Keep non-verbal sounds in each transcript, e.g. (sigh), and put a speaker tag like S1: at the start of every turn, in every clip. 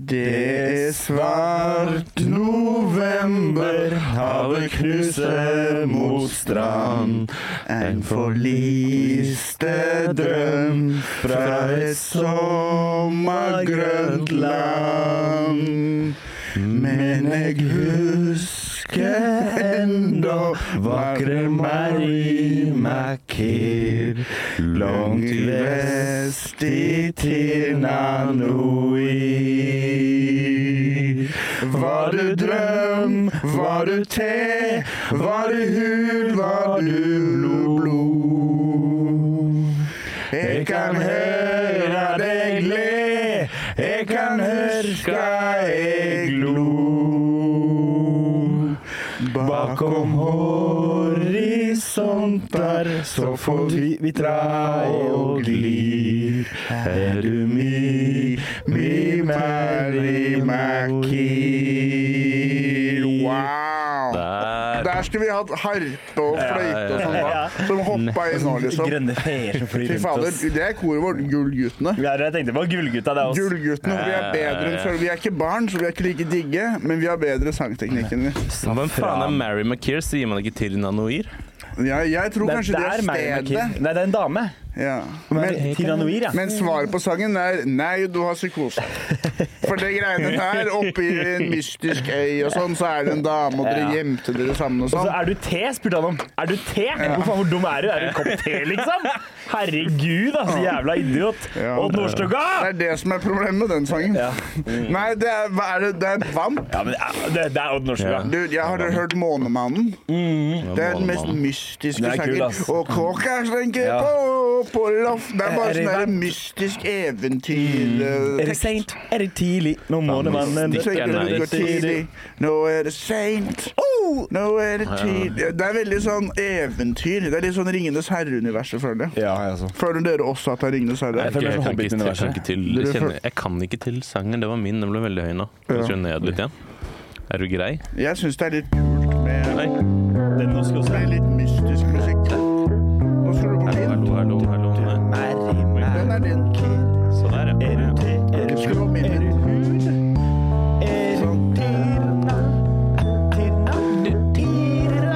S1: Det er svart november, havet knuser mot strand. En forliste drøm fra et sommergrønt land. Men jeg husker enda vakre Mary Mackir. Langt vest i Tinnanui. Var du drøm, var du te, var du hud, var du blod, blod. Jeg kan høre deg le, jeg kan huske jeg glo. Bakom horisonter så får vi vitra og glir. Er du mi, mi Mary Mackie? Wow!
S2: Der.
S3: Der skulle vi hatt harpe og fløyte og sånn, da. Som hoppa inn nå, liksom.
S1: Grønne feer som flyr
S3: Fy
S1: rundt
S3: fader,
S1: oss.
S3: det er koret vårt, Gullguttene.
S1: Ja, jeg tenkte på Gullgutta, det er oss.
S3: Gullguttene, vi er bedre enn før. Vi er ikke barn, så vi er ikke like digge, men vi har bedre sangteknikken. vi.
S2: Hvem faen er Mary McKeer? Sier man ikke Tirinanoir?
S3: Ja, jeg tror
S1: Det er
S3: kanskje det
S1: der
S3: er
S1: Mary
S3: stedet.
S1: McKee- Nei, det er en dame.
S3: Ja. Men,
S1: Men, Tiranoir, ja.
S3: men svaret på sangen er nei, du har psykose. For det greiene der, oppe i en mystisk øy og sånn, så er det en dame, og dere
S1: Ja.
S3: gjemte dere sammen og
S1: Så
S3: sånn.
S1: er du te, spurte han om. Er du te? Hvor faen, hvor dum er du? Er du en kopp te, liksom? Herregud, altså. Jævla idiot.
S3: Ja.
S1: Odd Nordstoga!
S3: Det er det som er problemet med den sangen.
S1: Ja.
S3: Nei, det er, hva er det, det er Vamp.
S1: Ja, men det er- det, det er Odd Nordstoga.
S3: Du, jeg har hørt Månemannen. Det er den mest mystiske
S1: Den er kul,
S3: sangen.
S1: ass.
S3: Og kåka slenker
S1: Ja.
S3: på på loff. Det er
S1: Er
S3: bare
S1: det
S3: sånn der
S1: vamp?
S3: mystisk eventyr. eh,
S1: Er det seint? Er det tidlig? Nå må det mannen
S3: Så ikke
S2: Mystikk. Nei,
S3: det går
S2: det er
S3: tidlig. Nå er det seint.
S1: Oh!
S3: Nå er det tidlig. Det er veldig sånn eventyr. Det er litt sånn Ringenes herre-universet, føler jeg.
S1: Ja, altså.
S3: Føler dere også at det er sånn Ringenes herre?
S1: Jeg føler meg som
S2: kan ikke, jeg,
S1: Hobbit-universet.
S2: kan ikke til,
S3: Dere
S2: jeg, kjenner,
S3: føl-
S2: jeg kan ikke til sangen. Det var min. Den ble veldig høy nå. Kan du skru ned litt igjen? Er du grei?
S3: Jeg syns det er litt kult med
S2: Nei.
S1: Den nå skal også
S3: med litt mystisk musikk. Nå skrur du på min.
S2: Hallo, hallo, hallo. Nei. sånn
S3: Den er din.
S2: Så der,
S1: Er
S2: ja.
S1: du te? Er du
S3: Skru på min.
S1: Er
S3: Sånn.
S1: Tirna, tirna, du tirna.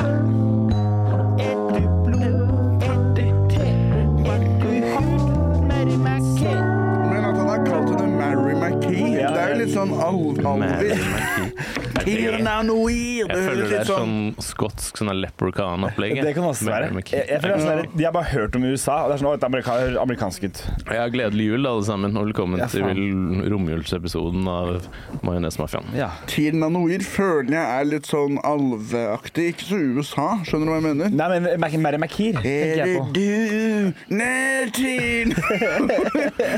S1: Er du blod, er du te? Er du hud, Mary Mackay?
S3: Men at han har kalt henne Mary McKee,
S1: Ja,
S3: det er jo litt sånn al-
S2: Mary
S3: alvis. Tirna Noir. Det
S2: Jeg føler
S3: høres
S2: det
S3: litt
S2: er
S3: sånn
S2: sånn skotsk sånn leprechaun-opplegg.
S1: Det kan også
S2: Mary
S1: være.
S2: McKee.
S1: Jeg, jeg føler også det er litt- de har bare hørt om USA, og det er sånn Å, dette er amerika- høres amerikansk ut.
S2: Ja, Gledelig jul, alle sammen, og velkommen
S1: Ja,
S2: til
S1: faen.
S2: vel- romjulsepisoden av Majonesmafiaen.
S1: Ja.
S3: Tirna Noir føler jeg er litt sånn alveaktig. Ikke så USA, skjønner du hva jeg mener?
S1: Nei, men eh, Mac- Mary Makir tenker
S3: Er
S1: jeg
S3: det
S1: på.
S3: du
S1: (laughs)
S3: Nertin?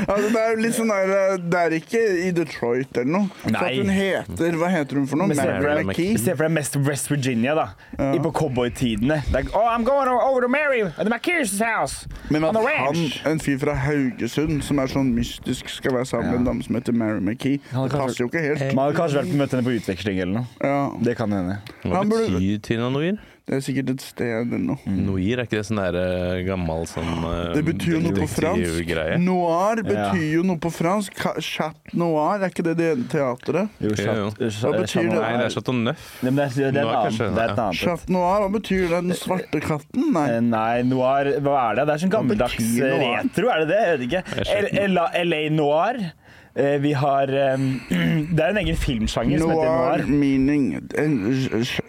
S3: altså, det er jo litt sånn der Det er ikke i Detroit eller noe. Så
S1: Nei.
S3: at hun heter Hva heter hun for noe?
S1: Men se for
S3: Mary
S2: deg-
S1: I
S3: McKee?
S1: stedet for det er mest West Virginia, da. I på cowboytidene. Det er, Oh, I'm going over to Mary at Makirs house.
S3: Men
S1: on
S3: at
S1: the
S3: han,
S1: ranch.
S3: en fyr fra Haugesund som er sånn mystisk, skal være sammen med en dame som heter Mary McKee,
S1: Han
S3: det
S1: kan-
S3: passer jo ikke helt.
S1: Man hadde kanskje vært på møte henne på utveksling eller noe.
S3: Ja,
S1: Det kan hende.
S2: Hva
S3: Han burde-
S2: betyr Tiranoir?
S3: det er sikkert et sted eller noe.
S2: Noir, er ikke det sånn der eh, gammal sånn eh,
S3: Mm. Ah, Det betyr jo noe på fransk.
S2: detektivgreie?
S3: Noir
S1: Ja.
S3: betyr jo noe på fransk. Ka- Chat noir, er ikke det det teateret?
S1: Jo,
S2: Jo, jo.
S3: Hva betyr det?
S2: Nei, det er Chateau Neuf.
S1: Nei, men det er, det
S2: Noir,
S1: er, en annen.
S2: kanskje?
S1: det er et annet.
S3: Chat noir, hva betyr det? Den svarte katten? Nei.
S1: Eh, Nei, noir Hva er det? Det er sånn gammeldags
S3: betyr
S1: eh,
S3: noir?
S1: retro, er det det? Jeg vet ikke.
S2: Jeg skjønner.
S1: L- LA, noir. Eh, Vi har eh, (clears throat) Det er en egen filmsjanger som heter
S3: Noir
S1: noir.
S3: meaning En,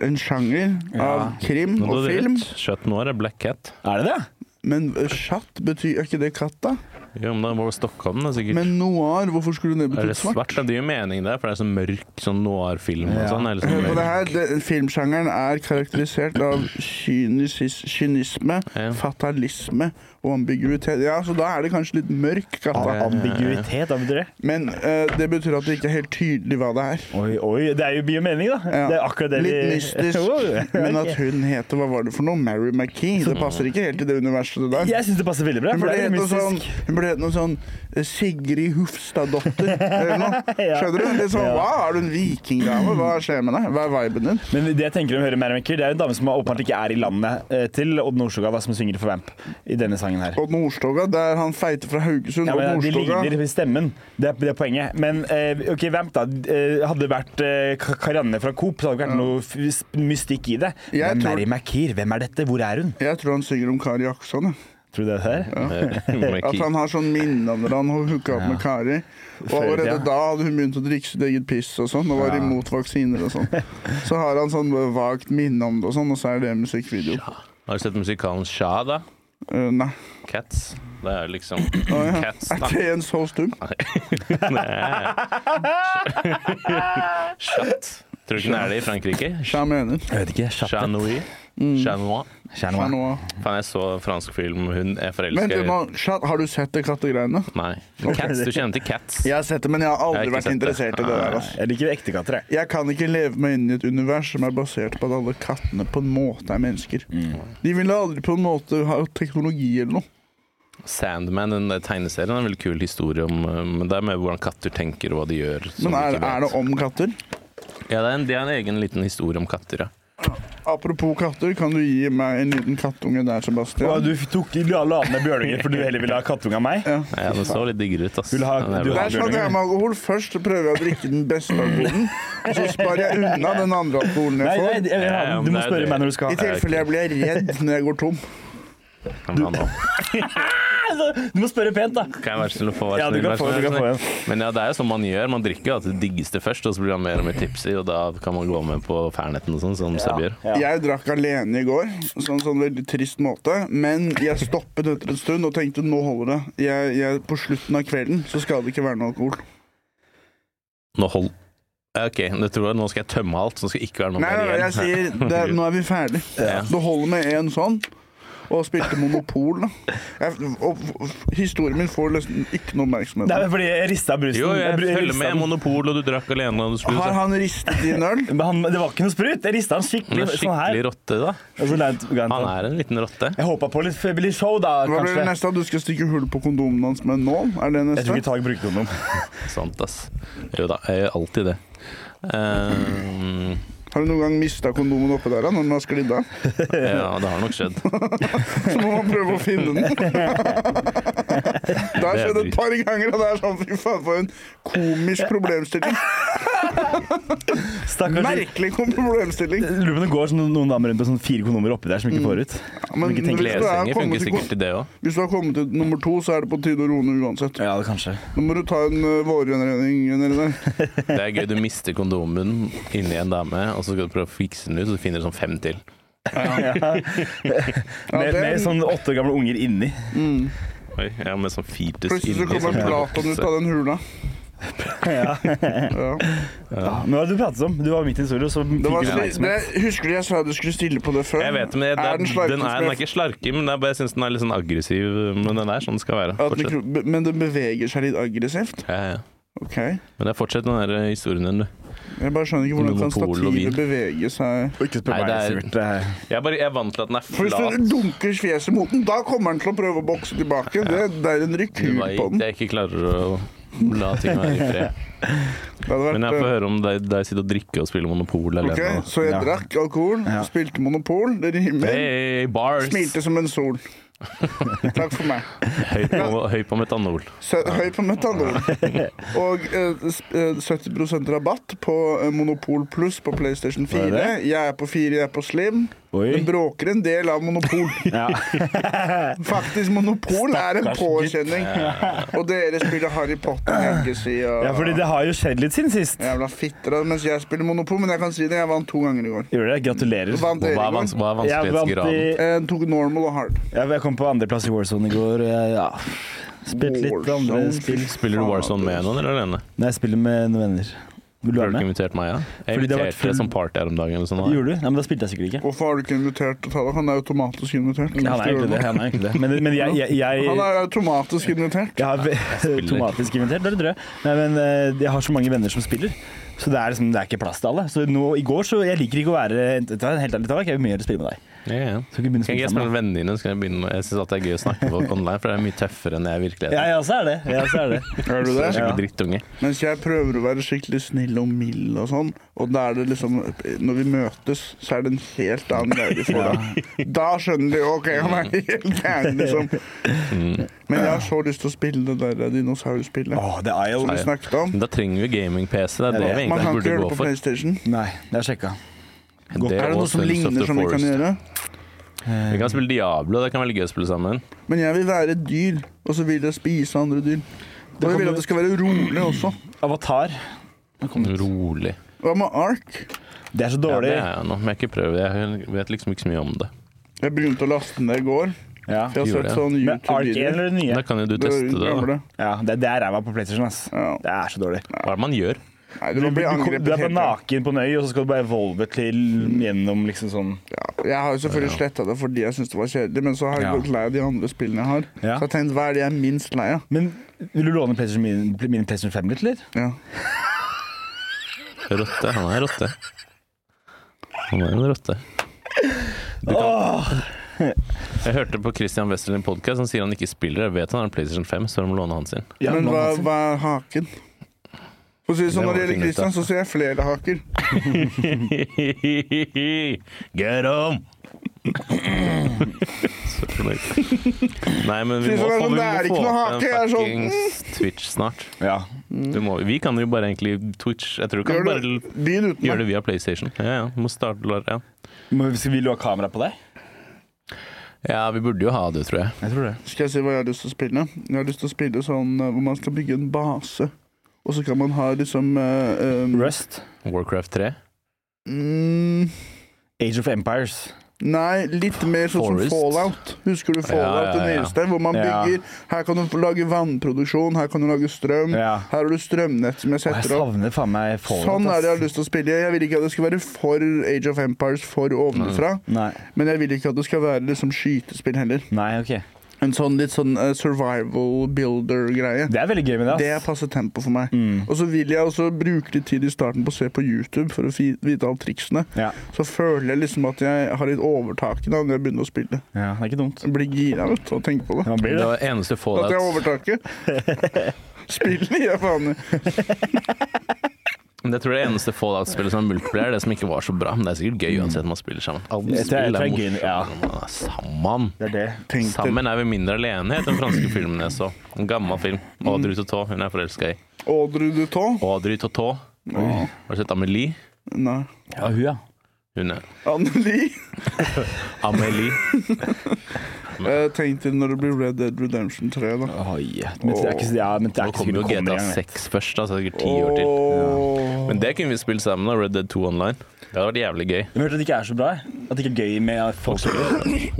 S3: en sjanger av krim
S2: Nå
S3: og
S2: hadde du
S3: film.
S2: rett. Chateau Noir er Black Cat.
S1: Er det det?
S3: Men eh, chat betyr er ikke det katt, da?
S2: Jo, men det var Stockholm, det er sikkert.
S3: Men noir, hvorfor skulle det
S2: er
S3: bety
S2: det svart?
S3: svart?
S2: Ja, Det gir mening der, for det er sånn mørk sånn noir-film og
S1: Ja.
S2: sånn. Eller
S3: Hør
S2: sånn
S3: på det
S2: mørk.
S3: her. Det, filmsjangeren er karakterisert av kynisis, kynisme,
S2: Ja.
S3: fatalisme og ambiguitet. Ja, så da er det kanskje litt mørk katta.
S1: Ambiguitet, hva betyr det?
S3: Men eh, det betyr at det ikke er helt tydelig hva det er.
S1: Oi, oi, det er jo bio mening, da.
S3: Ja.
S1: Det er akkurat det
S3: Litt
S1: vi- (laughs)
S3: mystisk.
S1: Oi.
S3: Men at hun heter Hva var det for noe? Mary McKee. Det passer ikke helt i det universet det der.
S1: Jeg syns det passer veldig bra.
S3: Hun
S1: For
S3: burde
S1: det er
S3: hete
S1: mystisk.
S3: sånn, hun burde burde hete noe sånn eh, Sigrid Hufstaddotter eller noe. Skjønner du? Litt sånn,
S1: (laughs) Ja.
S3: Hva, er du en vikingdame? Hva skjer med deg? Hva er viben din?
S1: Men det jeg tenker om Hører Mermaker, det er en dame som åpenbart ikke er i landet eh, til Odd Nordstoga, som synger for Vamp i denne sangen her.
S3: Odd Nordstoga, det er han feite fra Haugesund.
S1: Ja,
S3: Odd
S1: men De
S3: Nordstoga.
S1: ligner i stemmen, det er, det er poenget. Men eh, ok, Vamp, da. eh, Hadde det vært eh, Ka- Karianne fra Coop, så hadde det ikke vært noe f- s- mystikk i det.
S3: Jeg
S1: Hvem
S3: tror-
S1: er i Merkir? Hvem er dette? Hvor er hun?
S3: Jeg tror han synger om Kari Jaksson. jeg.
S1: Tror du det er det her?
S2: eh, (laughs)
S3: At han har sånn minne om da han hooka opp med Kari. Og
S1: Før i
S3: allerede
S1: tida.
S3: da hadde hun begynt å drikke sitt eget piss og sånn, og var
S1: Ja.
S3: imot vaksiner og sånn. Så har han sånn vagt minne om det og sånn, og så er det musikkvideo.
S2: Har du sett musikalen Sha, da?
S3: Eh, nei.
S2: Cats. Det er liksom
S3: ja.
S2: Cats,
S3: Er
S2: da.
S3: det en så stum?
S2: Chat. Tror du ikke den er det i Frankrike?
S3: Hva mener
S1: Jeg vet ikke.
S2: Chat
S1: Chatte.
S2: noir.
S3: Mm.
S2: Chat noir.
S3: Hva
S1: Chanois.
S3: nå?
S2: Faen, jeg så fransk film. Hun er
S3: Vent
S2: forelska
S3: litt
S2: i
S3: nå, Chat, har du sett det kattegreiene?
S2: Nei. Cats. Du kjenner til Cats?
S3: Jeg har sett det, men jeg har aldri
S2: Jeg har ikke
S3: vært
S2: sett det.
S3: interessert i det der. Altså.
S1: Jeg liker ekte katter, jeg.
S3: Jeg kan ikke leve meg inn i et univers som er basert på at alle kattene på en måte er mennesker. De ville aldri på en måte ha teknologi eller noe.
S2: Sandman, den der tegneserien, er en veldig kul historie om eh, Men det er med hvordan katter tenker og hva de gjør. som
S3: Men er,
S2: vi ikke
S3: er det
S2: vet.
S3: om katter?
S2: Ja, det er, en, det er en egen liten historie om katter, ja.
S3: Apropos katter, kan du gi meg en liten kattunge der,
S1: Å,
S3: Sebastian?
S1: Du tok la la ned Bjørninger fordi du heller ville ha kattunge av meg?
S3: Ja.
S2: Nei, den så litt diggere ut, ass.
S1: Vil du ha-
S2: Den er
S1: du
S2: vel-
S3: Det er sånn at jeg med alkohol. Først prøver jeg å drikke den beste alkoholen, og så sparer jeg unna den andre alkoholen
S1: Nei,
S3: jeg
S1: nei,
S3: får.
S1: jeg vil ha
S2: Ja,
S1: den.
S2: men
S1: Du må
S2: det er
S1: spørre
S2: det.
S1: meg når du skal
S3: I
S1: ha
S3: tilfelle jeg blir redd når jeg går tom.
S2: Den var nå.
S1: Du må spørre pent, da.
S2: Kan jeg være så snill å få være
S1: Ja, du
S2: snill,
S1: kan
S2: være
S1: få-
S2: snill,
S1: du kan
S2: være
S1: få
S2: snill? Men ja, det er jo sånn man gjør. Man drikker jo alltid det diggeste først, og så blir man mer og mer tipsy, og da kan man gå med på fernetten og sånn, som Seb gjør.
S1: Ja.
S3: Jeg drakk alene i går, sånn sånn veldig trist måte. Men jeg stoppet etter en stund og tenkte nå holder det. Jeg, jeg, på slutten av kvelden så skal det ikke være noe alkohol.
S2: Nå hold... Ja, Ok, nå tror jeg nå skal jeg tømme alt, så det skal ikke være noe
S3: Nei, nei, nei, jeg
S2: igjen.
S3: sier det, nå er vi ferdig.
S2: Ja.
S3: Det holder med én sånn. Og spilte Monopol, da. Jeg, og, og, historien min får nesten ikke noe oppmerksomhet.
S1: Det er fordi jeg rista brusen.
S2: Jo, jeg
S1: br-
S2: følger
S1: ristet
S2: med.
S1: den.
S2: Monopol, og du drakk alene, og du skulle
S3: Har han ristet i en øl?
S1: Men han, det var ikke noe sprut. Jeg rista han
S2: Han
S1: skikkelig
S2: er
S1: sånn her.
S2: skikkelig rotte, da.
S1: Og så la jeg et- ga jeg en
S2: Han
S1: sånn.
S2: er en liten rotte.
S1: Jeg håpa på litt Fibberly Show, da,
S3: Hva blir det
S1: kanskje.
S3: neste? At du skal stikke hull på kondomen hans med en nål? Er det
S1: Jeg tror
S3: neste?
S1: ikke Tag brukte kondom.
S3: (laughs)
S2: Sant, ass. Jo da, jeg gjør alltid det. Eh,
S3: Har du noen gang mista kondomen oppe der da, når den har sklidd av?
S2: ja, det har
S3: (laughs)
S2: nok skjedd.
S3: Så må man prøve å finne den.
S2: (laughs)
S3: Det har skjedd et par ganger, og det er sånn fy faen, for en komisk
S2: (laughs)
S3: problemstilling.
S1: Stakkars.
S3: Merkelig kom- problemstilling.
S1: Jeg Lurer på om det går sånn, noen damer rundt med sånn fire kondomer oppi der som
S3: Mm.
S1: ikke får ut.
S3: men
S1: Som ikke
S3: hvis
S1: tenker-
S3: du er kommet
S2: Kleshenger funker
S3: til
S2: sikkert til det òg.
S3: Hvis du har kommet til nummer to, så er det på tide å roe ned uansett.
S1: Ja, det kanskje.
S3: Nå må du ta en uh, vårrenredning nedi der.
S2: Det er gøy, du mister kondomen inni en dame, og så skal du prøve å fikse den ut, og så finner du sånn fem til.
S1: Med,
S3: det-
S1: med sånn åtte år gamle unger inni.
S2: Oi, ja, med sånn fetus
S3: Plutselig så
S2: inni. sånn
S3: kommer Platon ut av den
S2: (laughs)
S3: hula.
S1: Ja.
S3: Ja.
S1: Men hva var det du pratet om? Du var midt i en historie, og så fikk
S3: Det var
S1: vi
S3: sli, det,
S1: oppmerksomhet.
S3: husker du jeg sa du skulle stille på det før?
S2: Jeg vet, men jeg, det,
S3: Er den
S2: er,
S3: slarkete
S2: den, er, den er ikke slarky, men det er bare, jeg syns den er litt sånn aggressiv. Men den er sånn den skal være.
S3: At den
S2: Fortsett.
S3: ikke- men den beveger seg litt aggressivt?
S2: Ja, ja.
S3: OK.
S2: Men det er fortsett den der eh, historien din, du.
S3: Jeg bare skjønner ikke hvordan kan
S2: Monopol og vin.
S3: stativet bevege seg
S1: Ikke spør
S2: Nei,
S1: meg,
S2: det er-
S1: Sivert. Det er-
S2: Jeg, bare, jeg er vant til at den er
S3: For hvis du
S2: flat.
S3: dunker fjeset mot den, da kommer den til å prøve å bokse tilbake. Det, det er en rekyl
S2: Hva
S3: på
S2: gikk
S3: den.
S2: det jeg ikke klarer å la ting være i fred?
S3: Det hadde
S2: Men jeg
S3: vært,
S2: får høre om deg, deg sitter og drikker og spiller Monopol
S3: eh,
S2: alene.
S3: ok,
S2: da.
S3: Så jeg
S1: Ja.
S3: drakk alkohol,
S1: Ja.
S3: spilte Monopol, det rimer.
S2: Hey, bars!
S3: Smilte som en sol. Takk for meg.
S2: Høy på, høy på metanol.
S3: Sø høy på
S1: (laughs)
S3: metanol. Og eh, sp- eh, 70 rabatt på eh, Monopol Pluss på PlayStation 4.
S1: Hva er
S3: Jeg er på 4, jeg er på Slim. Den
S1: Oi.
S3: bråker en del av Monopol.
S1: (laughs) Ja.
S3: (laughs) Faktisk, Monopol er en
S1: Stakkars
S3: påkjenning. Og dere spiller Harry Potter, hekkesida.
S1: ja, fordi det har jo skjedd litt siden sist.
S3: Jævla fitter, altså, mens jeg spiller Monopol, men jeg kan si det, jeg vant to ganger i går.
S1: Gjør det? Gratulerer.
S3: Vant
S2: Hva
S3: dere
S2: er,
S3: i
S2: vans
S3: går?
S2: hva er
S1: Jeg vant
S2: vanskelighetsgraden?
S1: i
S3: Jeg tok normal og hard.
S1: Jeg, jeg kom på andreplass i Warzone i går. og Jeg, ja. Spilt litt
S3: Warzone,
S1: andre
S3: fy
S1: spill.
S2: Spiller du Warzone med noen eller alene?
S1: Nei, jeg spiller med noen venner. Vil du
S2: Har
S1: være
S2: du ikke
S1: med?
S2: invitert meg? Ja? Jeg
S1: Fordi det har vært
S2: inviterte
S1: full-
S2: deg som party her om dagen. Eller sånn, da.
S1: Gjorde du? Nei, men da spilte jeg sikkert ikke.
S3: Hvorfor har du ikke invitert Tala? Han er automatisk invitert.
S1: Han er egentlig det. Han er egentlig det. Men, men jeg, jeg, jeg,
S3: Han
S1: jeg,
S3: er automatisk invitert.
S1: har automatisk invitert. Det er det drøyt. Nei, men eh, jeg har så mange venner som spiller. Så det er, liksom, det er ikke plass til alle. Så nå, i går så Jeg liker ikke å være Vet du hva, Helt ærlig talt, jeg vil mye heller spille med deg.
S2: Ja, ja.
S1: Så vi
S2: Kan ikke
S1: begynner å spille
S2: jeg spille med vennene dine? Så kan jeg begynne med Jeg syns det er gøy å snakke med folk online, for det er mye tøffere enn jeg i virkeligheten.
S1: Ja, jeg også er det. Jeg også er det.
S3: (laughs) Hører du
S2: Så jeg er
S3: det?
S1: Ja.
S2: skikkelig drittunge.
S3: Mens jeg prøver å være skikkelig snill og mild og sånn, og da er det liksom Når vi møtes, så er det en helt annen greie for deg. Da skjønner de OK, han er helt gæren, liksom.
S2: Mm.
S3: Men jeg har så lyst til å spille det der dinosaurspillet
S1: Åh, det er jo
S3: som vi snakket om.
S2: Men da trenger vi gaming-PC. Det er det vi
S3: Man kan
S2: egentlig
S3: ikke
S2: burde
S3: gjøre
S2: gå
S3: det på
S2: for.
S3: PlayStation.
S1: Nei, det er sjekka.
S3: Er
S2: Det
S3: det
S2: og
S3: noe som
S2: Sons of the
S3: ligner som vi kan
S2: Forest.
S3: gjøre?
S1: Eh,
S2: Vi kan spille Diablo, det kan være litt gøy å spille sammen.
S3: Men jeg vil være et dyr, og så vil jeg spise andre dyr. Og jeg vil at det skal være rolig også.
S1: Avatar. Mm.
S2: Rolig.
S3: Hva med ark?
S1: Det er så
S2: Ja,
S1: dårlig.
S2: det er jeg nå, men jeg har ikke prøvd. Jeg vet liksom ikke så mye om det.
S3: Jeg begynte å laste den der i går.
S1: Ja.
S3: Jeg har
S2: Gjorde
S3: sett
S2: jeg.
S3: sånn
S1: Men Ark 1
S3: YouTube-videoer.
S1: eller det nye?
S2: Da kan jo du teste det. da.
S3: gamle.
S1: Ja, det, det er ræva på PlayStation, ass.
S3: Ja.
S1: Det er så dårlig.
S2: Hva er det man gjør?
S3: Nei,
S1: Du,
S3: du må
S1: du,
S3: bli
S1: du, du
S3: angrepet
S1: er på
S3: hele tiden.
S1: naken på en øy, og så skal du bare evolve til gjennom liksom sånn
S3: Ja, jeg har jo selvfølgelig sletta det fordi jeg syns det var kjedelig, men så har jeg
S1: Ja.
S3: gått lei av de andre spillene jeg har. Så
S1: Ja.
S3: jeg har tenkt hva er det jeg er minst lei av?
S1: Men vil du låne PlayStation min, min PlayStation 5 litt, eller?
S3: Ja.
S2: Rotte. Han er rotte. Han er en rotte. Du kan- Jeg hørte på Christian Westerlin podcast, han sier han ikke spiller. Jeg vet han har en PlayStation 5, så de må låne
S3: (laughs)
S2: han sin.
S1: Ja,
S3: men
S1: lån
S3: hva,
S1: hans.
S3: hva er haken? For å si det sånn,
S2: Det må
S3: Når det
S2: vi
S3: gjelder
S2: finne ut av.
S3: Christian, så ser jeg flere haker.
S2: Get him! (clears throat) Så fornøyd. Nei, men vi
S3: Synes
S2: må
S3: det er
S2: få,
S3: sånn,
S2: vi
S3: det er
S2: må
S3: ikke noe
S2: få
S3: hake,
S2: til
S3: jeg er
S2: en
S3: sånn,
S2: fuckings Twitch snart.
S1: ja.
S2: Vi, må, vi kan jo bare egentlig Twitch Jeg tror vi kan
S3: Gjør
S2: bare
S3: du Begynn uten
S2: gjøre
S3: meg.
S2: det via PlayStation. Ja, ja. Vi må starte der, ja.
S1: Men Skal vi ha kamera på deg?
S2: ja, vi burde jo ha det, tror jeg.
S1: Jeg tror det.
S3: Skal jeg si hva jeg har lyst til å spille? Jeg har lyst til å spille sånn eh, hvor man skal bygge en base. Og så kan man ha liksom eh, eh,
S1: Rust.
S2: Warcraft 3.
S3: mm,
S1: Age of Empires.
S3: Nei, litt mer sånn som
S2: Forest.
S3: Fallout. Husker du Fallout?
S2: Ja, ja, ja.
S3: Det nyeste, hvor man
S1: Ja.
S3: bygger Her kan du lage vannproduksjon, her kan du lage strøm.
S1: Ja.
S3: Her har du strømnett som jeg
S1: Å, jeg
S3: Mm. setter opp.
S1: savner faen meg Fallout.
S3: Sånn er det jeg
S1: ass.
S3: har lyst til å spille. Jeg vil ikke at det skal være for Age of Empires for ovenfra.
S1: Nei.
S3: Men jeg vil ikke at det skal være liksom skytespill heller.
S1: Nei, ok.
S3: En sånn litt sånn eh, survival builder-greie.
S1: Det er veldig gøy med det, ass.
S3: Det er passe tempo for meg.
S1: Mm.
S3: Og så vil jeg også bruke litt tid i starten på å se på YouTube for å fi- vite alle triksene.
S1: Ja.
S3: Så føler jeg liksom at jeg har litt overtaket da når jeg begynner å spille.
S1: ja, det er ikke dumt.
S3: Jeg blir gira vet du, av å tenke på det.
S1: Man
S2: Det
S1: blir det.
S2: var eneste
S3: At jeg har
S2: Fallout
S3: overtaket.
S2: (laughs)
S3: Spillet gir jeg faen i.
S2: Men Jeg tror det eneste Fallout-spillet som er multiplayer, er det som ikke var så bra. Men det er sikkert
S1: Mm.
S2: gøy uansett om man spiller sammen. Alle
S1: Jeg tror- jeg
S2: spill
S1: tror
S2: er
S1: det er gøy, ja.
S2: morsomme når man er sammen.
S1: Det er det.
S3: Tenk til.
S2: Sammen er vi mindre alene, het den franske filmen jeg så. En gammel film.
S1: Mm.
S2: Audrey Totå, hun er forelska i.
S3: Audrey Dutton?
S2: Audrey Totå. Har du sett Amelie?
S3: Nei.
S1: Ja, hun, ja.
S2: Hun er
S3: Anneli?
S1: (laughs)
S2: Amelie.
S3: Eh, Tenk til når det blir Red Dead Redemption 3, da.
S1: Oi. Men det er ikke, ja, men det er
S2: Nå
S1: ikke
S2: kommer jo
S1: sikkert
S2: GTA
S1: det kommer engang.
S2: 6 først, da, så det er sikkert ti år til.
S3: Åh.
S2: Men det kunne vi spilt sammen, da. Red Dead 2 Online. Det hadde vært jævlig gøy.
S1: Jeg har hørt at det ikke er så bra. jeg. At det ikke er gøy med folk som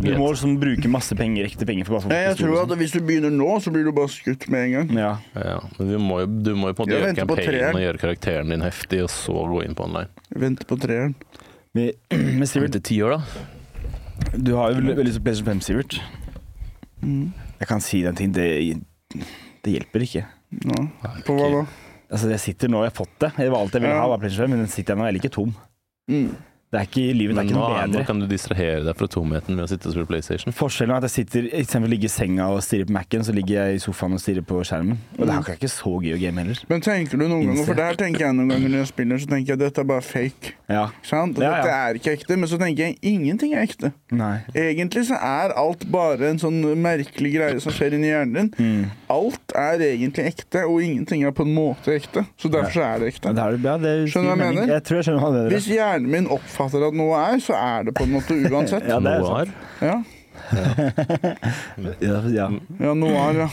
S1: Du må liksom bruke masse penger, ekte penger for bare å få
S3: Nei, jeg
S1: folk til
S3: tror
S1: å spille og
S3: at hvis du begynner nå, så blir du bare skutt med en gang.
S1: sånn. ja.
S2: Ja, men vi må jo, du må jo på en måte
S3: Jeg
S2: gjøre
S3: venter på
S2: campaignen
S3: treeren.
S2: og gjøre karakteren din heftig, og så gå inn på online.
S3: Vente på treeren.
S1: Men, (clears throat) men Sivert,
S2: Etter ti år, da.
S1: du har jo veldig lyst til PlayStation 5, Sivert.
S3: Mm.
S1: Jeg kan si den ting, det, det hjelper ikke.
S3: Ja. På hva da?
S1: Altså, jeg sitter nå, jeg har fått det. Det var alt jeg ville
S3: Ja.
S1: ha, var PlayStation 5, men den sitter jeg nå, jeg er like tom.
S3: Mm.
S1: Det er ikke, livet er
S2: Men
S1: ikke
S2: nå,
S1: noe
S2: er- nå
S1: bedre.
S2: kan du distrahere deg fra tomheten ved å sitte og spille PlayStation.
S1: Forskjellen er at jeg sitter, i stedet for å ligge i senga og stirre på Mac-en, så ligger jeg i sofaen og stirrer på skjermen. Og det
S3: Mm.
S1: er ikke- ikke så gøy å game heller.
S3: Men tenker du noen ganger, for det her tenker jeg noen ganger når jeg spiller, så tenker jeg dette er bare fake.
S1: Ja.
S3: Ikke sant?
S1: Ja, ja.
S3: Dette er ikke ekte, men så tenker jeg ingenting er ekte.
S1: Nei.
S3: Egentlig så er alt bare en sånn merkelig greie som skjer inni hjernen din.
S1: Mm.
S3: Alt er egentlig ekte, og ingenting er på en måte ekte. Så derfor så er det ekte.
S1: Ja, det er, ja,
S3: Skjønner du hva jeg
S1: det gir mening.
S3: mener?
S1: Jeg tror jeg skjønner hva du mener.
S3: Hvis hjernen min oppfatter at noe er, så er det på en måte uansett.
S1: (laughs) Ja, det er
S2: Noir.
S1: sant.
S3: Ja,
S1: Ja, ja.
S3: ja noe er, ja.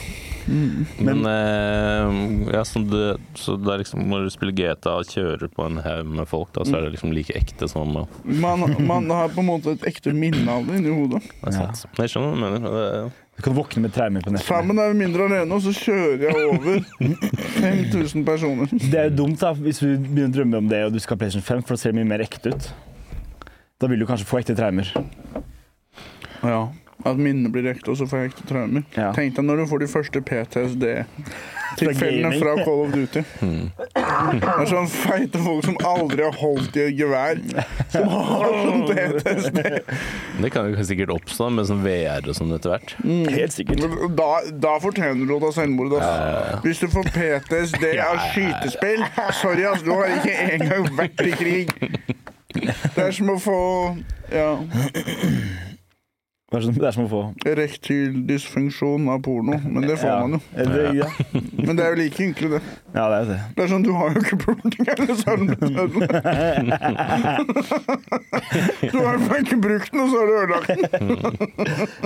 S2: Men, eh, ja, så det, så det er liksom når du spiller GTA og kjører på en haug med folk, da, så er det
S1: Mm.
S2: liksom like ekte som eh,
S3: Man, man har på en måte et ekte minne av det inni hodet.
S2: Det er sant. Men Jeg skjønner hva du mener. Det,
S1: Du kan våkne med traumer på nettet.
S3: Sammen er vi mindre alene, og så kjører jeg
S1: (laughs)
S3: over 5000 personer.
S1: Det er jo dumt da, hvis du begynner å drømme om det og du skal ha PlayStation 5, for da ser det mye mer ekte ut. Da vil du kanskje få ekte traumer.
S3: Ja. At minnet blir ekte, og så får jeg ekte traumer.
S1: Ja.
S3: Tenk deg når du får de første PTSD-traumer. Tilfellene
S1: gaming.
S3: fra Call of Duty. Det er sånn feite folk som aldri har holdt i et gevær, som har sånn PTSD.
S2: Det kan jo sikkert oppstå med sånn VR og sånn etter hvert.
S3: Mm.
S1: Helt sikkert.
S3: Men Da, da fortjener du å ta selvmord. Altså. Hvis du får PTSD av skytespill Sorry, ass, du har ikke engang vært i krig. Det er som å få ja,
S1: Det er som- det er som å få
S3: erektil dysfunksjon av porno, men det får
S1: ja.
S3: man jo.
S1: Er det- Ja.
S3: Men det er jo like ynkelig, det.
S1: ja, det er jo det.
S3: Det er sånn, Du har jo ikke pulting eller sølvmedalje. Du har i hvert fall ikke brukt den, og så har du ødelagt den.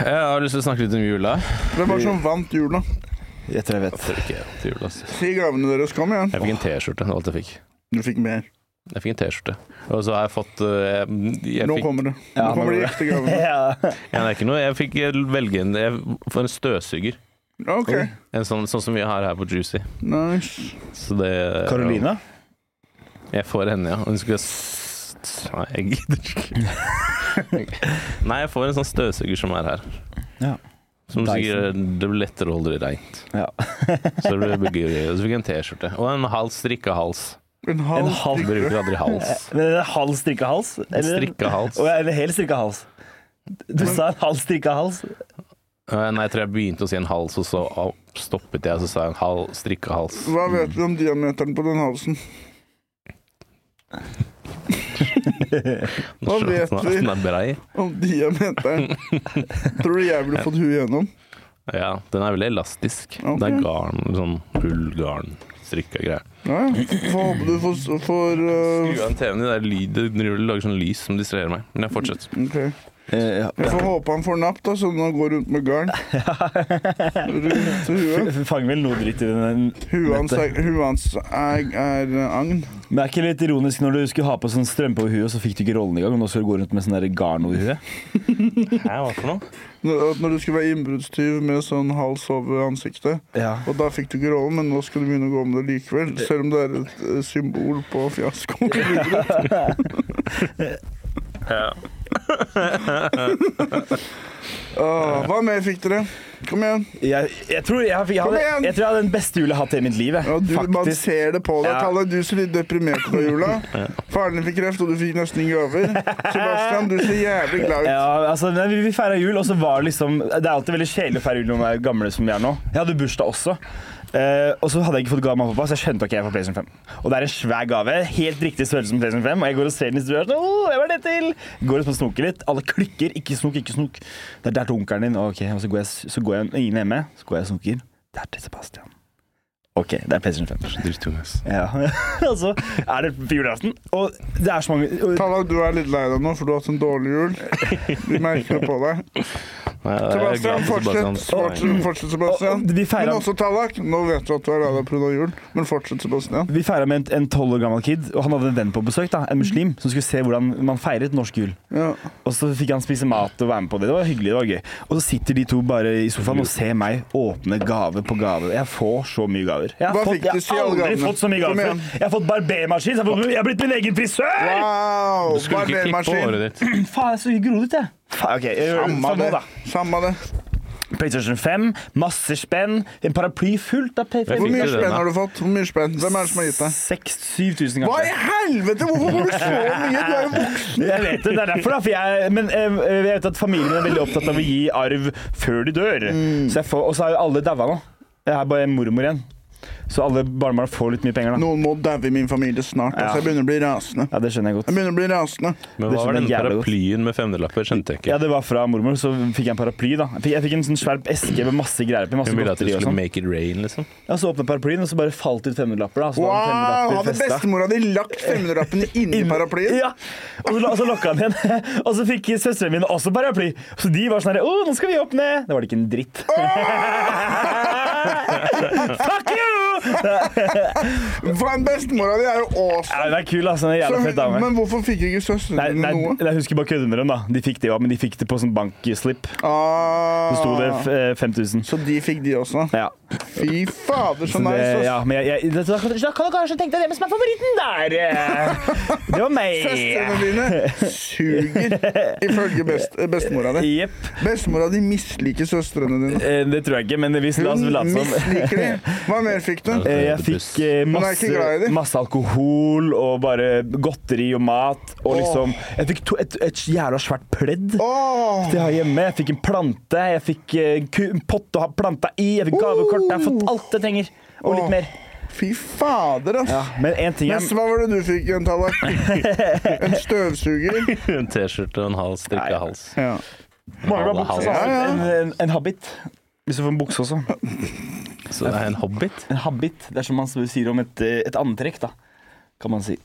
S2: Jeg har lyst til å snakke litt om jula.
S3: Hvem var det som vant jula?
S1: Jeg tror jeg vet.
S2: Tør ikke jeg til jula, altså. ass.
S3: Si gavene deres, kom igjen.
S2: Jeg fikk en T-skjorte. det var alt jeg fikk.
S3: Du fikk mer.
S2: Jeg fikk en T-skjorte. Og så har jeg fått eh, jeg
S3: Nå
S2: fikk,
S3: kommer det. Nå
S1: Ja, nå
S3: kommer de
S1: kommer
S3: ekte gavene.
S1: (laughs) Ja.
S2: Ja, det er ikke noe. Jeg fikk eh, velge en jeg, For en støvsuger.
S3: OK,
S2: En sånn, sånn som vi har her på Juicy.
S3: nice.
S2: Så det
S1: Carolina?
S2: Jeg får henne, ja. Hun skulle s- s- Nei, jeg gidder ikke.
S1: (laughs)
S2: Nei, jeg får en sånn støvsuger som er her.
S1: Ja.
S2: Som sikkert det blir lettere å holde det reint.
S1: Ja.
S2: (laughs) Så det blir gøy. Og så fikk jeg en T-skjorte. Og en hals, strikka hals.
S3: En
S1: En
S3: halv
S1: halv
S2: Jeg
S3: strikke.
S2: Bruker aldri hals.
S1: Men er det halv strikka hals? Eller,
S2: Strikka hals.
S1: Å, eller hel strikka hals? Du sa en halv strikka hals.
S2: Eh, Nei, jeg tror jeg begynte å si en hals, og så au, stoppet jeg, og så sa jeg en hal, strikka hals.
S3: Hva vet du om diameteren på den halsen?
S2: (laughs)
S3: Hva vet vi?
S2: Den er brei.
S3: Om diameteren Tror du jeg ville fått huet gjennom?
S2: Ja, den er veldig elastisk.
S3: Ok.
S2: Det er garn, sånn ullgarn, strikka greier.
S3: Ja, ja. Får håpe du får, får
S2: Skru
S3: uh,
S2: av TV-en din, det er lyd, det driver- lager sånn lys som distraherer meg. Men jeg fortsetter.
S3: ok.
S1: Eh, Ja.
S3: Jeg får håpe han får napp, da, så han går rundt med garn. Rundt huet.
S1: Fanger vel noe dritt i den.
S3: Huet hans er, huet hans er, er eh, agn.
S1: Men det er ikke litt ironisk når du skulle ha på sånn strømpe over huet, og så fikk du ikke rollen i gang, og nå skal du gå rundt med sånn der garn over huet?
S2: Hæ, hva for noe?
S3: Når at når du skulle være innbruddstyv med sånn hals over ansiktet,
S1: Ja.
S3: og da fikk du ikke rollen, men nå skal du begynne å gå om det likevel, selv om det er et eh, symbol på
S1: (laughs)
S3: fiasko. Åh, hva mer fikk dere? Kom igjen.
S1: Jeg, jeg, tror jeg, jeg,
S3: Kom
S1: hadde,
S3: igjen!
S1: jeg tror jeg hadde den beste jula jeg har hatt i hele mitt liv. jeg.
S3: Ja, du, man
S1: Faktisk.
S3: ser det på deg.
S1: Ja.
S3: Talle, du ser litt deprimert ut av jula. Faren din fikk kreft, og du fikk nesten ingen gaver. Sebastian, du ser jævlig glad ut.
S1: Ja, altså, nei, vi, vi feira jul, og så var det liksom Det er alltid veldig kjedelig å feire jul når man er gamle som vi er nå. Jeg hadde bursdag også. Eh, og så hadde jeg ikke fått gave av mamma og pappa, så jeg skjønte ikke jeg får PlayStation 5. Og det er en svær gave. Helt riktig størrelse som PlayStation 5. Og jeg går og ser den i stua. og sånn, «Åh, hva er det til? Går og snoker litt. Alle klikker. Ikke snok, ikke snok. Det er der til onkelen din. Ok, og så går jeg, så går jeg ingen er hjemme. Så går jeg og snoker. Det er til Sebastian. OK, det er PlayStation 5.
S2: Drittung, ass.
S1: Ja, (laughs) Og så er det på julaften. Og det er så mange og,
S3: Talla, du er litt lei deg nå, for du har hatt en dårlig jul. Vi merker det på deg.
S2: Nei, jeg er glad
S3: Sebastian,
S2: for Sebastian.
S3: fortsett. Fortsett, fortsett Sebastian.
S1: og vi
S3: Men
S1: feira
S3: også Tallak. Nå vet du at du er lei deg pga. jul, men fortsett, Sebastian.
S1: Vi feira med en- en tolv år gammel kid, og han hadde en venn på besøk, da, en muslim, som skulle se hvordan man feiret norsk jul.
S3: Ja.
S1: Og så fikk han spise mat og være med på det. Det var hyggelig, det var gøy. Og så sitter de to bare i sofaen og ser meg åpne gave på gave. Jeg får så mye gaver. Jeg har,
S3: Hva
S1: fått,
S3: fikk
S1: jeg
S3: du? Si
S1: har
S3: alle
S1: aldri
S3: gavene.
S1: fått så mye
S3: Kom
S1: gaver
S3: igjen.
S1: før. Jeg har fått barbermaskin, så jeg har fått- jeg har blitt min egen frisør!
S3: Wow!
S2: Du skulle ikke klippe håret
S3: Barbermaskin.
S2: ditt.
S1: Faen, jeg er så grodete, jeg. Faen, ok, jeg gjør
S3: Samme
S1: samme
S3: det.
S1: nå, da.
S3: Samme det.
S1: PlayStation 5, masse spenn, en paraply fullt av
S2: Jeg
S3: Hvor
S2: fikk
S1: PlayStation
S3: mye
S2: du den,
S3: spenn
S2: da?
S3: har du fått? Hvor mye spenn? Hvem er det som har gitt deg?
S1: 6000-7000,
S3: Hva
S1: kanskje.
S3: i helvete? Hvorfor får du så mye? Du er jo voksen.
S1: Jeg vet det, det er derfor da, for jeg, men eh, jeg vet at familien er veldig opptatt av å gi arv før de dør.
S3: Mm.
S1: Så jeg får, og så har jo alle daua nå. Jeg er bare mormor igjen. Så alle barnebarna får litt mye penger da.
S3: Noen må daue i min familie snart.
S1: Ja.
S3: Altså, jeg begynner å bli rasende.
S1: Ja, det skjønner jeg
S3: Jeg
S1: godt.
S3: begynner å bli rasende.
S2: Men
S1: Det
S2: hva var
S1: skjønner
S2: den
S1: jeg jævlig godt.
S2: paraplyen med femmerlapper? Skjønte jeg
S1: Ja,
S2: ikke.
S1: det var fra mormor, så fikk jeg en paraply da. Jeg fikk, jeg fikk en sånn svær eske med masse greier oppi, masse
S2: Hun ville at du
S1: godteri og
S2: skulle
S1: sånn.
S2: make it rain, liksom.
S1: Ja, så åpnet paraplyen, og så bare falt ut femmerlapper da. Så
S3: Wow,
S1: var det femmerlapper
S3: hadde
S1: festa.
S3: bestemora di lagt femmerlappene
S1: (laughs)
S3: inni paraplyen?
S1: Mm. Ja, og så, og så lokka han igjen. (laughs) Og så fikk søstrene mine også paraply. Så de var sånn herre Å, nå skal vi åpne! Da var det ikke en dritt. Fuck you!
S3: Faen, bestemora di er jo
S1: Ja,
S3: awesome!
S1: Hun er kul, altså. en Jævla
S3: Så,
S1: fet dame.
S3: men hvorfor fikk ikke
S1: Nei,
S3: søstrene
S1: nei,
S3: dine noe?
S1: nei, jeg husker bare kødde med dem, da. De fikk det jo, men de fikk det på sånn bankslipp.
S3: Ah,
S1: Så sto det f- eh, 5000.
S3: så de fikk de også?
S1: Ja.
S3: Fy fader, så
S1: Så det,
S3: nice.
S1: ja,
S3: ass.
S1: men jeg, jeg, da, kan, da kan du kanskje tenke deg hvem som er favoritten
S3: (laughs)
S1: der! eh. Det var
S3: Søstrene
S1: meg.
S3: dine suger, ifølge best, eh, bestemora di.
S1: Jepp.
S3: Bestemora di misliker søstrene dine.
S1: Eh, Det tror jeg ikke, men hvis la oss
S3: Hun
S1: late som.
S3: misliker de. Hva mer fikk du?
S1: Eh, Jeg fikk eh,
S3: Hun er ikke
S1: masse,
S3: glad i de.
S1: masse alkohol og bare godteri og mat. Og liksom Jeg fikk to, et, et jævla svært pledd.
S3: Åh,
S1: Det jeg har hjemme. Jeg fikk en plante, jeg fikk eh, ku- en pott å ha planta i, jeg fikk gavekort. Jeg har fått alt jeg trenger. Og litt mer.
S3: fy fader, ass.
S1: Men en ting
S3: Mens
S1: jeg
S3: hva var det du fikk, Jan
S1: (laughs)
S3: Tallak? En støvsuger?
S2: (laughs) En T-skjorte og en hals.
S1: Nei.
S2: Strikka hals.
S3: Ja.
S1: Mangler
S2: Alle
S1: bukse.
S2: hals.
S1: så har
S3: Ja,
S1: du
S3: ja.
S1: altså. En, en, en habit. Hvis du får en bukse også.
S2: Så det er en hobbit.
S1: En habit. Det er som man sier om et, eh, et antrekk, da. Kan man si.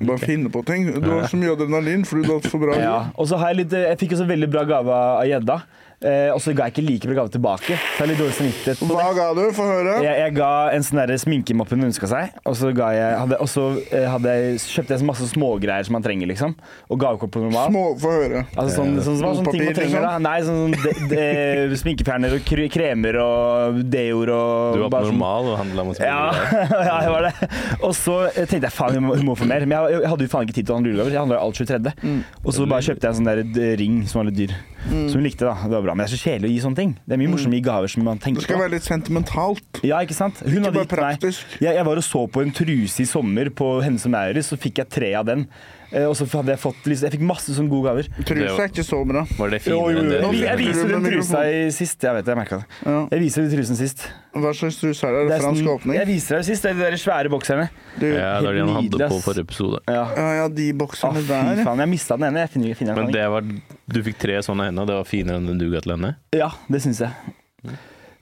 S3: Bare finne på ting. Du har så mye adrenalin fordi du har hatt for bra
S1: Ja.
S3: liv.
S1: Og så har jeg litt eh, Jeg fikk også veldig bra gave av gjedda. Eh, og så ga jeg ikke like bra gave tilbake. Så jeg har litt dårlig samvittighet på det.
S3: Hva ga du? Få høre.
S1: Jeg, jeg ga en sånn derre sminkemappe hun ønska seg, og så, ga jeg, hadde, og så eh, hadde jeg, kjøpte jeg så masse smågreier som man trenger, liksom. Og gavekort på normal.
S3: Små, få høre.
S1: Altså sånn, sånn, sånn, sånn ting
S3: Papir,
S1: man trenger, da.
S3: liksom?
S1: Nei, sånn, sånn de, de, sminkefjerner og kry- kremer og deoer og
S2: Du var
S1: bare
S2: på
S1: sånn-
S2: normal og handla masse
S1: Ja, (laughs)
S2: billigere.
S1: ja, jeg var det. Og så eh, tenkte jeg faen, hun må, hun må få mer. Men jeg, jeg hadde jo faen ikke tid til å handle julegaver. Jeg handla jo alt 23.
S3: Mm.
S1: Og så bare kjøpte jeg en sånn der d- ring som var litt dyr. Som hun likte, da. Det var bra. Men det er så kjedelig å gi sånne ting. Det er mye morsommere å gi gaver som man
S3: Det
S1: tenker
S3: Mm. skal
S1: på.
S3: være litt sentimentalt.
S1: Ja, ikke sant? Hun
S3: Ikke
S1: hadde
S3: bare
S1: gitt meg
S3: praktisk.
S1: jeg, jeg var og så på en truse i sommer på Hennes og Maurits, så fikk jeg tre av den. Eh, Og så hadde jeg fått liksom, Jeg fikk masse sånne gode gaver.
S3: Truse er ikke så bra.
S2: Var det
S1: Jo,
S2: finere
S1: jo,
S2: enn det?
S1: jo.
S3: Nå
S2: du-
S3: fikk
S1: Jeg
S3: du
S1: viser
S3: med
S1: den trusa
S3: mikrofonen?
S1: i sist. Jeg vet det, jeg merket det.
S3: Ja.
S1: Jeg viser den trusen sist.
S3: Hva slags truse er det? Er
S1: Det
S3: det
S1: er
S3: fransk
S1: sånn- Jeg
S3: åpning?
S1: viser deg sist. Det er de der svære bokserne.
S3: Du, ja,
S2: Ja, det var de han
S1: Nydelig,
S2: hadde på
S1: ass.
S2: forrige episode.
S1: Ja.
S3: ja, de
S1: Å,
S3: boksene
S1: fy
S3: der.
S1: faen. Jeg mista den ene. Jeg finner, finner
S2: Men
S1: den faen ikke.
S2: det var, du fikk tre sånne henne, og det var finere enn den du ga til henne?
S1: Ja, det syns jeg.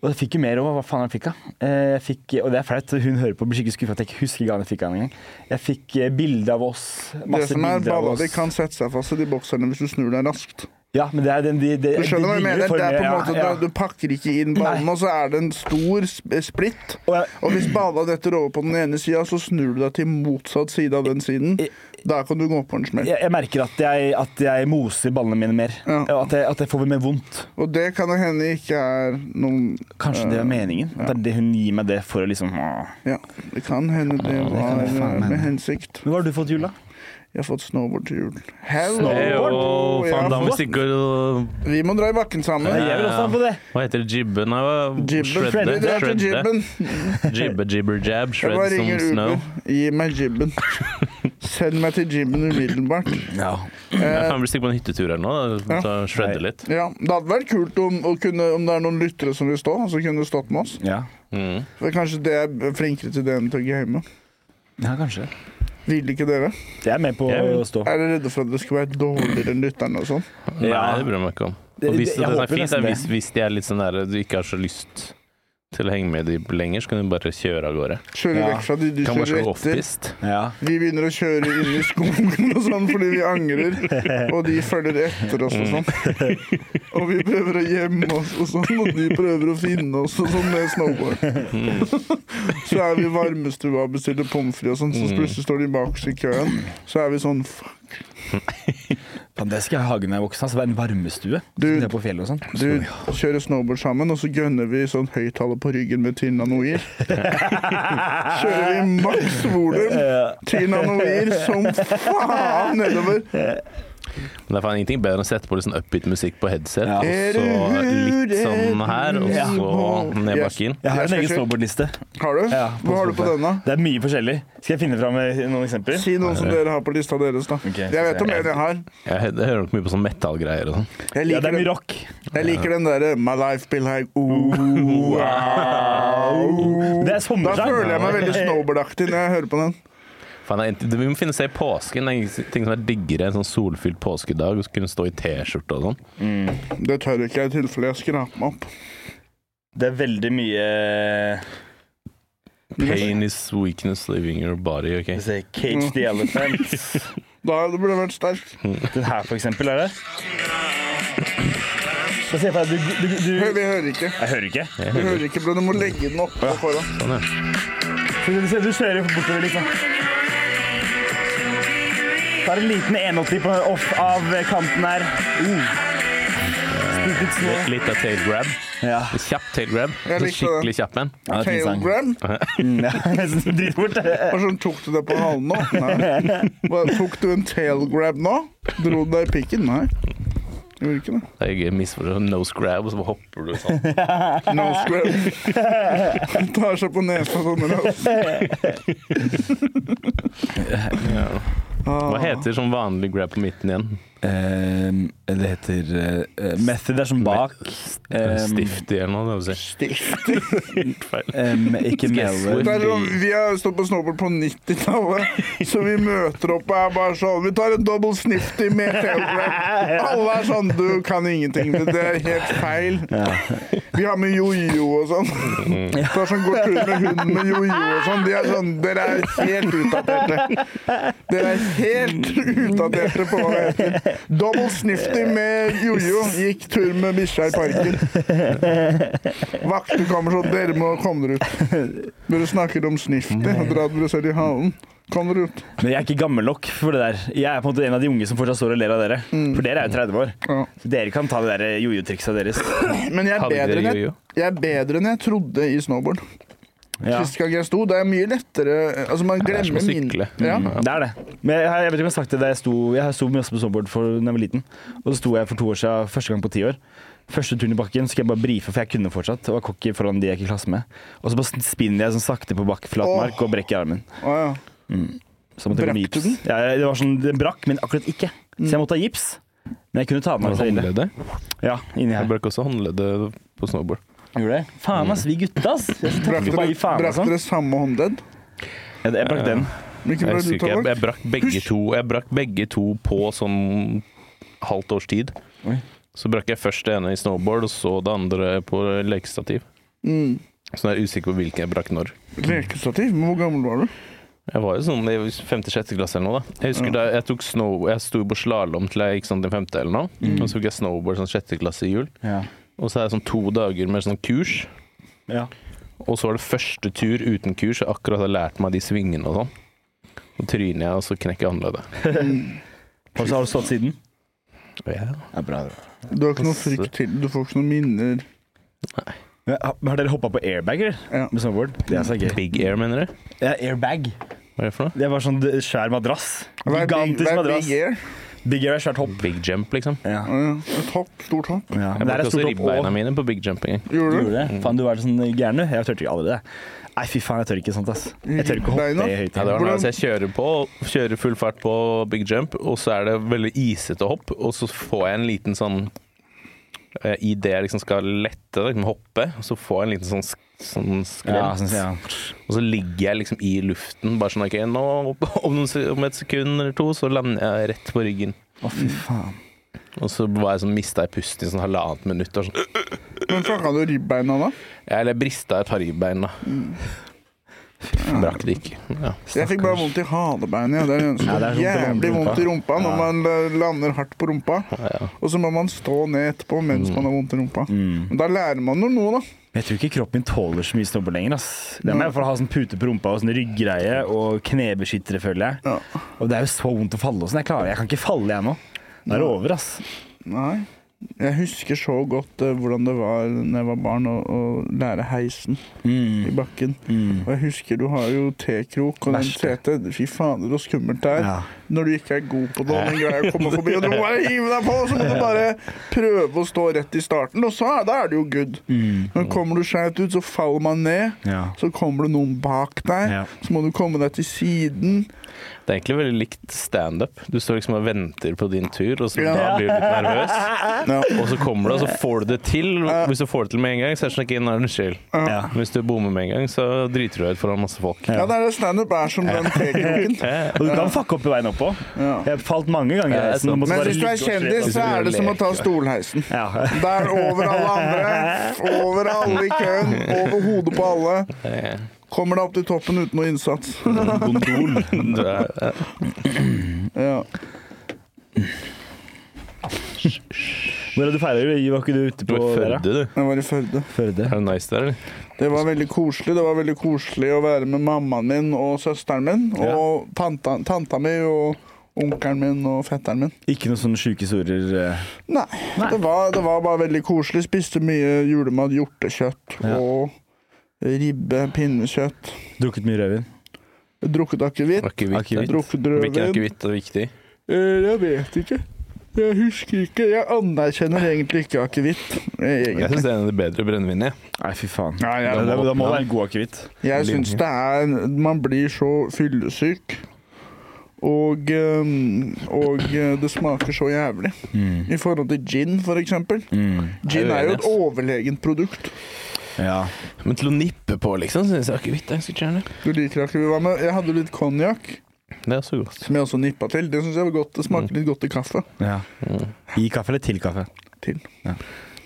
S1: Og jeg fikk jo mer òg. Hva faen jeg fikk da? Eh, Jeg fikk, og det er flaut. Hun hører på og blir skikkelig skuffa at jeg ikke husker gaven jeg fikk av henne engang. Jeg fikk eh, bilde av oss.
S3: Det
S1: Masse
S3: som er
S1: bilder av
S3: balla
S1: oss.
S3: di, kan sette seg fast i de bokserne hvis du snur deg raskt.
S1: Ja, men det er den de, de,
S3: Du skjønner hva jeg mener? Det er på en måte,
S1: ja,
S3: Du pakker ikke inn ballen,
S1: Nei.
S3: og så er det en stor sp- splitt.
S1: Og jeg-
S3: Og hvis balla detter over på den ene sida, så snur du deg til motsatt side av den siden. Da kan du gå på en smell.
S1: Jeg, jeg merker at jeg, at jeg moser ballene mine mer.
S3: Ja.
S1: Og At, jeg, at jeg får mer vondt.
S3: Og det kan jo hende ikke er noen
S1: Kanskje det er meningen? At det er det hun gir meg det for å liksom åh.
S3: Ja, det kan hende det var
S1: jeg faen
S3: eh,
S1: mene.
S3: med hensikt.
S1: Men hva har du fått i jul, da?
S3: Jeg har fått snowboard til jul. Hello!
S2: Hey, oh,
S3: Jeg har
S2: faen, da må
S3: fått-
S2: vi stikke og
S3: Vi må dra i bakken sammen.
S1: Jeg vil også ha på det.
S2: Hva heter det? Jibbe? Nei, hva-
S3: Jibben.
S2: shredde?
S3: Vi drar til
S2: Shredde?
S3: jibben.
S2: (laughs) Jibbe, jibber, jab,
S3: Jeg bare
S2: shred som
S3: ringer
S2: snow.
S3: Uber. Gi meg
S2: (laughs)
S3: jibben. Send meg til jibben umiddelbart. Eh,
S1: Ja.
S2: Jeg
S1: Eh,
S2: kan vel stikke på en hyttetur her nå, da. Ta og shredde litt.
S3: Ja, Det hadde vært kult om, å kunne, om det er noen lyttere som vil stå, så kunne du stått med oss.
S1: Ja.
S2: Mm.
S3: For kanskje det er flinkere til det enn til å game.
S1: kanskje.
S3: Vil ikke dere?
S1: Jeg er med på
S2: Jeg vil-
S1: å stå.
S3: Er dere redde for at det skal være dårligere enn lytterne og sånn?
S2: Nei,
S1: Ja.
S2: det bryr jeg meg ikke om.
S1: Det-
S2: Og hvis det,
S1: det- jeg
S2: som
S1: håper
S2: er fint,
S1: nesten
S2: er
S1: det.
S2: hvis, hvis de er litt sånn der du ikke har så lyst til å henge med de lenger, så kan du bare kjøre av gårde.
S3: Kjøre
S1: Ja.
S3: vekk fra de du
S2: Kan bare
S3: kjører
S2: slå
S3: etter.
S2: off-pist.
S1: Ja.
S3: Vi begynner å kjøre inn i skogen (laughs) og sånn fordi vi angrer, og de følger etter oss og sånn.
S2: Mm.
S3: Og vi prøver å gjemme oss og sånn, og de prøver å finne oss og sånn med snowboard.
S2: Mm.
S3: Så er vi i varmestua og bestiller pommes frites og sånn,
S2: Mm.
S3: så plutselig står de bakerst i køen. Så er vi sånn "Fuck,
S1: Faen, det skal jeg ha i hagen når jeg er voksen. ass. Det er en varmestue.
S3: Du-
S1: Nede på fjellet og sånn.
S3: Du kjører snowboard sammen, og så gønner vi sånn høyttaler på ryggen med 10 nanoir. (laughs) Kjører vi maks volum,
S1: Eh,
S3: 10 nanoir som faen nedover.
S2: Men det er faen ingenting bedre enn å sette på litt sånn upbeat musikk på headset,
S1: Ja.
S2: og så litt sånn her, og så ned
S3: Yes.
S2: bakken.
S1: Jeg
S3: Jeg
S1: har en
S3: skal
S1: egen
S3: sjekke.
S1: snowboardliste.
S3: Har du?
S1: Ja, på
S3: Hva har du på
S1: Spotify.
S3: denne?
S1: Det er mye forskjellig. Skal jeg finne fram eh, noen eksempler?
S3: Si noen som dere har på lista deres, da.
S1: Ok,
S3: Jeg vet
S1: så
S3: om en jeg har.
S2: Jeg, hø- jeg hører nok mye på sånn metallgreier og sånn.
S3: Jeg
S1: Ja, det
S3: liker,
S1: er mye
S3: den,
S1: rock.
S3: jeg liker den derre My life be
S1: (laughs)
S3: like ooh, wow.
S1: Det er
S3: Da
S1: sommersang.
S3: føler jeg meg veldig
S1: (laughs)
S3: snowboardaktig når jeg hører på den.
S2: Faen, det er int- det- vi må finne seg i påsken. Det er ingen ting som er diggere enn sånn solfylt påskedag og så kunne stå i T-skjorte og sånn.
S3: Det tør ikke jeg i tilfelle jeg skraper meg opp.
S1: Det er veldig mye
S2: Pain is weakness leaving your body. ok?
S1: Skal vi se Cage the (laughs) Elephant.
S3: Da burde jeg vært sterk.
S1: (laughs) Den her, for eksempel, er det? Da ser jeg på deg, du, du, du
S3: Hø- Vi hører ikke.
S1: Jeg hører ikke.
S3: Vi hører ikke, bror. Du må legge den oppå foran.
S2: Sånn, ja.
S1: Du, ser- du kjører bortover, liksom. Tar en liten 180 på off av kanten her. Uh. Spilt ut snø.
S2: Litt av tail grab.
S1: Ja.
S2: Kjapp tail grab.
S3: Jeg
S2: Så
S3: likte
S2: Skikkelig kjapp en.
S1: Ja, fin sang. Mm,
S3: Tailgram?
S1: Ja, (laughs) nesten som dritfort.
S3: Hva sånn tok du det på halen
S1: (laughs)
S3: nå? Nei. Hva, tok du en tailgrab nå? Dro du deg i pikken? Nei. Gjorde ikke det.
S2: Det er gøy misforstått. Nose grab, og så bare hopper du sånn.
S3: (laughs) Nose grab. Tar seg på nesa sånn. eller?
S2: Hva heter sånn vanlig grab på midten igjen?
S1: det heter eh, Method er som bak.
S2: Stifty eller noe, det vil si.
S1: (laughs)
S3: Stift.
S2: Helt feil.
S1: ikke
S2: Mellow.
S3: Det er sånn, vi har stått på snowboard på 90-tallet, så vi møter opp og er bare sånn Vi tar en double snifty med tailgrab. Alle er sånn Du kan ingenting. Det det er helt feil. Vi har med jojo og sånn. Det er sånn går tur med hunden med jojo og sånn. De er sånn Dere er helt utdaterte. Dere er helt utdaterte på hva det heter. Double snifty med jojo. Gikk tur med bikkja i parken. Vakter kommer sånn Dere må komme dere ut. Dere snakker om snifty og drar dere selv i halen. Kom dere ut.
S1: Men jeg er ikke gammel nok for det der. Jeg er på en måte en av de unge som fortsatt står og ler av dere.
S3: Mm.
S1: For dere er jo 30 år.
S3: Ja.
S1: Så dere kan ta det der jojo-triksa deres.
S3: Men jeg er,
S2: Hadde
S3: bedre
S2: dere
S3: enn jeg,
S2: jojo?
S3: jeg er bedre enn jeg trodde i snowboard.
S1: Ja.
S3: Sist gang jeg sto, det er mye lettere Altså, man
S2: Det er som
S3: glemmer
S2: å
S3: min...
S2: sykle. Mm.
S3: Ja.
S1: Det er det. Men jeg, jeg vet ikke om jeg har sagt det da jeg sto Jeg sto masse på snowboard for, da jeg var liten. Og så sto jeg for to år siden, første gang på ti år. Første turen i bakken skal jeg bare brife, for jeg kunne fortsatt. Og var cocky foran de jeg gikk i klasse med. Og så bare spinner jeg sånn sakte på bak flat mark og brekker armen.
S3: Å, ja.
S1: Så måtte jeg gå med
S3: Brakk du Mm.
S1: gips. Ja, det var sånn, den brakk, men akkurat ikke. Så jeg måtte ha gips. Men jeg kunne ta den av meg så ille.
S2: Håndleddet?
S1: Ja, inni
S2: Jeg
S1: her.
S2: brakk også håndleddet på snowboard.
S1: Gjorde det? Faen, ass. Vi gutta, ass. Jeg er så
S3: Brakk
S1: tøffe på å
S3: dere,
S1: gi faen,
S3: brakk
S1: altså.
S3: dere samme håndledd?
S1: Jeg, jeg brakk den.
S3: Men ikke
S2: Jeg
S3: bra
S2: husker
S3: du
S2: ikke, jeg,
S3: tar
S2: jeg brakk begge to Jeg brakk begge to på sånn halvt års tid.
S1: Oi.
S2: Så brakk jeg først det ene i snowboard, og så det andre på lekestativ. Så jeg er usikker på hvilken jeg brakk når.
S3: Mm. Lekestativ? Men Hvor gammel var du?
S2: Jeg var jo sånn i femte-sjette klasse eller noe. da Jeg husker da jeg tok snow Jeg sto på slalåm til jeg gikk sånn til femte eller noe.
S1: Mm.
S2: Og så tok jeg snowboard sånn sjette klasse i jul.
S1: Ja.
S2: Og så er det sånn to dager med sånn kurs.
S1: Ja.
S2: Og så var det første tur uten kurs. Jeg akkurat har lært meg de svingene og sånn. Så tryner jeg, og så knekker jeg håndleddet.
S1: Og så har du stått siden?
S2: Ja.
S1: Ja, bra, bra.
S3: Du har ikke noe frykt til Du får ikke noen minner.
S1: Men Har har dere hoppa på airbag eller?
S3: Ja.
S1: med snowboard? Det er så gøy.
S2: Big air, mener du?
S1: Ja, airbag.
S2: Hva er det for noe?
S1: Det var sånn d- svær madrass.
S3: Hva er big-
S1: Gigantisk
S3: hva er
S1: madrass.
S3: Big air.
S1: Big Air er svært hopp.
S2: Big jump, liksom.
S1: Ja.
S3: Ja, ja. Et hopp. Stort hopp.
S1: Ja.
S2: Jeg
S1: Det er
S2: brukte
S1: et
S2: også
S1: stort hopp
S2: ribbeina
S1: og
S2: mine på big jump en gang.
S1: Du
S3: Gjorde du?
S1: gjorde det? Faen, du er sånn gæren, du. Jeg tørte ikke allerede. Nei, fy faen, jeg tør ikke sånt, ass. Jeg tør ikke hoppe i
S3: Ribbeina?
S1: høyt.
S2: Ja, det var
S3: Hvordan-
S2: nice. Jeg kjører på, kjører full fart på big jump, og så er det veldig isete hopp, og så får jeg en liten sånn eh, I det jeg liksom skal lette, liksom hoppe, så får jeg en liten sånn, sk- sånn
S1: Ja,
S2: skrem.
S1: sånn, ja.
S2: Og så ligger jeg liksom i luften, bare sånn OK, nå, om, noen, se- om et sekund eller to, så lander jeg rett på ryggen.
S1: Å, fy faen.
S2: Og så var jeg sånn, mista jeg pusten i sånn halvannet minutt. Og sånn.
S3: Men snakka du ribbeina da?
S2: Eller jeg brista et par ribbein, da.
S3: Mm.
S2: Brakk det ikke. Ja.
S3: Jeg fikk bare vondt i halebeinet. Ja. Det er det eneste.
S1: Ja, det er sånn
S3: Jævlig vondt i rumpa når man eh, lander hardt på rumpa.
S2: Ja.
S3: Og så må man stå ned etterpå mens man har vondt i rumpa. Men Da lærer man jo noe, da.
S1: Jeg tror ikke kroppen min tåler så mye snowboard lenger. ass. Det må jeg for å ha sånn pute på rumpa og sånn ryggreie og knebeskyttere, føler jeg.
S3: Ja.
S1: Og det er jo så vondt å falle og sånn. Jeg klarer Jeg kan ikke falle, jeg nå. Da er det over, ass.
S3: Nei. Jeg husker så godt eh, hvordan det var når jeg var barn å, å lære heisen i bakken. Og jeg husker du har jo T-krok og den
S1: Verste.
S3: setet. Fy fader, så skummelt det er.
S1: Ja.
S3: Når du ikke er god på det, og den greier å komme forbi, og du må bare hive deg på, og så må du bare prøve å stå rett i starten, og så er- da er det jo good.
S1: Mm.
S3: Men kommer du skeivt ut, så faller man ned.
S1: Ja.
S3: Så kommer det noen bak deg,
S1: Ja.
S3: så må du komme deg til siden.
S2: Det er egentlig veldig likt standup. Du står liksom og venter på din tur, og så
S3: Ja.
S2: da blir du litt nervøs.
S3: Ja.
S2: Og så kommer du, og så får du det til. Hvis du får det til med en gang, så er det sånn ikke en unnskyld.
S1: Ja.
S2: Hvis du bommer med en gang, så driter du deg ut foran masse folk.
S3: Ja, det er det standup er som den T-kroken.
S1: Og du kan fucke opp i veien opp òg. Jeg har falt mange ganger.
S2: Ja,
S1: i heisen og måtte
S3: Men
S1: bare
S3: hvis du er
S1: ligge og se
S3: kjendis,
S1: på.
S3: så er det som å ta stolheisen.
S1: Ja. (laughs)
S3: Der over alle andre, over alle i køen, over hodet på alle. Kommer deg opp til toppen uten noe innsats.
S2: Gondol. Du er,
S3: Ja.
S1: Når hadde du feira jul? Var ikke du ute
S2: Du
S1: på
S2: var i
S1: der, da?
S2: Førde, du.
S3: Jeg var i Førde.
S1: Førde?
S2: Er det nice der, eller?
S3: Det var veldig koselig. Det var veldig koselig å være med mammaen min og søsteren min
S1: Ja.
S3: og panta, tanta mi og onkelen min og fetteren min.
S1: Ikke noen sånne sjuke historier? eh?
S3: Nei,
S1: Nei.
S3: Det, var, det var bare veldig koselig. Spiste mye julemat, hjortekjøtt
S1: Ja.
S3: og ribbe, pinnekjøtt.
S1: Drukket mye rødvin?
S3: Drukket akevitt.
S2: Akevitt.
S1: Akevitt.
S3: Drukket
S2: Hvilken
S3: rødvin.
S2: akevitt er viktig?
S3: Eh, Jeg vet ikke. Jeg husker ikke. Jeg anerkjenner egentlig ikke akevitt. eh,
S2: Jeg
S3: Egentlig.
S2: syns det er en av de bedre brennevinene. jeg.
S1: Nei, fy faen.
S3: Nei, jeg-
S1: Da, da, da må det være en god akevitt.
S3: Jeg syns det er Man blir så fyllesyk. Og, øhm, og øh, det smaker så jævlig.
S1: Mm.
S3: I forhold til gin, for eksempel. Gin er jo et overlegent produkt.
S1: Ja.
S2: Men til å nippe på, liksom, syns jeg akevitt er ganske kjerne.
S3: Du liker ikke vi var med. Jeg hadde litt konjakk,
S2: Det er så godt.
S3: som jeg også nippa til. Det syns jeg var godt. Det smaker litt godt til kaffe.
S1: ja.
S2: Mm.
S1: I kaffe eller til kaffe?
S3: Til.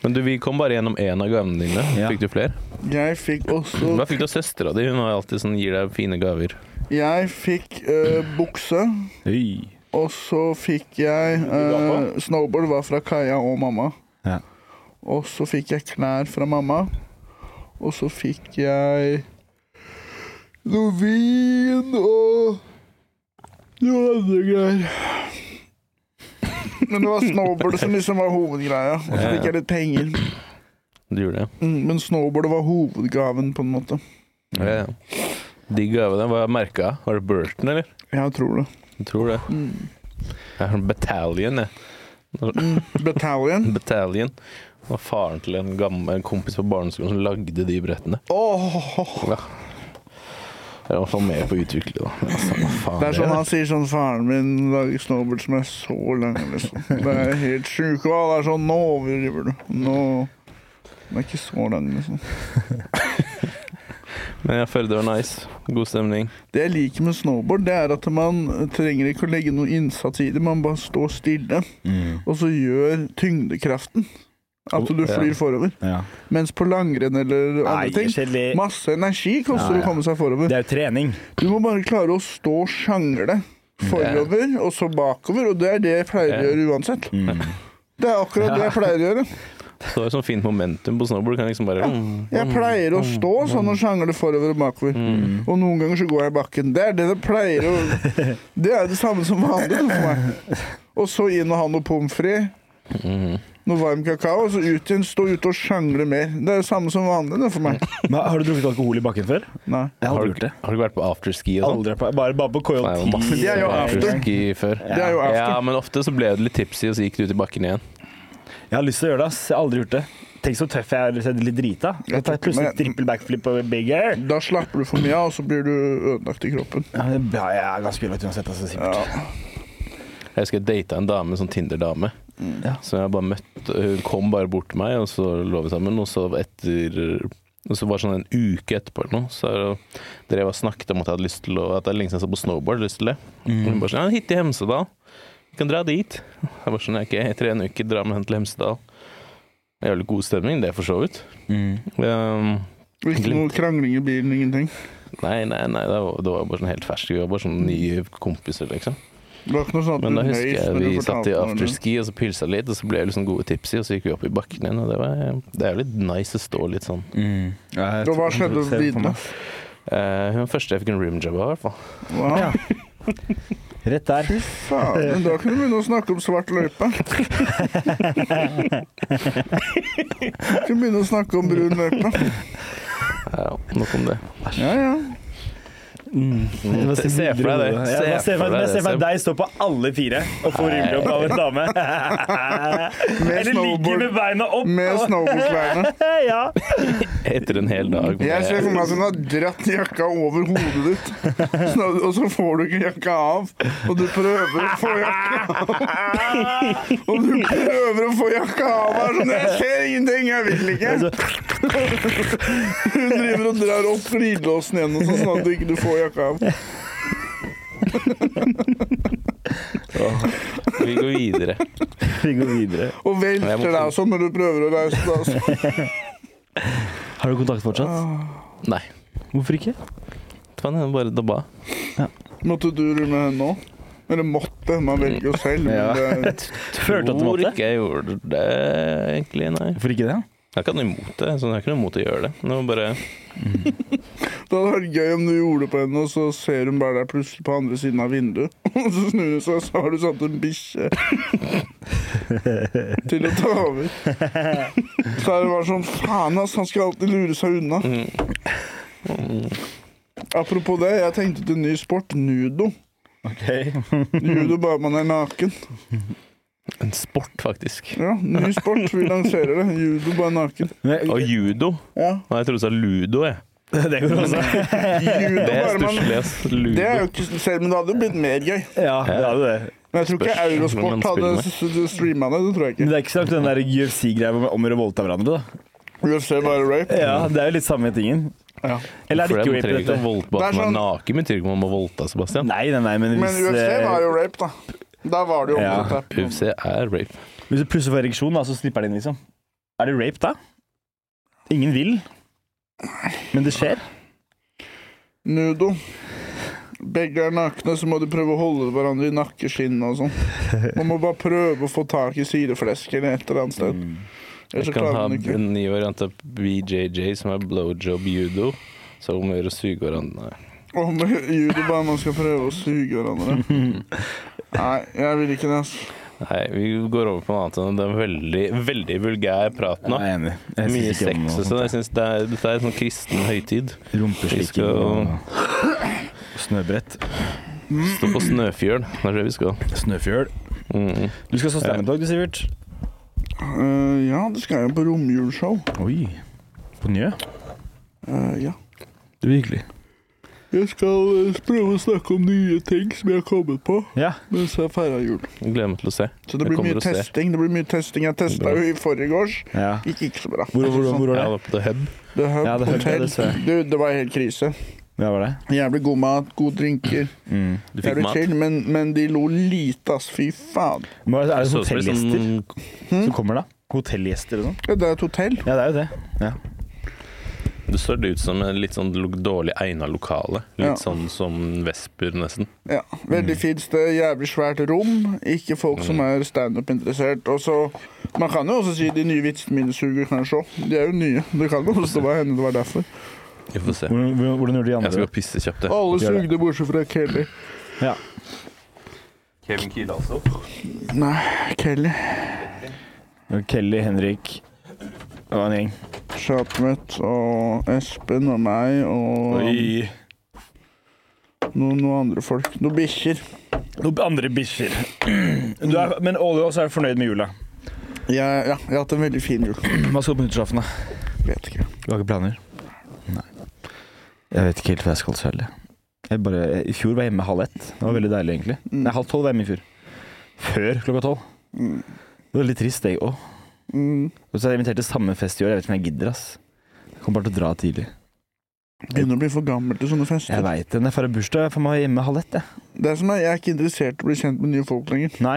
S2: Men du, vi kom bare gjennom én av gavene dine.
S1: Ja.
S2: Fikk du flere?
S3: Jeg fikk også
S2: Hva fikk du av søstera di? Hun har alltid sånn, gir deg fine gaver.
S3: Jeg fikk øh, bukse,
S1: Oi.
S3: og så fikk jeg øh, Snowboard var fra Kaja og mamma.
S1: Ja.
S3: Og så fikk jeg klær fra mamma. Og så fikk jeg noe vin og noe andre greier. Men det var snowboard som liksom var hovedgreia. Og så fikk jeg litt penger.
S2: Du gjorde det.
S3: Mm, Men snowboard var hovedgaven, på en måte.
S1: Mm.
S2: Ja, ja. De gavene var merka. Var det Burton, eller?
S3: Jeg tror det.
S2: Jeg tror det. Jeg har en battalion, jeg.
S3: Battalion.
S2: Battalion. Det var faren til en gammel en kompis på barneskolen som lagde de brettene.
S3: Åh,
S2: Ja. Jeg var i hvert fall med på å utvikle det. da. Ja, samme faen
S3: det er sånn
S2: da.
S3: han sier sånn Faren min lager snowboard som er så lang. Liksom. Det er helt sjukt. Og alle er sånn Nå overdriver du. Nå Den er ikke så lang, liksom.
S2: Men jeg føler det var nice. God stemning.
S3: Det jeg liker med snowboard, det er at man trenger ikke å legge noe innsats i det. Man bare står stille,
S1: Mm.
S3: og så gjør tyngdekraften at du
S2: ja.
S3: flyr forover.
S1: Ja.
S3: Mens på langrenn eller
S1: Nei,
S3: andre ting
S1: kjedelig.
S3: Masse energi koster
S1: Ja,
S3: det
S1: ja.
S3: å komme seg forover.
S1: Det er jo trening.
S3: Du må bare klare å stå og sjangle forover, og så bakover. Og det er det jeg pleier å
S2: Ja.
S3: gjøre uansett.
S2: (laughs)
S1: Mm.
S3: Det er akkurat det jeg pleier å gjøre.
S2: Så det var sånn fint momentum på snowboard. Du kan liksom bare
S3: Jeg pleier å
S2: Mm.
S3: stå sånn og sjangle forover og bakover. Og noen ganger så går jeg i bakken. Det er det det pleier å
S2: (laughs)
S3: Det er det samme som vanlig for meg. Og så inn og ha noe pommes frites,
S2: Mm.
S3: noe varm kakao, og så ut igjen. Stå ute og sjangle mer. Det er det samme som vanlig det for meg.
S1: Men har du drukket alkohol i bakken før?
S3: Nei.
S1: Jeg
S2: har, du, har du vært på afterski og sånn?
S1: Aldri på, bare, bare på KJ10.
S2: Nei, det var masse
S3: Det er jo after.
S2: afterski før.
S3: Det er jo
S2: Ja,
S3: after.
S2: men ofte så ble du litt tipsy, og så gikk du ut i bakken igjen.
S1: Jeg har lyst til å gjøre det, ass. Jeg har aldri gjort det. Tenk så tøff jeg er hvis jeg er litt drita. Jeg tar plutselig
S3: Men-
S1: trippel backflip på big air.
S3: Da slapper du for mye av, og så blir du ødelagt i kroppen.
S1: Ja, men det- ja, jeg er ganske ødelagt uansett, altså, sikkert.
S2: Jeg husker jeg data en dame, en sånn Tinder-dame.
S1: Ja.
S2: Så jeg bare møtte Hun kom bare bort til meg, og så lå vi sammen. Og så etter og så var det sånn en uke etterpå eller noe, så drev jeg og snakket om at jeg hadde lyst til å, at jeg lenge siden jeg så på snowboard. Lyst til det. Og hun bare sånn 'Ja, hit til Hemsedal. Vi kan dra dit.' Jeg bare sånn 'OK, i tre uker, dra med henne til Hemsedal.' Det er Jævlig god stemning, det, for så vidt. Um,
S3: Ikke noe krangling i bilen, ingenting.
S2: nei, nei, nei, det var, det var bare sånn helt fersk. Vi var bare sånn nye kompiser, liksom.
S3: Det var ikke noe sånn at
S2: Men
S3: du
S2: da husker
S3: nøys
S2: jeg
S3: når du
S2: vi satt i
S3: fortalte noe.
S2: afterski og så pilsa litt, og så ble vi liksom gode tipsy, og så gikk vi opp i bakken igjen. Og det, var, det er jo litt nice å stå litt sånn.
S1: Ja, jeg
S3: Og hva
S1: tror-
S3: skjedde
S1: ser det for
S3: videre?
S1: meg.
S2: Eh, hun var første jeg fikk en rimjob av, i hvert fall.
S3: Wow.
S1: Ja. Rett der.
S3: Fy faen, da kunne du begynne å snakke om svart løype. Du kunne begynne å snakke om brun løype.
S2: Ja, nok om det.
S3: Ja, ja.
S2: Se se for deg det.
S1: Mm. Ja, jeg ser for meg- jeg ser for meg deg stå på alle fire og få rymdjobb av en dame. (laughs) Eller ligge
S3: snowboard.
S1: med beina opp.
S3: Med
S1: og-
S3: snowboardklærne.
S1: (laughs) ja.
S2: Etter en hel dag. med-
S3: Jeg ser for meg at hun har dratt jakka over hodet ditt, Sånn at- og så får du ikke jakka av. Og du prøver å få jakka av. Og du prøver å få jakka av. Er sånn, jeg ser ingenting, jeg vil
S1: Altså-
S3: ikke. Hun driver og drar opp glidelåsen igjen, og sånn, sånn at du ikke du får jakka av.
S2: Vi går videre.
S1: Vi går videre.
S3: Og
S2: Jeg må-
S3: velter deg sånn når du prøver å reise deg. Altså.
S1: Har du kontakt fortsatt?
S2: Nei.
S1: Hvorfor ikke?
S2: Faen, jeg bare dabba.
S3: Måtte du rulle med henne nå? Men det måtte. Man velger jo selv.
S1: Ja.
S3: Men det,
S1: Følte at du
S2: Tror
S1: måtte?
S2: ikke jeg gjorde det, egentlig, nei.
S1: Hvorfor ikke det?
S2: Jeg har ikke hatt noe imot det. så jeg har ikke noe imot å gjøre det. Det var bare
S3: det hadde vært gøy om du gjorde det på henne, og så ser hun bare deg plutselig på andre siden av vinduet. (laughs) Og så snur hun seg, og så har du satt en bikkje til å ta over. Så er det bare sånn Faen, ass, han skal alltid lure seg unna. Apropos det, jeg tenkte til en ny sport. Nudo.
S1: Ok.
S3: Judo bare man er naken.
S2: en sport, faktisk.
S3: Ja, ny sport. Vi lanserer det. Judo bare naken.
S2: Og judo.
S3: Ja.
S2: Nei, jeg trodde du sa ludo, jeg.
S1: (laughs) det går også.
S3: Judo
S2: Det er
S3: bare man
S2: stusslig, ass. Ludo.
S3: Det er jo ikke Selv om det hadde jo blitt mer gøy.
S1: (laughs) Ja, det er jo det.
S3: Men jeg tror ikke
S2: Spørs hvem
S3: Eurosport
S2: man spiller
S3: hadde
S2: med.
S3: s- s- streama det. Det tror jeg
S1: Men
S3: ikke.
S1: det er ikke så langt den der UFC-greia om, om å voldta hverandre, da.
S3: UFC bare rape.
S1: Ja, Det er jo litt samme tingen.
S3: Ja.
S1: Eller
S2: For det
S1: er det ikke
S2: man
S1: rape,
S2: trenger ikke å
S1: dette?
S2: voldta
S3: Det
S2: at
S3: er
S2: man er
S3: sånn-
S2: naken, men det betyr ikke at man må voldta, Sebastian.
S1: Nei, nei, nei, men
S3: Men
S1: hvis,
S3: UFC var
S1: eh,
S3: jo rape, da. Der var det jo
S1: Ja.
S3: omvendt her.
S2: UFC er rape.
S1: hvis du plutselig får ereksjon, da, så slipper den inn, liksom. Er det rape, da? Ingen vil, men det skjer.
S3: Nudo. Begge er nakne, så må de prøve å holde hverandre i nakkeskinnet og sånn. Man må bare prøve å få tak i syreflesk eller et eller annet sted.
S1: Mm.
S3: Ellers
S2: Jeg
S3: så
S2: kan
S3: klarer
S2: ha
S3: man ikke.
S2: en ny variant av BJJ, som er blowjob judo. Så om å gjøre å suge hverandre Nei.
S3: Og med judo bare man skal prøve å suge hverandre.
S2: (laughs)
S3: Nei, jeg vil ikke det, altså.
S2: Nei, vi går over på noe annet. Det er veldig, veldig vulgær prat nå.
S1: Jeg er enig. Jeg synes
S2: Mye
S1: ikke om
S2: sex
S1: noe
S2: og sånn.
S1: sånt.
S2: Jeg synes det er, Dette er en sånn kristen høytid. Vi
S1: Rumpeslikking
S2: skal-
S1: og snøbrett.
S2: Stå på snøfjøl. Det er det vi skal.
S1: Snøfjøl.
S2: Mm.
S1: Du skal stå standup-dag, du, Sivert.
S3: Eh, ja, det skal jeg på romjulsshow.
S1: Oi. På Njø?
S3: Eh, ja.
S1: Det blir hyggelig.
S3: Jeg skal eh, prøve å snakke om nye ting som jeg har kommet på
S1: Ja.
S3: mens jeg feirer jul.
S2: Gleder meg til å se.
S3: Så det
S2: Jeg
S3: blir
S2: kommer
S3: mye
S2: og ser.
S3: testing. Det blir mye testing. Jeg testa
S2: Bra.
S3: jo i forgårs.
S1: ja.
S3: Gikk ikke så bra.
S1: Hvor, hvor, hvor var
S2: Jeg
S1: det?
S2: var på The Hub.
S3: Det hub,
S1: Ja, det hub, ja,
S3: hotell.
S1: det så jeg.
S3: du, det var helt krise.
S1: Ja, var det?
S3: Jævlig god mat, gode drinker.
S1: Mm.
S2: Du fikk
S3: Jævlig
S2: mat.
S3: chill, men, men de lo lite, ass. Fy faen. Hm?
S1: Men er det
S2: Så ut som litt
S1: hotellgjester
S2: sånn-
S1: som kommer, da? Hotellgjester og sånn?
S3: Ja, det er et hotell.
S1: Ja, det er jo det.
S2: Det så det ut som en litt sånn lo- dårlig egna lokale. Litt
S3: Ja.
S2: sånn som Vesper, nesten.
S3: Ja,
S2: Mm.
S3: Veldig fint sted, jævlig svært rom. Ikke folk som er standup-interessert. Og så, Man kan jo også si de nye vitsene mine suger, kanskje òg. De er jo nye. Det kan jo også stå hende det var derfor.
S2: Vi får se.
S1: Hvordan, hvordan- hvordan gjorde de
S2: Jeg
S1: andre
S2: skal
S1: det?
S2: gå og pisse kjapt, jeg.
S3: Alle
S1: gjør det.
S3: sugde bortsett fra Kelly.
S1: Ja.
S2: Kevin Kiel, altså.
S3: Nei, Kelly.
S1: Det var Kelly, Henrik Det var en gjeng.
S3: Chatmet og Espen og meg og
S1: Oi.
S3: noen, noen andre folk. Noen bikkjer.
S1: Noen andre bikkjer. (clears throat) Du er- Men all i all så er du fornøyd med jula? (clears throat)
S3: Jeg, ja, jeg har hatt en veldig fin jul.
S1: Hva skal du på nyttårsaften, da?
S3: Vet ikke.
S1: Du har ikke planer? Nei. Jeg vet ikke helt hva jeg skal selv. jeg. Jeg bare, I fjor var jeg hjemme halv ett. Det var veldig deilig, egentlig.
S3: Mm.
S1: Nei, halv tolv var jeg hjemme i fjor. Før klokka tolv. Det var litt trist, jeg òg.
S3: Mm.
S1: Og så er jeg invitert til samme fest i år. Jeg vet ikke om jeg gidder, ass. Jeg kommer bare til å dra tidlig.
S3: Begynner å bli for gammel til sånne
S1: Jeg
S3: fester.
S1: veit det. Når jeg får bursdag, får jeg hjemme halv ett, jeg.
S3: Det er som er, Jeg er ikke interessert i å bli kjent med nye folk lenger.
S1: Nei.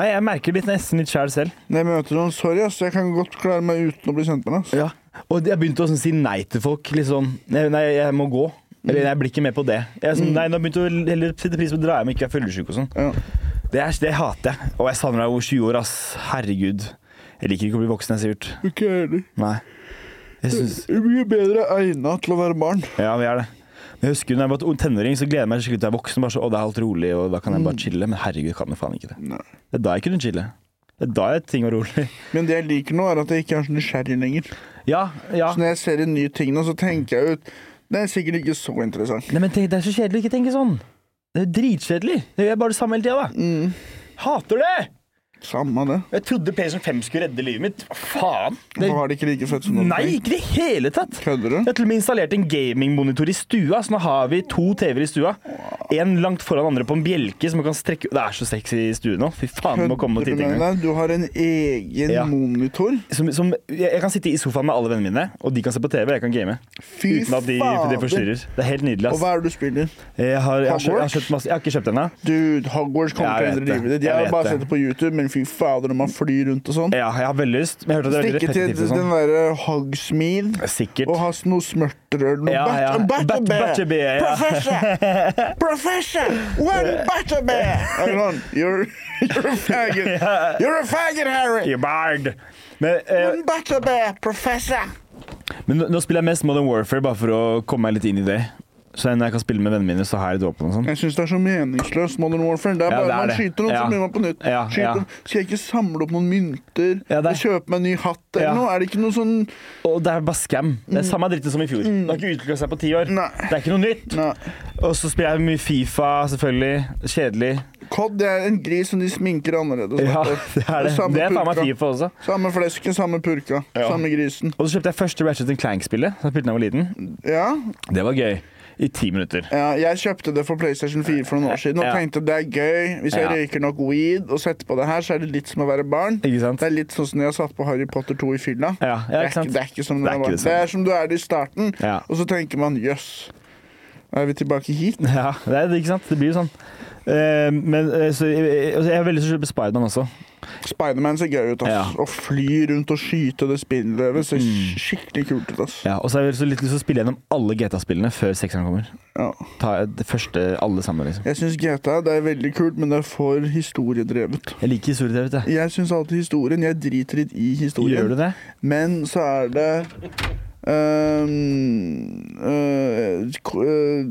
S1: Nei, jeg merker litt nesten litt sjæl selv.
S3: Når jeg møter noen, sorry, ass, jeg kan godt klare meg uten å bli kjent med deg. ass.
S1: Ja. Og jeg begynte å sånn si nei til folk. Litt sånn Nei, nei, jeg må gå. Eller jeg blir ikke med på det. Jeg er sånn, nei, nå begynte jeg å heller sette pris på å dra hjem og ikke være fyllesyk og sånn.
S3: Ja.
S1: Det, er, det hater jeg. Og jeg savner deg over 20 år, ass. Herregud. Jeg liker ikke å bli voksen, jeg, Sivert.
S3: Ikke jeg heller.
S1: Nei. Jeg synes,
S3: Du er mye bedre egna til å være barn.
S1: ja, vi er det. Men jeg husker når jeg var tenåring, så gleder jeg meg skikkelig til å være voksen. Bare så, å, det er alt rolig, og da kan jeg bare chille. Men herregud, kan jeg faen ikke det.
S3: Nei.
S1: Det er da jeg kunne chille. Det er da jeg ting var rolig. (laughs)
S3: Men det jeg liker nå, er at jeg ikke er så nysgjerrig lenger.
S1: Ja, ja.
S3: Så når jeg ser en ny ting nå, så tenker jeg ut Det er sikkert ikke så interessant.
S1: Nei, men tenk, det er så kjedelig å ikke tenke sånn. Det er jo dritkjedelig. Det gjør jeg bare det samme hele tida, da.
S3: Mm.
S1: Hater det!
S3: Samme det.
S1: Jeg trodde PlayStation 5 skulle redde livet mitt. Hva faen? Det,
S3: Hvorfor har det ikke like fett som noen
S1: nei,
S3: ting?
S1: ikke i det hele tatt.
S3: Kødder du?
S1: Jeg har til og med installert en gamingmonitor i stua, så nå har vi to TV-er i stua. En langt foran andre på en bjelke som man kan strekke Det er så sexy i stuen nå. Fy faen, du må komme og
S3: Kødder
S1: titte
S3: du
S1: en
S3: med
S1: gang.
S3: deg? Du har en egen
S1: Ja.
S3: monitor?
S1: Som, som, jeg jeg kan sitte i sofaen med alle vennene mine, og de kan se på TV, og jeg kan game.
S3: Fy
S1: Uten at de, de forstyrrer. Det er helt nydelig,
S3: Og
S1: ass.
S3: hva er det du spiller?
S1: Jeg har, jeg har, kjøpt, jeg har,
S3: Hogwarts?
S1: kjøpt masse, jeg har ikke kjøpt den ennå.
S3: Dude, Hogwarts kommer
S1: Jeg
S3: til å
S1: vet
S3: endre
S1: det.
S3: livet ditt. Jeg
S1: Jeg
S3: har
S1: vet
S3: bare
S1: det.
S3: sett det på YouTube, men fy fader, når man flyr rundt og sånn.
S1: Ja, jeg har veldig lyst, men jeg hørte at det er veldig
S3: Stikke til
S1: repetitivt og
S3: den
S1: sånn.
S3: derre hogsmead
S1: Sikkert.
S3: og ha noe smørterøl. Noe
S1: Ja, ja.
S3: bat-
S1: Bat-
S3: batterbær.
S1: (laughs) batterbær, ja.
S3: Professor! profession! One
S1: (laughs)
S3: butterbeer! Eller sånn. You're, (laughs) you're a faggot. You're a faggot, Harry!
S1: You bard! Men, eh,
S3: One butterbeer, professor!
S1: men nå- nå spiller jeg mest Modern Warfare bare for å komme meg litt inn i det. Så når jeg kan spille med vennene mine, så har jeg et våpen og sånn.
S3: Jeg syns det er så meningsløst, Modern Warfare. Det er
S1: Ja,
S3: bare
S1: det er
S3: man
S1: det.
S3: skyter noen,
S1: Ja.
S3: så blir man på nytt.
S1: Ja,
S3: Skyter
S1: ja.
S3: noen. Skal jeg ikke samle opp noen mynter
S1: Ja, det
S3: og
S1: er-
S3: kjøpe meg en ny hatt eller
S1: Ja.
S3: noe? Er det ikke noe sånn
S1: Og det er bare scam. Det er samme dritten som i fjor. Det har ikke utvikla seg på ti år.
S3: Nei.
S1: Det er ikke noe nytt.
S3: Nei.
S1: Og så spiller jeg mye Fifa, selvfølgelig. Kjedelig.
S3: Cod er en gris som de sminker annerledes.
S1: Ja,
S3: vet du.
S1: (laughs) det er det.
S3: Samme
S1: Det er faen meg
S3: purka.
S1: Fifa også.
S3: Samme flesken, samme purka. Samme grisen.
S1: Og så kjøpte jeg første Ratchet Clank-spillet. som jeg spilte da jeg var liten.
S3: Ja.
S1: Det var gøy. I ti minutter.
S3: ja, jeg kjøpte det for PlayStation 4 for noen år siden og
S1: Ja.
S3: tenkte det er gøy. Hvis jeg
S1: Ja.
S3: røyker nok weed og setter på det her, så er det litt som å være barn.
S1: Ikke sant?
S3: Det er litt sånn som når jeg satt på Harry Potter 2 i fylla.
S1: Ja, ja,
S3: det,
S1: ikke
S3: er ikke,
S1: sant?
S3: det er ikke som
S1: Det
S3: det,
S1: er
S3: er
S1: ikke det
S3: det, det er som du er det i starten,
S1: Ja.
S3: og så tenker man jøss, er vi tilbake hit?
S1: Ja, det er ikke sant? Det blir jo sånn. Eh, men eh, så, jeg, jeg har veldig lyst til å kjøpe Spiderman også.
S3: Spiderman ser gøy ut. ass.
S1: Ja. Mm.
S3: Å fly rundt og skyte det spindelvevet ser skikkelig kult ut. ass.
S1: Ja, og så har jeg så litt lyst til å spille gjennom alle GTA-spillene før sekseren kommer.
S3: Ja.
S1: Ta det første, alle sammen, liksom.
S3: Jeg syns GTA det er veldig kult, men det er for historiedrevet.
S1: Jeg liker historie, vet du.
S3: Jeg syns alltid historien. Jeg driter litt i historien.
S1: Gjør du det?
S3: Men så er det ehm, eh, k- eh,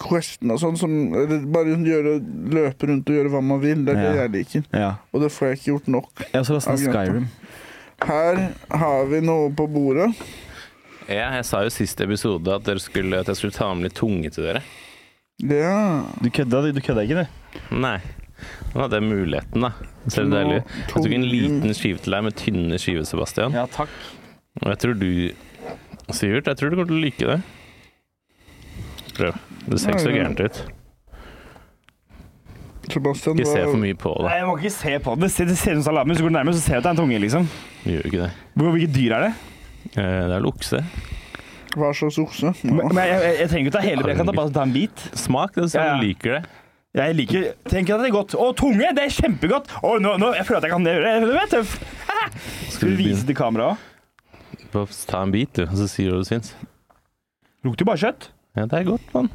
S3: Questen og sånn som eller Bare gjøre, løpe rundt og gjøre hva man vil. Det er det
S1: Ja.
S3: jeg liker.
S1: Ja.
S3: Og det får jeg ikke gjort nok.
S1: Jeg har også lastet ned Skyrim.
S3: Her har vi noe på bordet.
S2: Ja, jeg sa jo sist episode at, dere skulle, at jeg skulle ta med litt tunge til dere.
S3: Ja.
S1: Du kødda, du kødda ikke, du?
S2: Nei. Nå hadde jeg muligheten, da. Så er det deilig. Jeg tok en liten skive til deg med tynne skiver, Sebastian.
S1: Ja, takk.
S2: Og jeg tror du Sivert, jeg tror du kommer til å like det. Prøv. Det ser ikke så gærent ut.
S3: Sebastian,
S2: Ikke se
S3: hva-
S2: for mye på
S1: Nei,
S2: det.
S1: jeg må ikke se på det. Se, det ser ut som salami, så går du nærmere, så ser du at det er en tunge, liksom.
S2: Vi gjør jo ikke det.
S1: Hvor- Hvilket dyr er det?
S2: Eh, Det er lukse.
S3: hva slags okse?
S1: Men,
S3: Ja.
S1: men jeg, jeg, jeg trenger ikke ta hele, jeg kan ta, bare ta en bit.
S2: Smak det, så
S1: Ja, ja.
S2: du liker det.
S1: Jeg liker Tenk at det er godt. Å, tunge! Det er kjempegodt! Å, nå, nå, jeg føler at jeg kan gjøre det. Du vet, tøff.
S2: Skal
S1: Skal
S2: du
S1: du vise
S2: begynne
S1: til kameraet òg?
S2: på å ta en bit, du, og så sier du hva du syns?
S1: Lukter jo bare kjøtt.
S2: Ja, det er godt, mann.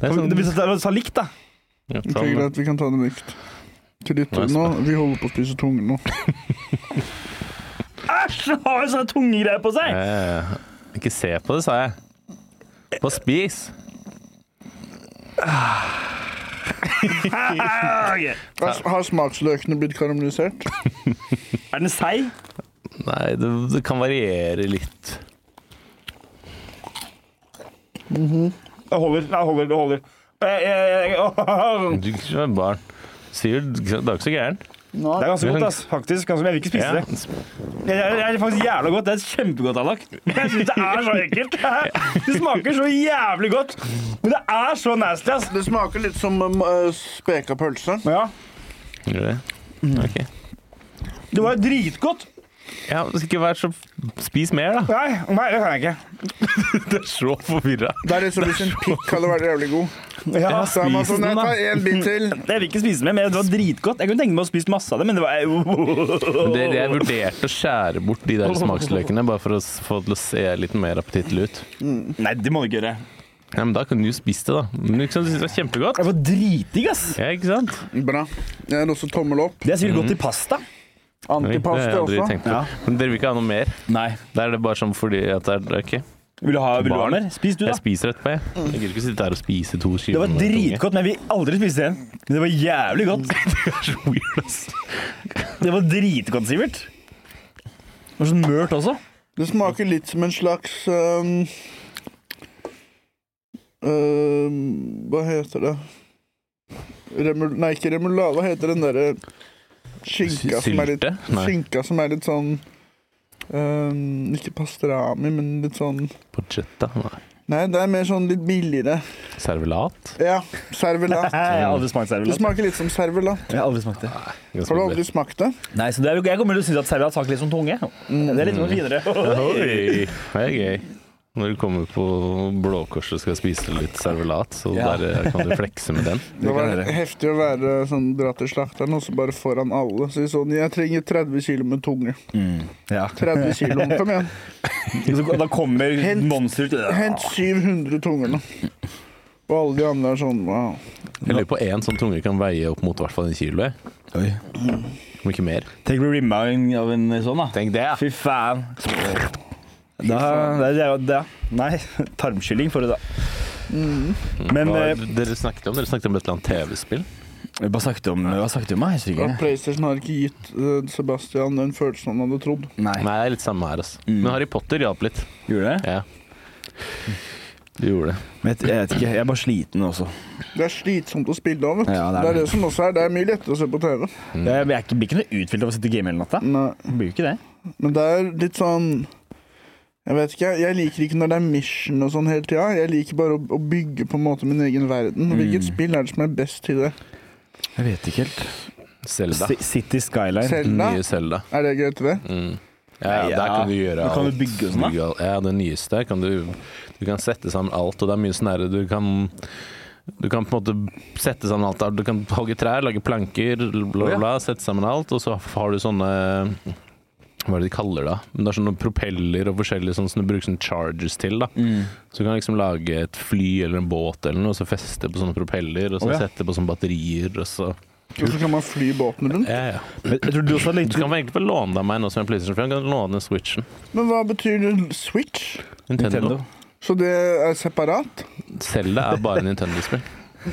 S2: Det er sånn
S1: Hvis jeg sa likt, da.
S2: ja, sånn.
S3: Det
S2: ta
S3: er
S2: den, da.
S3: greit, vi kan ta det likt. Til
S2: Nei,
S3: lytterne nå. Vi holder på å spise tunge nå.
S1: Æsj! Har jo sånne tungegreier på seg!
S2: Eh, Ikke se på det, sa jeg. Bare spis.
S1: Ah, ok.
S3: Har har smaksløkene blitt karamellisert?
S1: Er den seig?
S2: Nei, det, det kan variere litt.
S1: Det holder. Det holder. Det holder. Eh, eh, eh, (laughs) åh.
S2: Du er ikke et barn. Sivert, det er ikke så gæren.
S1: Det er ganske godt, ass. faktisk. Ganske, jeg vil ikke spise
S2: Ja.
S1: det. Det er, det er faktisk jævla godt. Det er kjempegodt, Allak. Jeg syns det er så
S2: (laughs)
S1: ekkelt. Det smaker så jævlig godt. Men det er så nasty, ass.
S3: Det smaker litt som um, eh, speka pølse.
S1: Ja,
S2: Gjør det? Ok.
S1: det var dritgodt.
S2: Ja, men ikke vær så Spis mer, da.
S1: Nei, nei, det kan jeg ikke.
S2: (laughs) Det er så forvirra.
S3: Det er litt som hvis en pikk hadde vært jævlig god.
S1: Ja, altså,
S3: Så er man
S2: Spis
S3: sånn,
S2: den,
S3: jeg
S2: da.
S3: tar en bit til.
S1: jeg vil ikke spise mer, men det var dritgodt. Jeg kunne tenke meg å spise masse av det, men det (laughs) var
S2: Det, jeg vurderte å skjære bort de der smaksløkene, bare for å s- få det til å se litt mer appetittlig ut.
S1: Nei, det må du ikke gjøre.
S2: Ja, men da kunne du jo spist det, da. Men ikke sant, du synes det var kjempegodt.
S1: Det var dritdigg, ass.
S2: Ja, ikke sant?
S3: Bra. Jeg er også tommel opp.
S1: Det er sikkert
S2: Mm.
S1: godt i pasta.
S2: Oi, det har
S3: Antipasti
S2: jeg aldri
S3: også.
S2: tenkt på.
S1: Ja.
S2: Men dere vil ikke ha noe mer?
S1: Nei.
S2: Da er det bare sånn fordi at det er OK.
S1: Vil du ha, vil du ha
S2: Barn.
S1: mer? Spis du, da.
S2: Jeg spiser etterpå, jeg. Jeg gidder ikke sitte her og spise to
S1: Mm. Det
S2: skiver.
S1: var
S2: med tunge. (laughs)
S1: dritgodt, men jeg vil aldri spise det igjen. Men det var jævlig godt.
S2: Det er så weird, ass.
S1: Det var dritgodt, Sivert. Det var sånn mørt også.
S3: Det smaker litt som en slags um, um, Hva heter det? Remul nei, ikke remulade. Hva heter den derre skinka
S2: Sy-
S3: som er litt
S2: sylte? Nei.
S3: Skinka som er litt sånn um, Ikke pastrami, men litt sånn
S2: Porchetta. Nei.
S3: Nei, det er mer sånn litt billigere.
S2: Servelat.
S3: Ja, servelat.
S1: Jeg har aldri smakt
S3: Det
S1: servelat.
S3: smaker litt som servelat.
S1: Jeg har aldri smakt det.
S3: Har du aldri smakt det?
S1: Nei, så det er, jo- jeg kommer til å synes at servelat smaker litt som tunge. Det er litt noe finere.
S2: Oi, det er gøy. Når du kommer på Blå Kors og skal spise litt servelat, så
S1: Ja.
S2: der eh, kan du flekse med den.
S3: Det var
S1: være.
S3: heftig å være sånn dra til slakteren og så bare foran alle si sånn Jeg trenger 30 kilo med tunge.
S1: (laughs) Ja.
S3: 30 kilo, kom igjen.
S1: Så Da kommer
S3: Hent-
S1: monster ut.
S3: Hent 700 tunger nå. Og alle de andre er sånn wow.
S2: Jeg lurer på én sånn tunge kan veie opp mot i hvert fall en kilo, jeg.
S1: Oi.
S2: om ikke mer.
S1: Tenk å bli rimma av en- av en sånn, da.
S2: Tenk det, ja.
S1: Fy faen. Da, det, det, det, nei, (laughs) tarmkylling får du da. Men
S2: Hva,
S1: eh,
S2: dere snakket om Dere snakket om et eller annet TV-spill.
S1: Hva snakket du om? Hva snakket du om? Jeg husker
S3: Og
S1: ikke.
S3: PlayStation har ikke gitt eh, Sebastian den følelsen han hadde trodd.
S2: Nei, det er litt samme her, altså.
S1: Mm.
S2: Men Harry Potter hjalp litt.
S1: Gjorde du det?
S2: Ja. Du gjorde det.
S1: Men jeg, jeg vet ikke, jeg er bare sliten også.
S3: Det er slitsomt å spille av, vet du.
S1: Ja, det
S3: det,
S1: er
S3: er
S1: det.
S3: det som også er. Det er mye lettere å se på TV.
S1: Jeg, jeg er ikke, blir ikke noe utfylt av å sitte og game hele natta.
S3: Nei.
S1: Jeg Blir jo ikke det.
S3: Men det er litt sånn Jeg vet ikke, jeg liker ikke når det er mission og sånn hele tida. Jeg liker bare å, å bygge på en måte min egen verden. Hvilket
S1: Mm.
S3: spill er det som er best til det?
S1: Jeg vet ikke helt.
S2: Selda.
S1: C- City Skyline.
S3: Selda?
S2: Nye Selda.
S3: Er det greit til det?
S2: Mm. Ja, ja,
S1: Ja.
S2: der kan du gjøre
S1: Men kan du bygge og sånn, da?
S2: Bygge alt. Ja, det nyeste kan du Du kan sette sammen alt, og det er mye sånn herre du kan du kan på en måte sette sammen alt. der. Du kan hogge trær, lage planker, bla, bla, bla, sette sammen alt. Og så har du sånne Hva er det de kaller det? da? Men det er sånne propeller og forskjellige sånn som du bruker sånne chargers til. da.
S1: Mm.
S2: Så du kan liksom lage et fly eller en båt eller noe, og så feste på sånne propeller, og så
S1: Å, ja.
S2: sette på sånne batterier, og så
S3: Og så kan man fly båten rundt.
S2: Ja, ja.
S1: Men Jeg tror du også har
S2: Du
S1: litt
S2: kan egentlig få låne deg meg nå som en PlayStation, for jeg kan låne den Switchen.
S3: Men hva betyr det? Switch?
S2: Nintendo.
S1: Nintendo.
S3: Så det er separat?
S2: Zelda er bare
S1: (laughs)
S2: Nintendo-spill.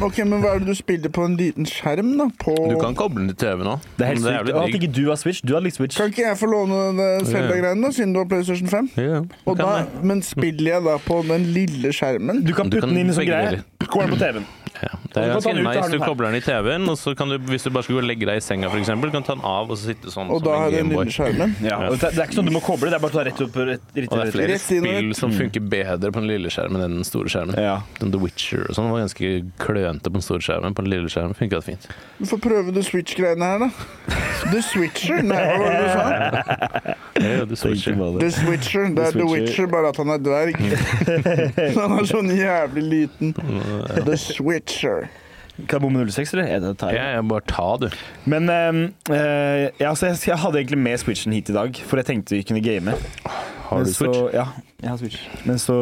S3: Ok, Men hva er det du spiller på en liten skjerm, da? På
S2: Du kan koble den til TV nå.
S1: Det er helt
S2: Men
S1: sykt.
S2: jævlig
S1: At ikke du har Switch. Du har litt Switch.
S3: Kan ikke jeg få låne den Zelda-greien, da, siden du har PlayStation 5?
S2: digg. Ja, du
S3: Og
S2: kan
S3: da,
S2: det.
S3: men spiller jeg da på den lille skjermen?
S1: Du kan
S2: Du
S1: putte
S2: kan
S1: den inn i sånn
S2: begge
S1: greie.
S2: deler.
S1: Kommer den på TV-en.
S2: Ja. Det er
S1: Og du kan ta
S2: ganske
S1: den ut, da har
S2: nice.
S1: du
S2: Du
S1: den her.
S2: kobler den i TV-en, og så kan du, hvis du bare skulle legge deg i senga, for eksempel, kan du ta den av og så sitte sånn
S3: Og
S2: som
S3: da
S2: en
S3: har jeg den
S2: Gameboy.
S3: lille skjermen?
S1: Ja.
S2: Ja.
S1: og Det, det er ikke sånn du må koble, det er bare å ta rett opp. Rett, rett,
S2: Og det er
S1: rett, rett.
S2: flere
S3: Rett inn og
S2: spill
S3: rett.
S2: som funker bedre på den lille skjermen enn den store skjermen.
S1: Mm. Ja.
S2: Den The Witcher og sånn var ganske klønete på den store skjermen. På den lille skjermen funka det fint.
S3: Du får prøve The Switch-greiene her, da. The Switcher? Nei, hva var det du sa?
S2: Ja, du så ikke.
S3: The Switcher. Det er The
S1: Switcher.
S3: Witcher, bare at han er
S2: (laughs)
S3: dverg. Han er sånn jævlig liten. The Switcher.
S1: Kan jeg bomme 06, eller? Er det tar jeg.
S2: Ja, ja, bare ta, du.
S1: Men eh, eh, ja, altså, jeg, jeg hadde egentlig med Switchen hit i dag, for jeg tenkte vi kunne game.
S2: Har du
S1: Men så,
S2: Switch?
S1: ja, jeg har Switch. Men så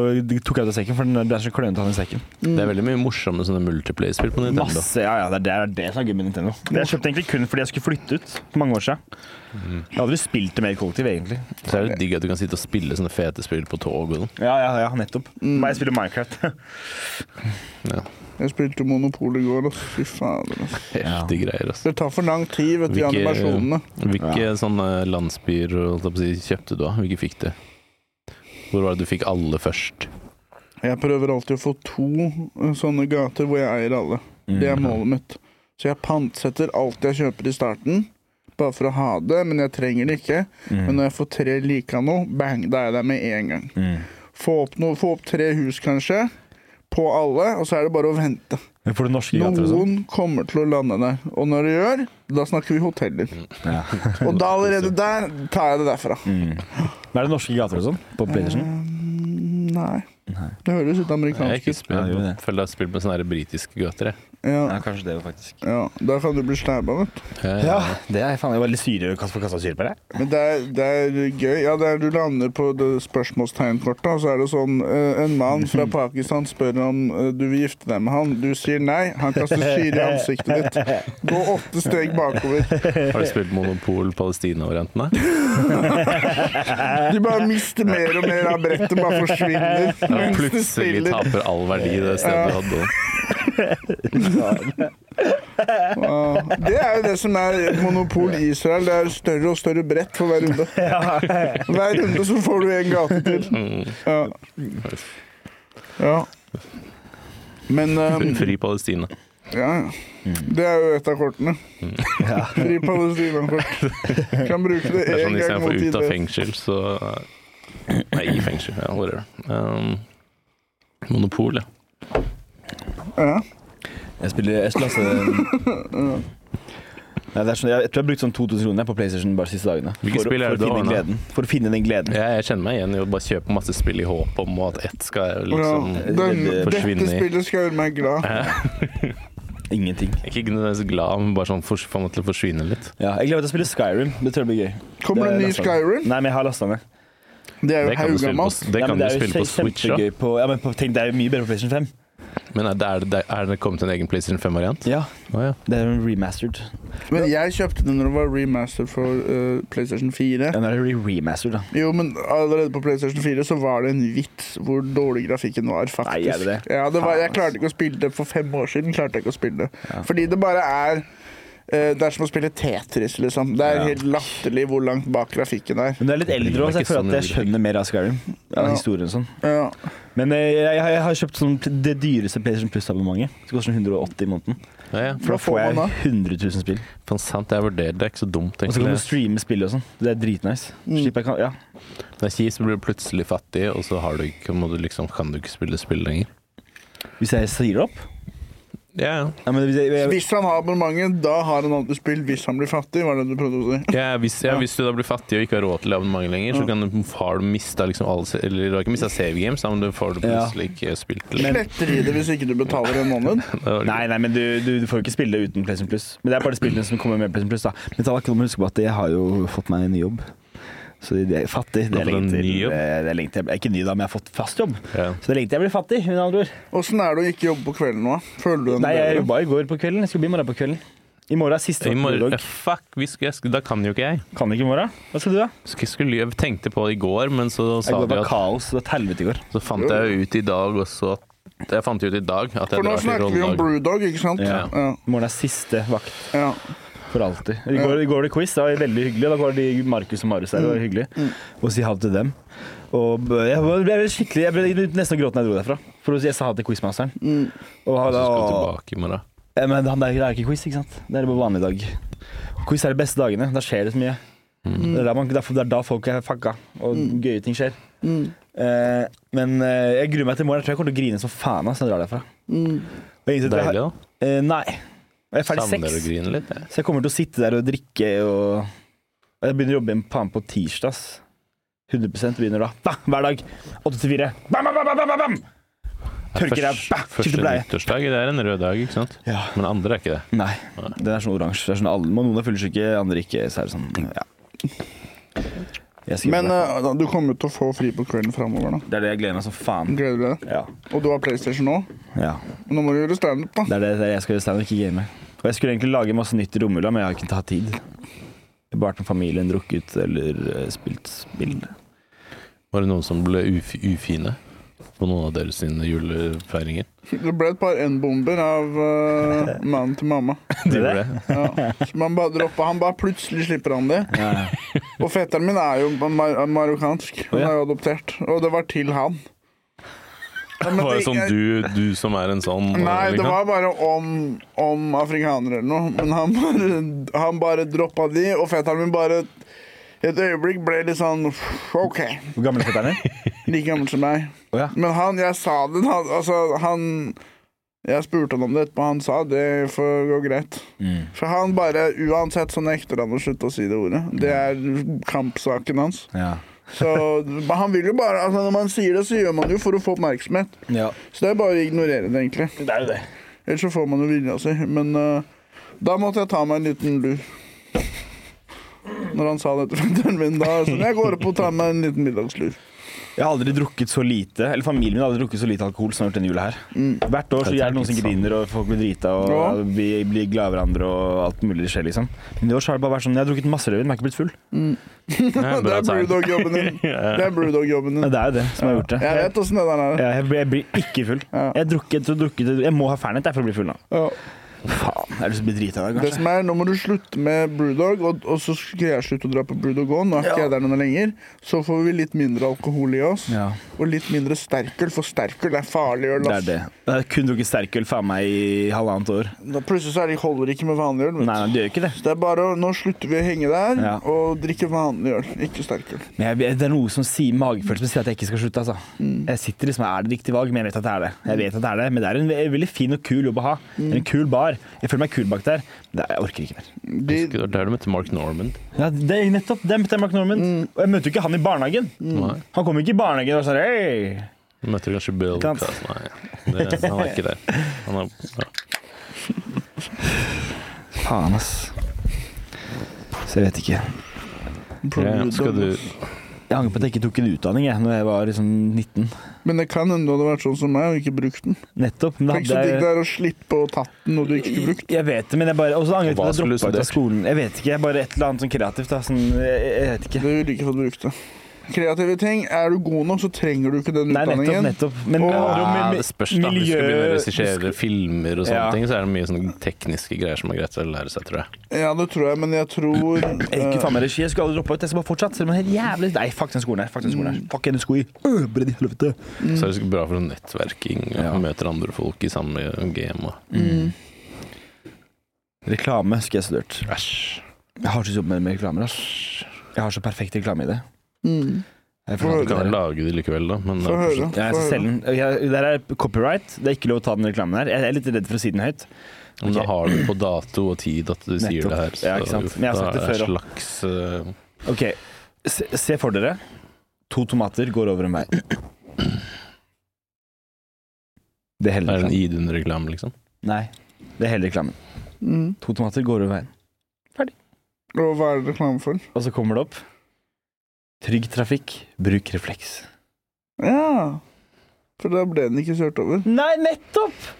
S1: tok jeg ut av sekken, for den det er så klønete å ha den i sekken.
S2: Det er veldig mye morsomme sånne multiplayer-spill på Nintendo.
S1: Masse, ja, ja, det er det, det, er det som er gøy med Nintendo. Jeg kjøpte egentlig kun fordi jeg skulle flytte ut for mange år siden. Jeg hadde aldri spilt det mer kollektiv, egentlig.
S2: Så er det digg at du kan sitte og spille sånne fete spill på tog og sånn.
S1: Ja, ja, ja, nettopp.
S3: Mm.
S1: Men jeg spiller (laughs) Minecraft.
S2: Ja.
S3: Jeg spilte Monopol i går, og fy fader. ass.
S2: Heftige greier, altså.
S3: Det tar for lang tid, vet du, de
S2: Hvilke-
S3: animasjonene.
S2: Hvilke sånne landsbyer holdt jeg på å si, kjøpte du av? Hvilke fikk du? Hvor var det du fikk alle først?
S3: Jeg prøver alltid å få to eh, sånne gater hvor jeg eier alle. Det
S1: Mm.
S3: er målet mitt. Så jeg pantsetter alt jeg kjøper i starten, bare for å ha det, men jeg trenger det ikke.
S1: Mm.
S3: Men
S1: eh,
S3: når jeg får tre like av noe, bang, da er jeg der med en gang.
S1: Mm.
S3: Få, opp noe, få opp tre hus, kanskje, på alle, og så er det bare å vente.
S1: Men får du norske gater og sånn?
S3: Noen kommer til å lande der, og når det gjør, da snakker vi hoteller.
S1: sånn? Ja. Mm.
S3: Og da allerede der tar jeg det derfra.
S1: Men Er det norske gater og sånn på Pedersen?
S3: Ehm, Nei. Det høres litt
S2: Jeg har
S3: amerikansk
S2: ikke
S3: ut.
S2: spilt,
S1: Ja, jo, det.
S2: føler jeg har spilt med sånne her britiske gater, jeg.
S3: Ja,
S1: kanskje det, faktisk.
S3: ja. Da kan du bli slæba, vet du.
S1: Ja, Eh, det er faen, jeg var litt syre å kaste kasta syre på deg.
S3: Men det er, det er gøy. Ja, det er, du lander på det spørsmålstegnkortet, og så er det sånn eh, En mann
S2: (laughs)
S3: fra Pakistan spør om eh, du vil gifte deg med han. Du sier nei. Han kaster syre i ansiktet ditt. Gå åtte steg bakover.
S2: Eh, Har du spilt Monopol Palestina-variantene?
S3: Du bare mister mer og mer av brettet, bare forsvinner
S2: (laughs)
S3: (laughs)
S2: Ja,
S3: mens du
S2: Plutselig
S3: spiller.
S2: taper all verdi det stedet du hadde.
S3: Ja, Det er jo det som er monopol i Israel. Det er større og større brett for hver
S2: (laughs)
S3: runde. Hver runde så får du en gate til. Ja. ja. Men
S2: (laughs)
S3: um,
S2: Mm. Fri Palestina.
S3: Ja, ja.
S2: Mm.
S3: Det er jo et av kortene. (laughs) Fri Palestina-kort. Kan bruke det
S2: Det er
S3: én
S2: sånn
S3: gang
S2: istedenfor
S3: mot
S2: ut av
S3: ID.
S2: fengsel, så Nei, i fengsel. Ja, whatever. Um, Monopol, ja.
S3: Ja.
S1: Jeg spiller jeg spiller altså Nei, det er sånn, jeg, jeg tror jeg har brukt sånn 2000 kroner på PlayStation bare de siste dagene.
S2: Hvilket
S1: for,
S2: spill er
S1: for,
S2: det du
S1: å finne den
S2: har, da?
S1: gleden, for å finne den gleden.
S2: Jeg, jeg kjenner meg igjen i å bare kjøpe masse spill i håp om at ett skal
S3: Ja,
S2: liksom
S3: den,
S2: forsvinne
S3: dette
S2: i.
S3: spillet skal gjøre meg glad.
S1: Ingenting.
S2: Jeg er (laughs) ikke nødvendigvis glad, men bare sånn for, for meg til å forsvinne litt.
S1: Ja, jeg gleder meg til å spille Skyrim. Det tror jeg blir gøy.
S3: Kommer det en ny
S1: lastet ned.
S3: Skyrim?
S1: Nei, men jeg har lasta ned.
S3: Det er
S2: Det
S3: jo
S2: kan du spille på,
S3: haugammalt.
S2: det
S1: Nei,
S2: kan
S1: men
S2: du spille på
S1: kje-
S2: Switch da.
S1: kjempegøy på, ja, men på, tenk, det er jo mye bedre på PlayStation 5.
S2: Men er det, er det, er det kommet en egen PlayStation 5-variant?
S1: Ja,
S2: Å ja.
S1: det er remastered.
S3: Men jeg kjøpte den når det var remastered for eh, PlayStation 4.
S1: Den er re- remastered, da.
S3: Jo, men allerede på PlayStation 4 så var det en vits hvor dårlig grafikken var, faktisk.
S1: Nei, er det det?
S3: Ja, det var,
S1: Faen,
S3: jeg
S1: ass.
S3: klarte ikke å spille det for fem år siden. klarte jeg ikke å spille det.
S1: Ja.
S3: Fordi det bare er eh, Det er som å spille Tetris, liksom. Det er
S1: Ja.
S3: helt latterlig hvor langt bak grafikken er.
S1: Men du er litt eldre òg,
S2: Det er
S1: så jeg
S2: ikke
S1: føler
S2: sånn
S1: at jeg
S2: det
S1: skjønner mer av Skyrim. Av
S3: Ja.
S1: historien og sånn.
S3: Ja.
S1: Men eh, jeg, jeg har kjøpt sånn, det dyreste PlayStation Plus-abonnementet. Det koster sånn 180 i måneden.
S2: Ja, ja.
S1: For da
S3: Hva får
S1: får jeg
S3: man
S1: 100 000 spill.
S2: Faen sant, jeg vurderte det. Det er ikke så dumt,
S1: Og så
S2: egentlig.
S1: kan du streame spill og sånn. Det er dritnice.
S3: Mm.
S1: Slipper jeg kan, ja.
S2: Det er kjipt, så blir du plutselig fattig, og så har du ikke, må du liksom, kan du ikke spille spill lenger.
S1: Hvis jeg sier det opp
S2: Ja, ja.
S1: ja, men hvis jeg, jeg,
S3: Hvis han har abonnementet, da har han alltid spill. Hvis han blir fattig, var det du prøvde å si.
S2: Ja, hvis, ja, hvis du da blir fattig og ikke har råd til abonnement lenger, så kan du, har du mista liksom alle se- Eller du har ikke mista save games, da, men du får du plutselig ikke spilt det.
S3: Sletter de det hvis ikke du betaler en måned?
S2: Det var-
S1: Nei, nei, men du, du, du får jo ikke spille det uten PlayStation Plus. Men det er bare spillene som kommer med PlayStation Plus. da Men ta ikke om å huske på at jeg har jo fått meg en ny jobb. Så det er fattig. Det
S2: Du har fått
S1: er
S2: en
S1: lenge til.
S2: ny jobb?
S1: eh, Det er lenge til. Jeg er ikke ny da, men jeg har fått fast jobb.
S2: Ja.
S1: Så det er lenge til jeg blir fattig. med andre ord.
S3: Åssen er det å ikke jobbe på kvelden nå? Føler du den
S2: Sånn
S1: Nei, jeg
S3: bedre?
S1: jobba i går på kvelden. Jeg skal bli i morgen på kvelden. I morgen er siste
S2: I morgen,
S1: dag.
S2: eh, fuck, vi skulle, jeg skulle- da kan jo ikke jeg.
S1: Kan ikke i morgen. Hva skal du, da?
S2: Skulle- Jeg skulle, jeg tenkte på det i går, men så
S1: Jeg
S2: sa
S1: går
S2: de
S1: på
S2: at
S1: kaos. Det var et helvete i går.
S2: Så fant jeg jo ut i dag også at Jeg fant jo ut i dag at jeg
S3: For nå
S2: drar til
S3: snakker vi om
S2: rolledag.
S3: Brewdog, ikke sant?
S1: Ja.
S3: Ja.
S1: I morgen er siste vakt
S3: ja.
S1: for alltid. I går, i går var det quiz. Det var veldig hyggelig. Da var de Markus og Marius der. Det var hyggelig å si ha det til dem. Og b- jeg var- jeg ble skikkelig Jeg ble nesten gråten da jeg dro derfra. For å si- jeg sa ha det til quizmasteren. Og han,
S2: Så skal vi
S1: og,
S2: tilbake i morgen.
S1: ja, men han der det er ikke quiz, ikke sant? Det er bare vanlig dag. Quiz er de beste dagene. Da skjer det så mye. Det, er da man, det er- det er da folk er fucka, og gøye ting skjer. Eh, men eh, jeg gruer meg til i morgen. Jeg tror jeg kommer til å grine som faen ass, når jeg drar derfra. Og jeg innser at jeg har-
S2: Deilig, da.
S1: Eh, nei. Jeg er ferdig
S2: Savner du å
S1: seks.
S2: grine litt? jeg.
S1: Så jeg kommer til å sitte der og drikke og og Jeg begynner å jobbe igjen faen på tirsdag. ass. 100 begynner da. Bah, hver dag. 8 til 4. Bam, bam, bam, bam, bam, bam! Tørker deg.
S2: Først-
S1: Bah, skifter
S2: Første
S1: bleie.
S2: nyttårsdag det er en rød dag, ikke sant?
S1: Ja.
S2: Men andre er ikke det.
S1: Nei. Den er sånn oransje. Det er sånn alle, Noen er fyllesyke, andre ikke. Så er det sånn, ja. Jeg skal
S3: Men
S1: jobbe.
S3: eh, du kommer til å få fri på kvelden framover, da.
S1: det er det jeg gleder meg som faen.
S3: Gleder du deg?
S1: eh, Ja.
S3: Og du har PlayStation nå?
S1: ja.
S3: Nå må du gjøre standup, da.
S1: Det er det, det er det jeg skal gjøre standup, ikke game. Og jeg skulle egentlig lage masse nytt i romjula, men jeg har ikke hatt tid. Jeg har bare vært med familien, drukket eller eh, spilt spill.
S2: Var det noen som ble uf ufine på noen av deres sine julefeiringer?
S3: Det ble et par N-bomber av eh, mannen til mamma.
S2: Det gjorde det.
S3: Ja. Som han bare droppa. Han bare plutselig slipper han det.
S1: Ja.
S3: Og fetteren min er jo mar marokkansk. Han
S1: Å, ja.
S3: er jo adoptert. Og det var til han. Ja, men
S2: Det var jo
S3: det-
S2: sånn du, du som er en sånn
S3: Nei, det
S2: liksom.
S3: var bare om, om afrikanere eller noe. Men han bare, han bare droppa de, og fetteren min bare et øyeblikk ble litt sånn OK.
S1: Hvor gammel er fetteren din?
S3: Like gammel som meg.
S1: Å ja.
S3: Men han, jeg sa det han, Altså, han Jeg spurte han om det etterpå, han sa det får gå greit.
S2: Mm.
S3: For han bare Uansett så nekter han å slutte å si det ordet. Det er kampsaken hans.
S1: Ja.
S3: Så men han vil jo bare altså, Når man sier det, så gjør man det jo for å få oppmerksomhet.
S1: ja.
S3: Så det er bare å ignorere det, egentlig.
S1: Det er jo det.
S3: Ellers så får man jo vilja si. Men eh, da måtte jeg ta meg en liten lur. Når han sa det til fetteren min, da så jeg går opp og tar meg en liten middagslur.
S1: Jeg har aldri drukket så lite Eller familien min har aldri drukket så lite alkohol som jeg har gjort denne jula her.
S3: Mm.
S1: Hvert år så
S2: Det er
S1: er det noen som
S2: sant.
S1: griner, og folk blir drita, og
S3: Ja.
S1: vi blir glad i hverandre, og alt mulig skjer, liksom. Men i år så har det bare vært sånn Jeg har drukket masse rødvin, men jeg har ikke blitt full.
S3: (laughs)
S2: Nei,
S3: Det
S2: bra
S3: er
S2: tegn.
S3: brewdog-jobben
S2: (laughs)
S3: din. Det er brewdog-jobben
S1: Men
S3: din.
S1: det er jo det som har gjort det.
S3: Jeg vet åssen det der er.
S1: Jeg, jeg, blir- jeg blir ikke full.
S3: Ja.
S1: Jeg, drukker, jeg, drukker, jeg må ha Fernet jeg, for å bli full nå.
S3: Ja.
S1: Faen, jeg har lyst til å bli drita i dag,
S3: Det
S1: kanskje.
S3: som er, Nå må du slutte med Brewdog, og, og så skal jeg slutte å dra på Brewdog òg. Nå er ikke jeg der noe lenger. Så får vi litt mindre alkohol i oss,
S1: Ja,
S3: og litt mindre sterkøl, for sterkøl er farlig øl.
S1: det
S3: ass.
S1: er det. Jeg har kun drukket sterkøl faen meg i halvannet år.
S3: Da plutselig så er det holder ikke med vanlig øl.
S1: Nei,
S3: vet du.
S1: nei, det gjør ikke det.
S3: Så det er bare å, Nå slutter vi å henge der
S1: Ja.
S3: og drikke vanlig øl, ikke sterkøl.
S1: Men jeg, det er noe som sier magefølelsen som sier at jeg ikke skal slutte. altså. Jeg sitter liksom, Er det riktig valg? Men jeg vet at det er det. Jeg vet at det er det, Men det er en ve- veldig fin og kul jobb å ha. En kul bar. Jeg føler meg kul bak der. Men det- jeg orker ikke mer.
S3: De,
S2: Det var der du møtte Mark Norman.
S1: Ja, det er nettopp det møtte jeg Mark Norman. Og jeg møtte jo ikke han i barnehagen.
S2: Nei.
S1: Han kom ikke i barnehagen og sa hei.
S2: Du møtte kanskje Bill
S1: Ikke sant?
S2: Cosby. Nei, det, han er ikke der. Han er, ja.
S1: Faen, ass. Så jeg vet ikke.
S2: Ja, ja. Skal du
S1: Jeg angrer på at jeg ikke tok en utdanning jeg, når jeg var liksom 19.
S3: Men det kan hende du hadde vært sånn som meg og ikke brukt den.
S1: Nettopp. Men da
S3: Tenk så digg
S1: hadde
S3: det er å slippe å tatt den når du ikke skulle brukt
S1: jeg Jeg vet det, men jeg bare Og så angret jeg på
S2: Hva
S1: at jeg
S2: skulle du
S1: droppa ut av
S2: studert?
S1: skolen. Jeg vet ikke. jeg Bare et eller annet sånn kreativt. da sånn, jeg, jeg vet ikke.
S3: den. Det ville du ikke fått brukt det. Kreative ting. Er du god nok, så trenger du ikke den
S1: Nei, nettopp.
S3: utdanningen.
S1: nettopp. Men
S3: Åh,
S1: det handler om
S2: Ja,
S1: mi-
S2: Ah, det spørs da. Hvis du skal begynne å
S1: miljø-
S2: regissere filmer og sånne
S1: Ja.
S2: ting, så er det mye sånne tekniske greier som er greit å lære seg, tror jeg.
S3: Ja, det tror jeg, men jeg tror
S1: Jeg er ikke
S3: eh,
S1: faen meg regi, jeg skulle aldri droppe ut. Jeg skal bare fortsette. Selv om jeg er helt jævlig Nei, fuck den skolen her. Fuck den skolen her. Fuck den skolen. Øh, Brenn i helvete.
S2: Så er det sikkert bra for sånn nettverking og
S1: Ja.
S2: møter andre folk i samme game og
S3: mm.
S1: Reklame skulle jeg studert.
S2: Æsj.
S1: Jeg har ikke jobb med, med reklamer. ass. Jeg har så perfekt reklame i det.
S3: Mm.
S1: Jeg
S3: Få
S2: Du
S1: fortalte
S2: kan
S1: dere.
S2: vel lage det likevel, da, men
S3: Få høre.
S1: Ja, jeg skal selge den. Jeg, der er copyright. Det er ikke lov å ta den reklamen her. Jeg er litt redd for å si den høyt.
S2: Om du
S1: Ok.
S2: har det på dato og tid at du sier
S1: Nettopp.
S2: det her, så
S1: Ja, ikke sant. Men jeg har
S2: da
S1: sagt det
S2: er
S1: før
S2: slags eh,
S1: Ok, se, se for dere. To tomater går over en vei. Det er hele
S2: Er det en
S1: reklamen.
S2: Idun-reklame, liksom?
S1: Nei, det er hele reklamen.
S3: Mm.
S1: To tomater går over veien.
S3: Og hva er det reklame for?
S1: Og så kommer det opp. Trygg trafikk, bruk refleks.
S3: Ja. For da ble den ikke kjørt over.
S1: Nei, nettopp!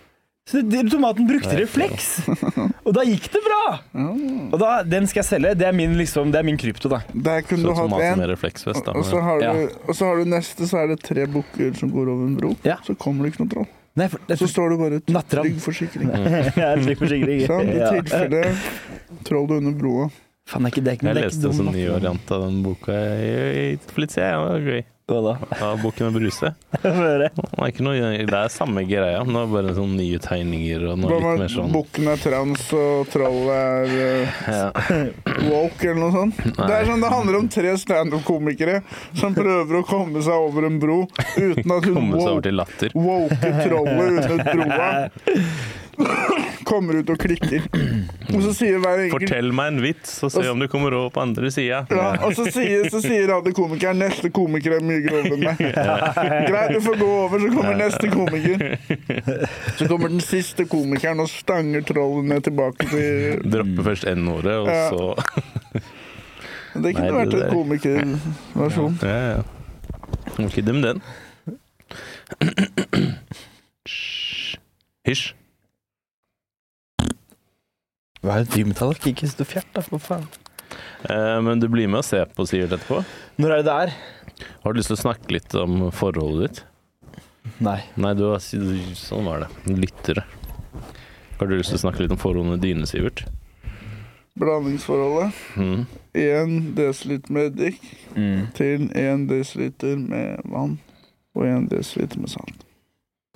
S1: Så det- tomaten brukte
S2: Nei,
S1: refleks! Og da gikk det bra!
S3: Ja.
S1: Og da, den skal jeg selge. Det er min, liksom, det er min krypto, da.
S3: Der kunne
S2: Så
S3: du hatt
S2: tomaten
S3: en,
S2: med refleksvest,
S3: og
S2: da.
S3: og så,
S2: men-
S3: har
S1: Ja.
S3: du, og så har du neste, så er det tre bukker som går over en bro.
S1: Ja.
S3: Så kommer det ikke noe troll.
S1: Nei, for, det,
S3: Så står det bare
S1: Nattravn.
S3: 'trygg forsikring'.
S1: (laughs) jeg er en slik forsikring.
S3: Sånn, I
S1: Ja.
S3: tilfelle troll du under broa.
S1: Faen, det er ikke, det er ikke,
S2: Jeg
S1: det er
S2: leste
S1: ikke
S2: en sånn
S1: dumt.
S2: ny variant av den boka i- i Flitsia. Ja, det var gøy.
S1: Hva da?
S2: Av boken med bruse.
S1: Få høre.
S2: Det er, ikke noe, det er samme greia, men det er bare sånn nye tegninger og noe
S3: Hva med
S2: litt mer sånn
S3: bukken er trans og trollet er
S2: ja.
S3: eh, woke, eller noe sånt? Det, er sånn, det handler om tre standup-komikere som prøver å komme seg over en bro uten at hun
S2: Komme seg over
S3: woke,
S2: til latter.
S3: woke trollet under broa kommer ut og klikker. Og så sier hver enkelt
S2: Fortell meg en vits, og se om du kommer over på andre sida.
S3: ja, og så sier, så sier alle komikeren 'neste komiker er mye grovere enn meg'. Greit, du får gå over, så kommer neste komiker. Så kommer den siste komikeren og stanger trollene tilbake til
S2: Droppe først N-ordet, og
S3: Ja.
S2: så
S3: Det kunne
S2: Nei,
S3: vært
S2: det
S3: en
S2: der-
S3: komikerversjon.
S2: ja, ja. Ok, dem den. Hysj. Hysj.
S1: (laughs) Hva er et gymtallerk? Ikke stå fjert, da, for faen.
S2: Eh, men du blir med og ser på Sivert etterpå.
S1: Når er det det er?
S2: Har du lyst til å snakke litt om forholdet ditt?
S1: Nei.
S2: Nei, du har Sånn var det. Lyttere. Har du lyst til å snakke litt om forholdene dine, Sivert?
S3: Blandingsforholdet.
S2: Mm.
S3: 1 dl med drikk
S1: Mm.
S3: til 1 dl med vann og 1 dl med salt.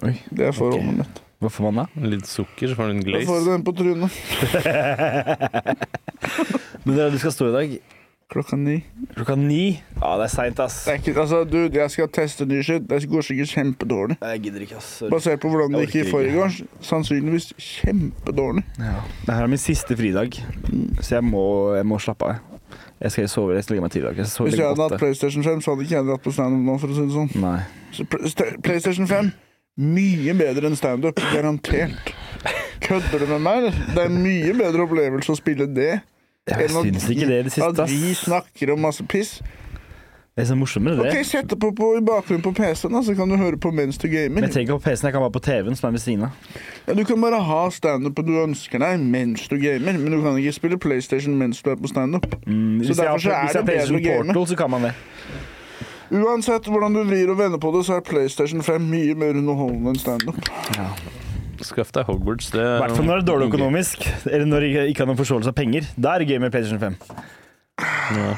S1: Oi,
S3: det er forholdet
S1: ok.
S3: mitt.
S1: Hva får (laughs) man da?
S2: Litt sukker, så får du en
S3: Da får
S2: glaze.
S3: du den på trynet.
S1: Men dere, du skal stå i dag
S3: Klokka ni.
S1: klokka ni. Ja, det er seint, ass.
S3: Det er ikke, altså, dude, jeg skal teste ny shit. Det går sikkert kjempedårlig.
S1: Nei, Jeg gidder ikke, ass. Sorry.
S3: Basert på hvordan det
S1: Jeg
S3: gikk i
S1: orker ikke.
S3: forgårs. Sannsynligvis kjempedårlig.
S1: Ja. Det her er min siste fridag, så jeg må, jeg må slappe av. Jeg skal sove, jeg skal legge meg tidlig i dag. Jeg skal sove
S3: Hvis jeg hadde
S1: legge
S3: hatt
S1: åtte.
S3: PlayStation 5, så hadde ikke jeg dratt på standup nå, for å si det sånn.
S1: Nei.
S3: Så Pl- st- PlayStation 5 mye bedre enn standup. Garantert. Kødder du med meg? eller? Det er en mye bedre opplevelse å spille det
S1: Jeg
S3: at
S1: syns ikke
S3: vi-
S1: det i det siste,
S3: At vi
S1: ass.
S3: snakker om masse piss.
S1: Det er så morsommere, det.
S3: Ok, Sett det på, på i bakgrunnen på PC-en, da, så kan du høre på mens du gamer.
S1: Men jeg trenger ikke ha på PC-en, jeg kan være på TV-en, som er ved siden av.
S3: Ja, du kan bare ha standupen du ønsker deg mens du gamer, men du kan ikke spille PlayStation mens du er på standup.
S1: Mm,
S3: Så
S1: hvis jeg har,
S3: derfor så er
S1: hvis jeg har
S3: det bedre
S1: PlayStation
S3: å game.
S1: Portal, så kan man det.
S3: Uansett hvordan du vrir og vender på det, så er PlayStation 5 mye mer underholdende enn standup.
S2: Skaff deg Hogwarts. Det
S1: I hvert fall når det er
S3: Mm.
S1: dårlig økonomisk, eller når jeg ikke har noen forståelse av penger. Da er det gøy med PlayStation 5.
S2: Ja.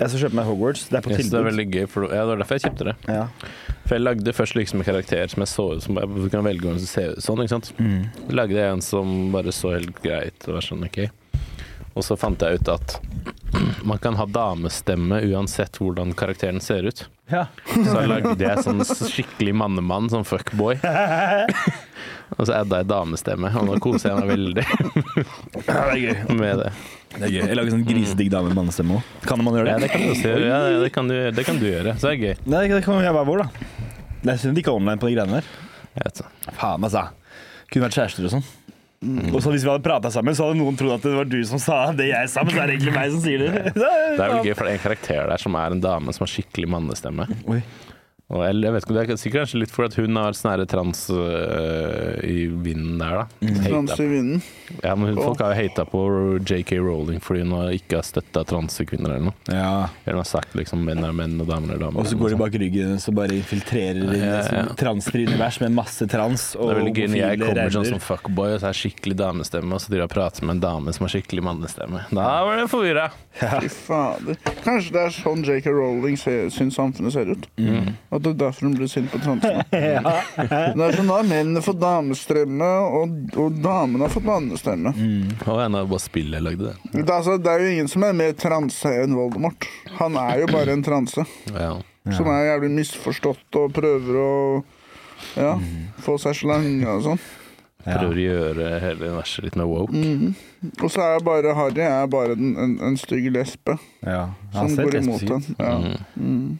S1: Jeg skal kjøpe meg Hogwarts. Det er på
S2: Jeg synes det er
S1: tilbud.
S2: veldig gøy, for ja, det var derfor jeg kjøpte det.
S1: Ja.
S2: For jeg lagde først liksom en karakter som jeg så ut som bare- Du kan velge hvordan du ser ut sånn, ikke sant.
S1: Mm.
S2: Så lagde jeg en som bare så helt greit og var sånn OK. Og så fant jeg ut at (clears throat) man kan ha damestemme uansett hvordan karakteren ser ut.
S1: (laughs) Ja.
S2: Så da lagde jeg sånn skikkelig mannemann, sånn (laughs) fuckboy. Og så adda jeg damestemme, og nå koser jeg meg veldig
S1: det er gøy.
S2: med det.
S1: Det er gøy. Jeg lager sånn grisedigg dame med mannestemme òg. Kan man
S2: Ja,
S1: gjøre
S2: det
S1: det?
S2: kan du, se. ja, ja, det kan du, det kan du gjøre. Så det er gøy.
S1: Nei, det kan jeg være vår, da. Det er synd de ikke er online på de greiene der.
S2: Jeg vet det.
S1: Faen, altså. Kunne vært kjærester og sånn. Og så Hvis vi hadde prata sammen, så hadde noen trodd at det var du som sa det jeg sa, men så er det egentlig meg som sier (laughs) det.
S2: Det er vel gøy, for det er en karakter der som er en dame som har skikkelig mannestemme.
S1: Oi.
S2: Og jeg, jeg vet ikke, Det er sikkert kanskje litt fordi at hun har sånn her trans øh, i vinden der, da. Hate
S3: Trans i vinden.
S2: da. Ja, men hun- Folk har jo hata på JK Rowling fordi hun har ikke har støtta transekvinner eller noe.
S1: Ja.
S2: Eller hun har sagt liksom menn er menn og damer er damer.
S1: Og så går de bak ryggen hennes og bare infiltrerer
S2: Ja,
S1: inn et
S2: ja.
S1: sånt transfri univers med masse trans og
S2: det er veldig gøy når jeg
S1: homofile
S2: kommer sånn som
S1: ræver.
S2: fuckboy og så er jeg skikkelig damestemme, og så driver jeg og prater med en dame som har skikkelig mannestemme. Da var det forvirra!
S3: Fy fader. Kanskje det er sånn J.K. Rowling ser- syns samfunnet ser ut?
S1: Mm.
S3: At det er derfor hun blir sint på transene? Det er sånn da mennene får damestemme, og, og damene har fått mannestemme.
S1: Mm.
S2: Og en av bare spillet jeg lagde det.
S3: Det, er altså, det er jo ingen som er mer transe enn Voldemort. Han er jo bare en transe
S2: Ja.
S3: som er jævlig misforstått og prøver å ja,
S1: Mm.
S3: få seg slange og sånn.
S2: Prøver å gjøre hele universet litt mer woke.
S1: Mm.
S3: Og så er jeg bare Harry jeg er bare en, en, en stygg lesbe
S1: Ja.
S3: som
S1: Han, ser
S3: går
S1: lesbisk
S3: imot
S1: ut.
S3: den. Ja.
S2: Mm.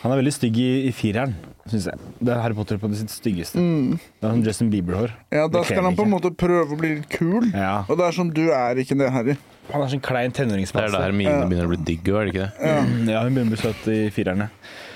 S1: han er veldig stygg i, i fireren, syns jeg. Det er Harry Potter på sitt styggeste.
S3: Mm.
S1: Det er sånn Justin Bieber-hår.
S3: ja, da
S1: Det
S3: skal
S1: kler
S3: han på en
S1: ikke.
S3: måte prøve å bli litt kul.
S1: Ja.
S3: Og det er som du er ikke det, Harry.
S1: Han er sånn klein
S2: Det er
S1: tenåringspase.
S2: der Hermine begynner å bli digg òg, er det ikke det?
S3: Ja.
S1: Ja, hun begynner å bli slått i firerne.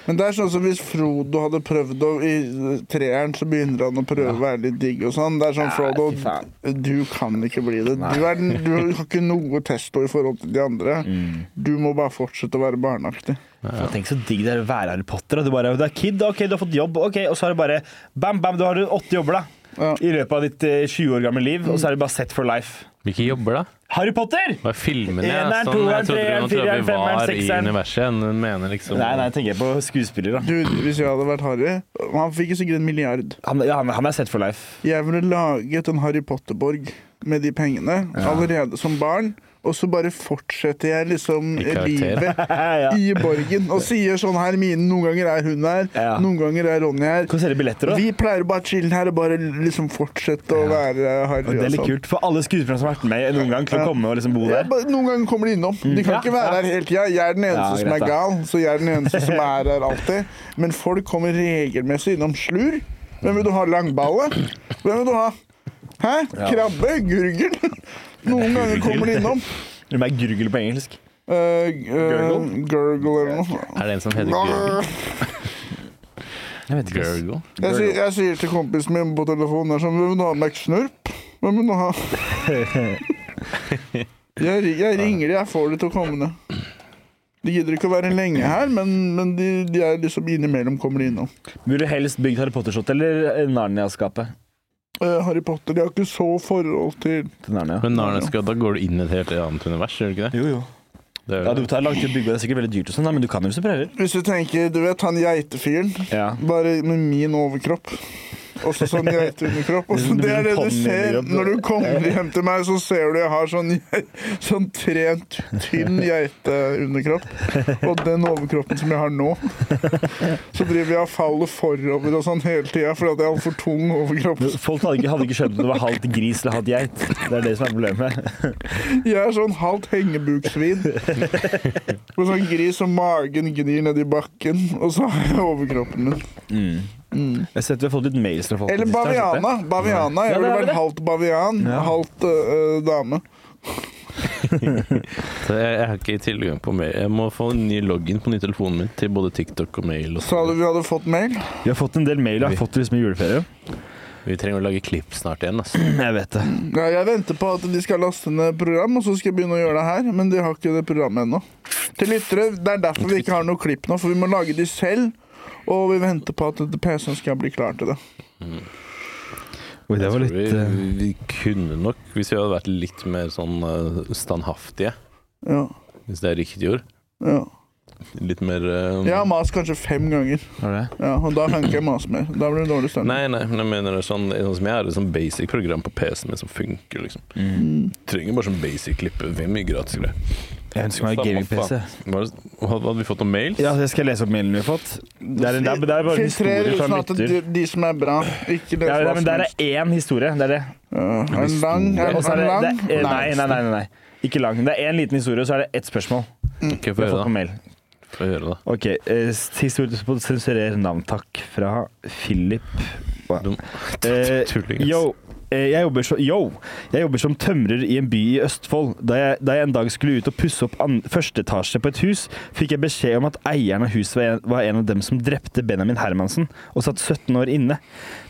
S3: Men det er sånn som hvis Frodo hadde prøvd å I eh, treeren så begynner han å prøve å være litt digg og sånn. Det er sånn, Frodo,
S1: fy
S3: du kan ikke bli det. Du, er, den- du har ikke noe testo i forhold til de andre.
S2: Mm.
S3: Du må bare fortsette å være barneaktig.
S1: Faen, Tenk så digg det er å være Harry Potter. da. Du bare, du er kid, ok, du har fått jobb, ok, og så er det bare bam, bam, du har åtte jobber da.
S3: Ja.
S1: I løpet av ditt eh, 20 år gamle liv, og så er det bare set for life.
S2: Hvilke jobber, da?
S1: Harry Potter!
S2: Hva er filmene? ja?
S1: Eneren,
S2: Sånn,
S1: toeren,
S2: jeg trodde
S1: treeren,
S2: nå trodde
S1: fireren,
S2: vi var
S1: femmeren,
S2: i
S1: sekseren.
S2: universet. Hun mener liksom
S1: Nei, nei, tenker jeg på skuespiller, da.
S3: Du, hvis jeg hadde vært Harry Han fikk sikkert en milliard.
S1: Han, ja, han, han er set for life. (laughs)
S3: Jeg ville laget en Harry Potter-borg med de pengene allerede som barn. Og så bare fortsetter jeg liksom
S2: I karakter.
S3: livet
S1: ja.
S3: i borgen og sier sånn Hermine, noen ganger er hun her,
S1: Ja.
S3: noen ganger er Ronny her.
S1: Kan selge billetter da.
S3: Vi pleier å bare å chille her og bare liksom fortsette å være Harry.
S1: Og det er
S3: og
S1: litt
S3: sånn.
S1: kult for alle skuespillere som har vært med noen gang til å komme og liksom bo
S3: Ja,
S1: der.
S3: bare- noen ganger kommer de innom. De kan
S1: Ja,
S3: ikke være
S1: ja.
S3: her hele tida. Jeg er den eneste
S1: Ja,
S3: som er
S1: greit, da.
S3: gal, så jeg er den eneste som er her alltid. Men folk kommer regelmessig innom slur. Hvem vil du ha? Langballe? Hvem vil du ha? Hæ? Krabbe? Gurgel? Noen ganger kommer de innom.
S1: Det er gurgel på engelsk.
S3: Eh, eh, gurgle eller noe.
S2: Er det en som heter Gurgle?
S1: Jeg vet ikke. ass.
S2: Gurgle?
S3: Jeg sier, jeg sier til kompisen min på telefonen der sånn Hvem vil du ha McSnurp? Hvem vil du
S1: (laughs)
S3: ha? jeg, ri- jeg ringer de, jeg får de til å komme ned. De gidder ikke å være lenge her, men, men de, de er liksom innimellom kommer de innom.
S1: Vil du helst bygd Harry Potter-shot eller Narnia-skapet?
S3: Eh, Harry Potter, de har ikke så forhold til
S1: Til Narnia.
S2: Men Narneska, da går du inn i et helt annet univers, gjør du ikke det?
S1: Jo, jo.
S2: det er,
S1: Ja,
S2: jo-
S1: det tar lang tid å bygge, og det er sikkert veldig dyrt og sånn, da, men du kan jo hvis du prøver.
S3: Hvis du tenker, du vet han geitefyren,
S1: Ja.
S3: bare med min overkropp. Og så sånn geiteunderkropp. Og så det er det du ser når du kommer hjem til meg, så ser du jeg har sånn, gei- sånn trent, tynn geiteunderkropp. Og den overkroppen som jeg har nå. Så driver jeg og faller forover og sånn hele tida fordi at jeg har for tung overkropp.
S1: Folk hadde ikke, hadde ikke skjønt at det var halvt gris eller halvt geit. Det er det som er problemet.
S3: Jeg er sånn halvt hengebuksvin. Med sånn gris som magen gnir nedi bakken, og så har jeg overkroppen min.
S1: Mm.
S3: Mm.
S1: Jeg har sett vi har fått litt mails fra folk.
S3: Eller baviana. baviana. Jeg
S1: Ja, det
S3: ville
S1: er
S3: vært
S1: det.
S3: halvt bavian, halvt øh, øh, dame.
S2: Så jeg, jeg har ikke tilgang på mail. Jeg må få en ny login på ny telefonen min til både TikTok og mail. Og
S3: Sa du
S2: sånn.
S3: vi hadde fått mail?
S1: Vi har fått en del mail, jeg har fått det liksom i juleferie.
S2: Vi trenger å lage klipp snart igjen, altså.
S1: Jeg vet det.
S3: Ja, jeg venter på at de skal laste ned program, og så skal jeg begynne å gjøre det her. Men de har ikke det programmet ennå. Til lyttere, Det er derfor vi ikke har noe klipp nå, for vi må lage de selv. Og vi venter på at PC-en skal bli klar til det.
S1: Oi, det var
S2: Mm. Jeg
S1: litt eh,
S2: tror vi, vi kunne nok, hvis vi hadde vært litt mer sånn eh, standhaftige,
S3: Ja,
S2: hvis det er riktig ord,
S3: ja.
S2: litt mer eh,
S3: Jeg har mast kanskje fem ganger, ja, og da kan ikke jeg mase mer. Da blir det dårlig stemning.
S2: Nei, nei, men jeg mener det er sånn, sånn som jeg har et sånn basic program på PC-en min som funker, liksom.
S1: Mm.
S2: Trenger bare sånn basic klippe. Det er mye gratis greier.
S1: Jeg ønsker meg en gaming-PC.
S2: Var det- Hadde hadde vi fått noen mail?
S1: Ja, jeg skal lese opp mailen vi har fått. Det er, det er, det er bare
S3: Filtrer
S1: historier fra
S3: uten at de,
S1: lytter.
S3: de som er bra, ikke les
S1: Ja,
S3: hva
S1: men
S3: som
S1: der
S3: helst.
S1: er én historie. Det er det.
S3: Ja, Er den lang? Er
S1: Og så er
S3: den
S1: det,
S3: lang?
S1: det er, eh, nei, nei, nei, nei, nei. Ikke lang. Det er én liten historie, og så er det ett spørsmål.
S2: Ok,
S1: Vi
S2: få
S1: har
S2: høre,
S1: fått på
S2: da.
S1: mail.
S2: Få høre, da.
S1: Ok, eh, historie på sensurer navn, takk, fra Philip.
S2: Dum.
S1: Eh,
S2: (laughs) Tulling, ass.
S1: yo, eh, jeg jobber, så, yo, jeg jobber som tømrer i en by i Østfold. Da jeg, da jeg en dag skulle ut og pusse opp an, første etasje på et hus, fikk jeg beskjed om at eieren av huset var en, var en av dem som drepte Benjamin Hermansen, og satt 17 år inne.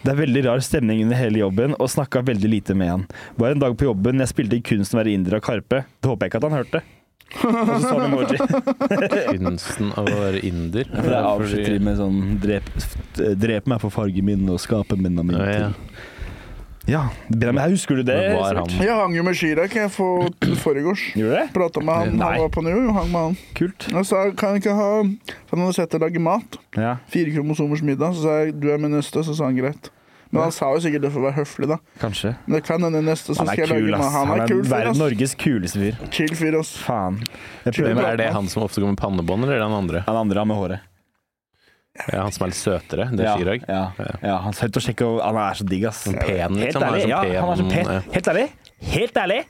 S1: Det er veldig rar stemning under hele jobben, og snakka veldig lite med han. Var en dag på jobben jeg spilte i Kunsten å være inder av Karpe. Det håper jeg ikke at han hørte. Og så sa han emoji.
S2: Kunsten av å være inder.
S1: For jeg avslutter med sånn drep, drep meg for fargen min og skape minna mine.
S2: Ja,
S1: Ja,
S2: ja.
S1: Benjamin, her husker du det?
S2: Men hva er
S1: Sivert?
S2: han?
S3: Jeg hang jo med Chirag jeg for foregårs.
S1: Gjorde du det?
S3: Prata med han da
S1: Nei.
S3: han var på New, og hang med han.
S1: Kult.
S3: Jeg sa kan jeg ikke ha For han hadde sett deg lage mat.
S1: Ja.
S3: Fire kromosomers middag. Så sa jeg du er min neste, så sa han greit. Men han sa jo sikkert det for å være høflig, da.
S1: Kanskje.
S3: Men det kan hende neste, så
S1: Han
S3: skal
S1: er
S3: jeg lage
S1: kul,
S3: mat.
S1: ass.
S3: Han er kul fyr,
S1: verden-
S3: ass.
S1: Norges kuleste fyr.
S3: Chill fyr, ass.
S1: Faen. Jeg
S2: Hvem
S1: prøver
S2: er det han som ofte går med pannebånd, eller er det han andre?
S1: Han andre han med håret.
S2: Ja, han som er litt søtere, det er Chirag.
S1: Ja, ja. ja. Han skal ut og sjekke, og han er så digg, ass.
S2: Sånn pen,
S1: Helt
S2: liksom.
S1: ærlig.
S2: sånn
S1: Ja, han er så pen.
S2: ja.
S1: Helt ærlig. Helt ærlig.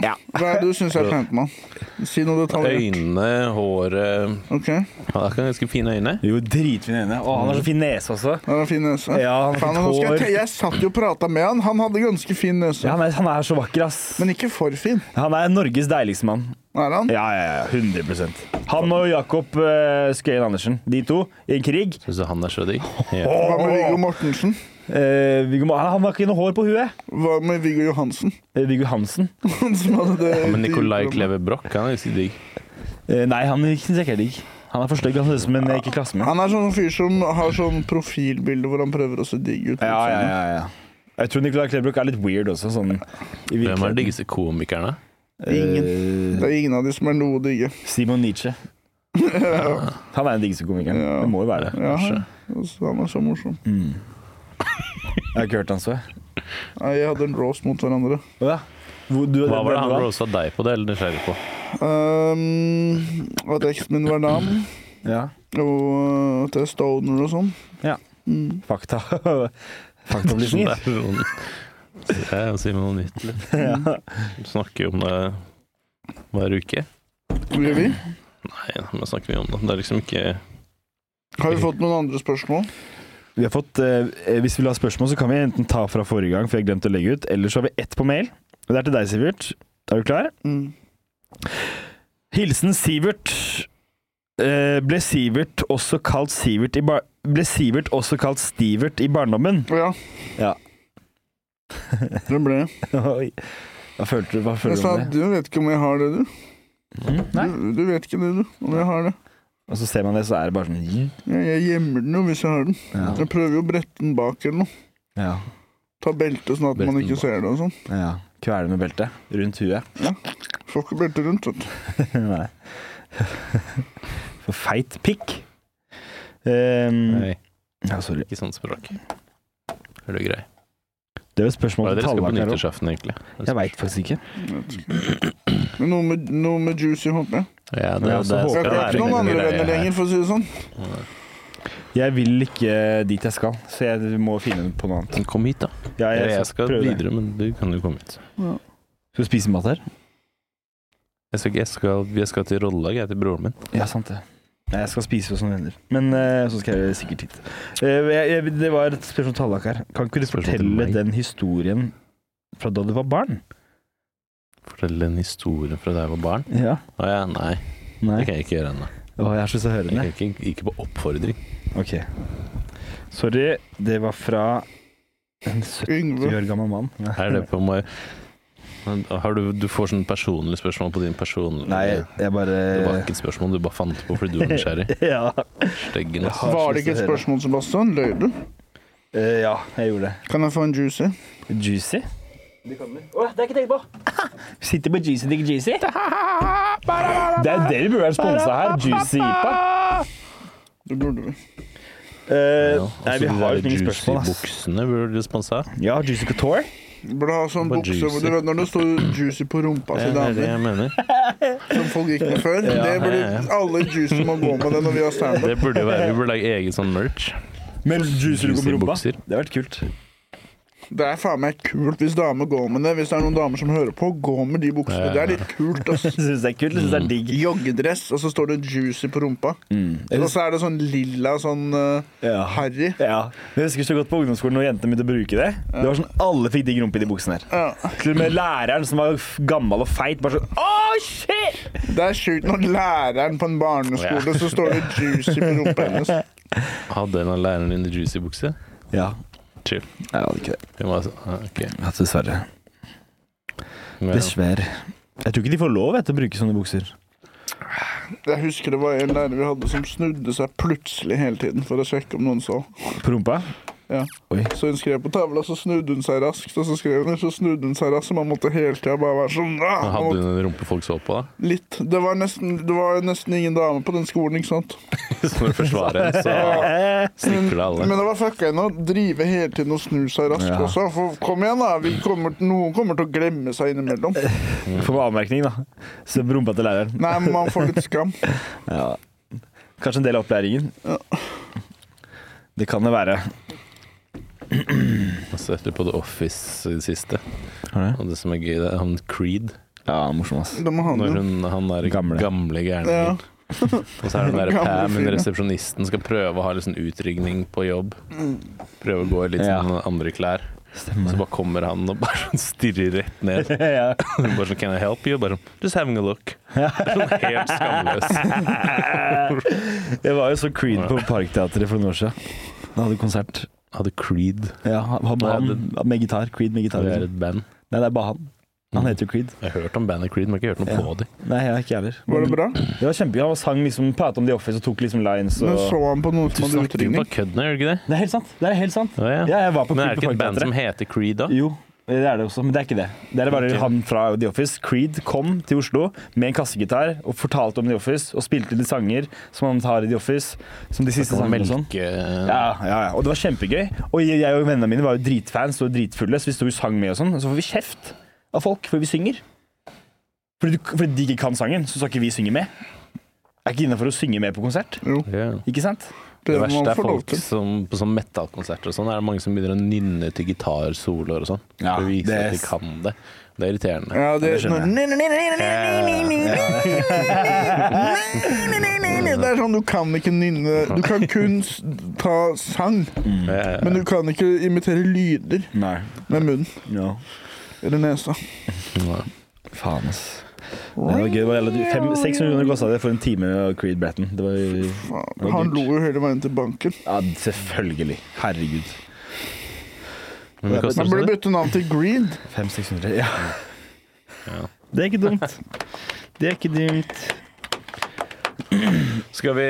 S1: Ja.
S3: Hva er det du syns er pent med han? Si noe detaljer.
S2: Øynene, håret
S3: OK. Han
S2: Han har ikke ganske fine øyne.
S1: Jo, dritfine øyne. Og han har så fin nese også.
S3: har fin nese.
S1: Ja, han har
S3: Faen,
S1: fint
S3: nå skal jeg,
S1: hår.
S3: te- jeg satt jo og prata med han. Han hadde ganske fin nese.
S1: Ja, han, er, han er så vakker, ass.
S3: Men ikke for fin.
S1: Han er Norges deiligste mann.
S3: Er han?
S1: Ja, ja, ja. 100 Han og Jakob eh, Skøyen Andersen, de to, i en krig.
S2: Syns du han er så digg? Ja.
S3: Hva med Viggo Mortensen?
S1: Eh, Viggo, Mo- han har ikke noe hår på huet.
S3: Hva med Viggo Johansen?
S1: Eh, Viggo Hansen.
S3: Han (laughs) som hadde det
S2: Men Nicolai Kleve Broch, han er ganske digg.
S1: Eh, nei, han syns jeg ikke er digg. Han er for stygg, han ser ut som en jeg ikke klasse med.
S3: Han er sånn fyr som har sånn profilbilde hvor han prøver å se digg ut.
S1: Ja, ja, ja, ja. Jeg tror Nicolai Klebrok er litt weird også, sånn
S2: Hvem
S1: i
S2: er de
S1: virkeligheten.
S2: diggeste komikerne?
S1: Eh,
S3: Det er ingen av de som er noe digge.
S1: Simon
S3: (laughs)
S1: Nietzsche. Han er den diggeste komikeren.
S3: Ja.
S1: Det må jo være det.
S3: Ja, altså, han er så morsom.
S1: Jeg har ikke hørt han så. jeg.
S3: Nei, Jeg hadde en roast mot hverandre.
S1: Å ja. Hvor- du-
S2: Hva var det han
S1: hvem
S2: rosa deg på? Det er jeg litt nysgjerrig på.
S3: Um, at eksen min var dam,
S1: Ja.
S3: og eh, at jeg er stoner og sånn.
S1: Fakta. (laughs) Faktaopplysninger.
S2: Det er noen- Så jeg sier noe nytt. litt.
S1: (laughs)
S2: Du snakker jo om det hver uke.
S3: Gjør vi?
S2: Nei, men snakker vi om det? Det er liksom ikke
S3: Har vi fått noen andre spørsmål?
S1: Vi har fått, eh, hvis vi vil ha spørsmål, så kan vi enten ta fra forrige gang, for jeg glemte å legge ut, eller så har vi ett på mail. Og Det er til deg, Sivert. Er du klar?
S3: Mm.
S1: Hilsen Sivert. Eh, ble Sivert også kalt Sivert i bar... Ble Sivert også kalt Stivert i barndommen?
S2: (laughs)
S3: Ja. (laughs)
S1: Ja.
S3: Den ble jeg.
S1: Oi. Hva følte du, hva
S3: Jeg
S1: føler du
S3: sa
S1: om
S2: Altså,
S1: det?
S3: du vet ikke om jeg har det, du.
S1: Mm, nei.
S3: Du, du vet ikke det, du. Om jeg har det.
S1: Og så ser man det, så er det bare sånn
S3: Jeg, jeg gjemmer den jo hvis jeg har den.
S1: Ja.
S3: Jeg prøver jo å brette den bak eller noe.
S1: Ja.
S3: Ta belte sånn at man
S2: Brette den
S3: ikke
S2: bak.
S3: ser det og sånn.
S1: ja. Kvele med beltet
S2: (laughs)
S1: rundt huet.
S3: Får ikke belte rundt, vet du.
S1: nei. For feit pikk. Um,
S2: Nei,
S1: ja, sorry.
S2: ikke sånt språk. Er du grei?
S1: Det er jo et
S2: Hva er
S1: spørsmål
S2: det dere
S1: til
S2: skal på
S1: tallmakeren. også.
S2: nyttårsaften, egentlig?
S1: Jeg veit faktisk ikke.
S3: Men noe med, noe med juicy, håper jeg.
S2: Ja,
S1: Men jeg
S2: det,
S1: også
S2: det
S1: håper
S3: Jeg
S2: skal
S1: det
S3: har
S2: være
S3: ikke noen andre venner lenger, for å si det sånn.
S1: Jeg vil ikke dit jeg skal, så jeg må finne på noe annet.
S2: Men Kom hit, da.
S1: Ja,
S2: Jeg, skal
S1: prøve det.
S2: videre, men du kan jo komme hit.
S1: Skal du spise mat her?
S2: Jeg skal, jeg skal, jeg skal til rollelag, jeg, til broren min.
S1: Ja, sant det. Nei, Jeg skal spise hos noen venner. Men eh, så skal jeg sikkert hit. Eh, jeg, jeg, det var et spørsmål til Hallak her. Kan ikke du
S2: Spørsmål til
S1: fortelle
S2: meg?
S1: den historien fra da du var barn?
S2: Fortell en historie fra da jeg var barn.
S1: Ja.
S2: Å ja, nei.
S1: Nei.
S2: Det kan jeg ikke gjøre ennå.
S1: Å, jeg er så så
S2: Jeg
S1: hørende.
S2: kan ikke, ikke på oppfordring.
S1: Ok. Sorry, det var fra en 70
S3: Yngve.
S1: år gammel mann.
S2: Er det på meg Men har du, du får sånne personlige spørsmål på din personlige
S1: Nei, eh, jeg bare
S2: Det
S1: (laughs)
S2: var ikke et spørsmål du bare fant på fordi du var nysgjerrig.
S1: Ja.
S2: Steggen, sånn. ass.
S1: Har så
S3: Var det ikke et
S1: lyst til å høre.
S3: spørsmål, Sebastian? Løy du?
S1: Eh, ja, jeg gjorde det.
S3: Kan jeg få en juicy?
S1: Juicy? det er ikke tenkt på! (laughs) Sitter på Juicy Dick Juicy. Det er (laughs) det vi burde være sponsa her. Juicy IPA.
S3: Det burde vi.
S1: Eh,
S2: Ja, og
S1: nei,
S2: så
S1: vi
S2: de
S1: har jo
S2: der
S1: ikke noen spørsmål.
S2: Juicy
S1: Ass. Altså,
S2: buksene burde du sponsa.
S1: Ja, Juicy Couture.
S3: Du Burde ha sånn
S2: Bare
S3: bukse
S2: juicy.
S3: hvor du vet når det står juicy på rumpa til
S2: Det er
S3: damer,
S2: det jeg mener.
S3: som folk gikk med før. Det
S2: ja,
S3: burde
S2: ja.
S3: alle juicy må gå med det når vi har standup.
S2: Det
S3: (laughs)
S2: burde jo være Vi burde lage egen sånn merch.
S1: Men juicer
S2: Juicy bukser.
S1: Det har vært kult.
S3: Det er faen meg kult hvis damer går med det. Hvis det er noen damer som hører på, gå med de buksene. Det er litt kult, ass.
S1: Syns det er kult. Syns det er digg.
S3: Joggedress, og så står det juicy på rumpa.
S1: Jeg
S3: Og så er det sånn lilla sånn eh,
S1: Ja.
S3: harry.
S1: Ja. Men Jeg husker så godt på ungdomsskolen når jentene begynte å bruke det. Det var sånn Alle fikk digg rumpe i de buksene her.
S3: Ja.
S1: Til og med læreren som var f- gammel og feit, bare sånn Å, shit!
S3: Det er sjukt når læreren på en barneskole, så står det juicy på rumpa hennes.
S2: Hadde en av lærerne dine juicy bukse?
S1: Ja.
S2: Chill.
S1: Jeg hadde ikke det.
S2: Det var så, ah, ok.
S1: Ja, dessverre.
S2: Men,
S1: Dessverre. Jeg tror ikke de får lov vet, til å bruke sånne bukser.
S3: Jeg husker det var en lærer vi hadde som snudde seg plutselig hele tiden for å sjekke om noen så.
S1: På rumpa?
S3: Ja.
S1: Oi.
S3: Så hun skrev på tavla, så snudde hun seg raskt, og så skrev hun, så snudde hun seg raskt, så man måtte hele tida bare være sånn ah, man
S2: Hadde
S3: måtte,
S2: hun en rumpe folk så på, da? (laughs)
S3: Litt. Det var, nesten, det var nesten ingen dame på den skolen, ikke sant?
S2: Så når du forsvarer henne, så
S1: Eh,
S2: stikker
S3: (laughs) Men
S2: det alle.
S3: det var fucka inn å drive hele tiden og snu seg raskt
S1: Ja.
S3: også. For kom igjen, da. Vi kommer, noen kommer til å glemme seg innimellom.
S1: Får med avmerkning, da. Så på rumpa til læreren.
S3: Nei, men man får litt skam.
S1: Ja. Kanskje en del av opplæringen. Det kan det være.
S2: Og så etter på The Office i det siste.
S1: Har
S2: Og det som er gøy, det er han Creed.
S1: Ja, morsom, ass.
S3: Det må han
S2: Når
S3: jo.
S2: hun, han er
S1: Gamle.
S2: gamle, gamle
S3: Ja.
S2: gærningen. Og så er det den der
S3: (laughs) Gamle
S2: Pam, hun
S3: fyren.
S2: resepsjonisten, skal prøve å ha litt sånn utrygning på jobb.
S3: Mm.
S2: Prøve å gå i litt
S1: Ja.
S2: sånn andre klær.
S1: Stemmer.
S2: Så bare kommer han og bare sånn stirrer rett ned.
S1: (laughs) ja.
S2: Hun bare sånn, Can I help you? Bare sånn, Just having a look. Sånn helt skamløs.
S1: Jeg var jo så Creed på Parkteatret for noen år siden. Da hadde vi konsert.
S2: Hadde Creed
S1: Ja, han, han, med gitar. Creed med gitar.
S2: Det er
S1: Liksom.
S2: et band.
S1: Nei, det er bare han. Han heter jo Creed.
S2: Jeg har hørt om bandet Creed, men jeg har ikke hørt noe på dem.
S1: Nei, jeg har ikke heller.
S3: Var det bra?
S1: Det var kjempegøy. Han sang liksom, pratet om The Office og tok liksom lines og
S3: Men så han på noen
S2: Du
S3: som hadde
S2: snakker jo
S3: utrygning?
S2: bare kødd nå, gjør du ikke det?
S1: Det er helt sant. Det er helt sant.
S2: Ja, ja.
S1: Ja, jeg var på
S2: Men er
S1: Creed
S2: det
S1: på
S2: ikke et band som
S1: Parkteatret.
S2: heter Creed, da?
S1: Jo, det er det også, men det er ikke det. Det er bare
S2: Ok.
S1: han fra The Office. Creed kom til Oslo med en kassegitar og fortalte om The Office og spilte de sanger som han tar i The Office, som de siste
S2: Sånn
S1: sangene og sånn.
S2: melke...
S1: Ja, ja, ja. Og det var kjempegøy. Og jeg jeg og vennene mine var jo dritfans og dritfulle, så vi sto og sang med og sånn. Og så får vi kjeft av folk fordi vi synger. Fordi, du, fordi de ikke kan sangen, så skal ikke vi synge med. Er ikke innafor å synge med på konsert,
S2: Ja.
S1: ikke sant?
S2: Det
S3: Det må
S2: verste
S3: man
S2: er
S3: få lov
S2: folk
S3: til.
S2: som på sånn metal-konserter og sånn, er det mange som begynner å nynne til gitarsoloer og sånn.
S1: Ja,
S2: for å vise
S1: det-
S2: at de kan det. Det er irriterende.
S3: Ja, det, sånn
S1: det skjønner jeg.
S3: (laughs) det er sånn, du kan ikke nynne Du kan kun s- ta sang,
S2: Eh,
S3: men du kan ikke imitere lyder
S1: Nei.
S3: med munnen
S1: Ja.
S3: eller nesa.
S2: ja.
S1: Faen, ass. Det var gøy. Det var jævla dyrt. Fem- 600 kroner kosta det for en time av Creed Bratton. Det var jo
S3: Faen, Han lo jo hele veien til banken.
S1: Ja, selvfølgelig. Herregud.
S2: Men det koster
S3: Han burde
S2: sånn.
S3: bytte navn til Greed.
S1: 500-600, ja. Det er ikke dumt. Det er ikke dumt.
S2: Skal vi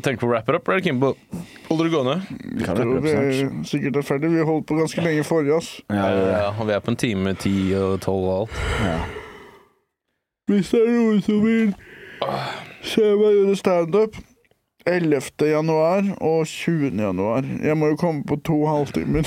S2: tenke på wrapper up, eller Kimbo? Holder du gående?
S1: Vi kan
S3: Tror
S1: rappe
S3: vi
S1: opp snart.
S3: er sikkert er ferdig. Vi holdt på ganske lenge forrige, ass.
S1: Ja, ja, ja.
S2: Ja, og vi er på en time, ti og tolv og alt.
S3: Hvis det er noen som vil se meg gjøre standup 11. januar og 20. januar. Jeg må jo komme på to halvtimer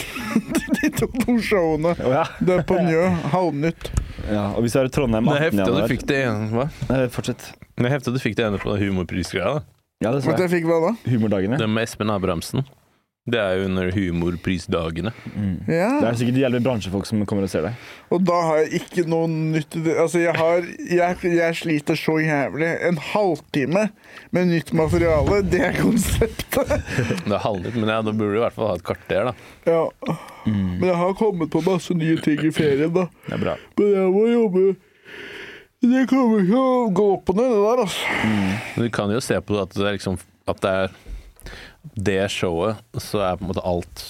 S3: (laughs) til de to to showene.
S1: Å, ja.
S3: Det er på Njø. Halvnytt.
S1: Ja, og hvis du er i Trondheim
S2: Det er heftig
S1: 18.
S2: at du
S1: januar
S2: fikk det ene hva?
S1: Nei, Fortsett.
S2: Det er heftig at du fikk det ene på den humorprisgreia. da.
S1: Ja, det sa
S3: Vet
S1: jeg.
S3: jeg fikk hva da?
S1: Humordagene.
S2: Det med Espen Abrahamsen. Det er jo under humorprisdagene.
S1: Det
S3: Ja.
S1: er sikkert jævlig bransjefolk som kommer og ser deg.
S3: Og da har jeg ikke noe nytt i det. Altså, jeg har jeg, jeg sliter så jævlig. En halvtime med nytt materiale, det er konseptet. (laughs)
S2: Det er halvnytt, men ja, da burde du i hvert fall ha et kvarter, da.
S3: Ja.
S1: Mm.
S3: Men jeg har kommet på masse nye ting i ferien, da.
S1: Det er bra.
S3: Men jeg må jobbe Det kommer ikke å gå opp og ned, det der, altså.
S2: Men du kan jo se på det at det er liksom At det er det showet, så er på en måte alt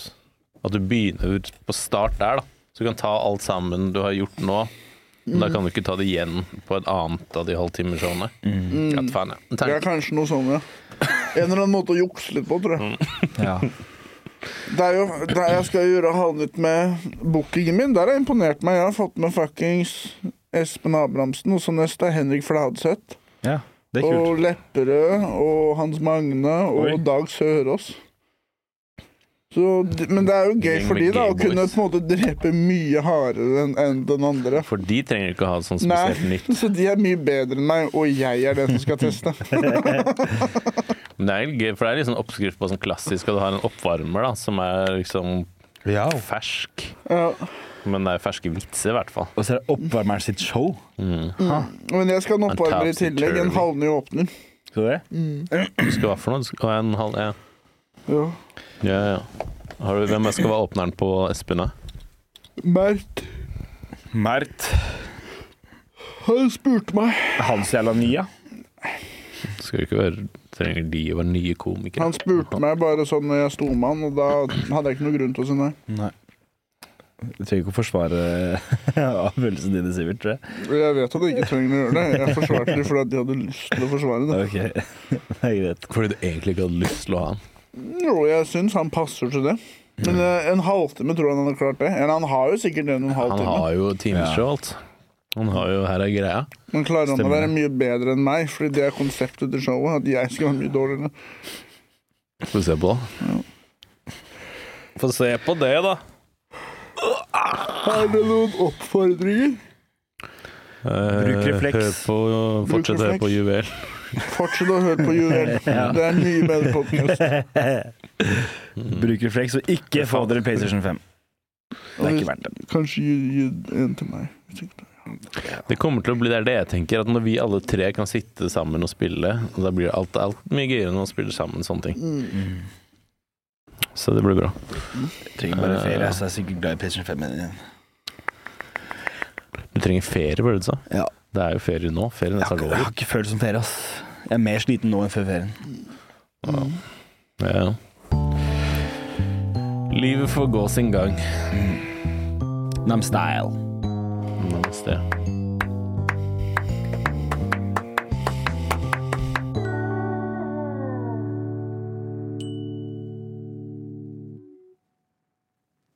S2: At du begynner ut på start der, da. Så du kan ta alt sammen du har gjort nå. Men da kan du ikke ta det igjen på et annet av de halvtimeshowene. Mm. Ja, faen, ja.
S3: Det
S2: Tenk-
S3: er kanskje noe sånn, ja. En eller annen måte å jukse litt på, tror
S2: Mm.
S3: jeg.
S1: Ja.
S3: Det er jo, det er, jeg skal gjøre halvnytt med bookingen min. Der har jeg imponert meg. Jeg har fått med fuckings Espen Abrahamsen, og så neste er Henrik Fladseth.
S1: ja. Det er kult.
S3: Og Lepperød og Hans Magne og
S1: Oi.
S3: Dag Sørås. Så, d- men det er jo gøy
S2: Gjeng
S3: for
S2: med
S3: de da, å
S2: gay
S3: kunne
S2: boys.
S3: på en måte drepe mye hardere enn enn den andre.
S2: For de trenger ikke å ha sånn
S3: Nei,
S2: spesielt
S3: (laughs)
S2: nytt.
S3: så de er mye bedre enn meg, og jeg er den som skal teste.
S2: Men det er litt gøy, for det er litt sånn oppskrift på sånn klassisk at du har en oppvarmer da, som er liksom
S4: Ja.
S2: Fersk.
S3: Ja.
S2: Men det er ferske vitser, i hvert fall. Mm.
S1: Og så er det oppvarmeren sitt show.
S3: Men jeg skal ha en oppvarmer i
S2: Topsy-turvy.
S3: tillegg. En halvny åpner.
S1: Skal du det?
S2: Du skal hva for noe? Du skal ha en halv ja.
S3: Ja.
S2: Ja, ja. Har du, hvem skal være åpneren på Espen? da?
S3: Mert,
S1: Mert
S3: han spurte meg
S1: Hans jævla nia.
S2: Skal du ikke være Trenger de å være nye komikere?
S3: Han spurte meg bare sånn når jeg sto med han, og da hadde jeg ikke noe grunn til å si nei.
S1: Du trenger ikke å forsvare (laughs) avgjørelsen din, Sivert. tror jeg.
S3: Jeg vet at jeg ikke trenger å gjøre det. Jeg forsvarte det fordi at de hadde lyst til å forsvare det.
S1: Ok, (laughs) det er greit.
S2: Fordi du egentlig ikke hadde lyst til å ha han.
S3: Jo, jeg syns han passer til det. Men eh, en halvtime tror han hadde klart det. Eller han har jo sikkert en, og en halv
S2: Han
S3: time.
S2: har jo timeshow og alt. Han har jo Her er greia.
S3: Men klarer han å
S1: Stemmer
S3: være mye bedre enn meg? Fordi det er konseptet til showet. At jeg skal være mye dårligere.
S2: Få se på, da. Få se på det, da.
S3: Er det noen oppfordringer?
S2: Bruk
S1: refleks.
S2: Eh, Hør på, fortsett å høre på
S3: refleks.
S2: Juvel.
S3: Fortsett å høre på
S1: (laughs)
S3: Juvel. Det er en mye bedre podkast.
S2: Mhm.
S1: Bruk refleks og ikke få dere PlayStation 5. Det er ikke verdt det.
S3: Kanskje gi gi en til meg.
S2: Det kommer til å bli det er det jeg tenker, at når vi alle tre kan sitte sammen og spille, og da blir alt, alt mye gøyere når vi spiller sammen sånne ting.
S1: Mm.
S2: Så det blir bra.
S1: Jeg trenger bare ferie, så jeg er sikkert glad i PlayStation 5 igjen.
S2: Du trenger ferie, var det du sa?
S1: Ja.
S2: Det er jo ferie nå. Ferie
S1: Jeg
S2: nesten er
S1: har, ikke- jeg
S2: over.
S1: har ikke følt som ferie, ass. Jeg er mer sliten nå enn før ferien.
S2: Ja. Livet får gå sin gang.
S1: Nam style.
S2: Namaste.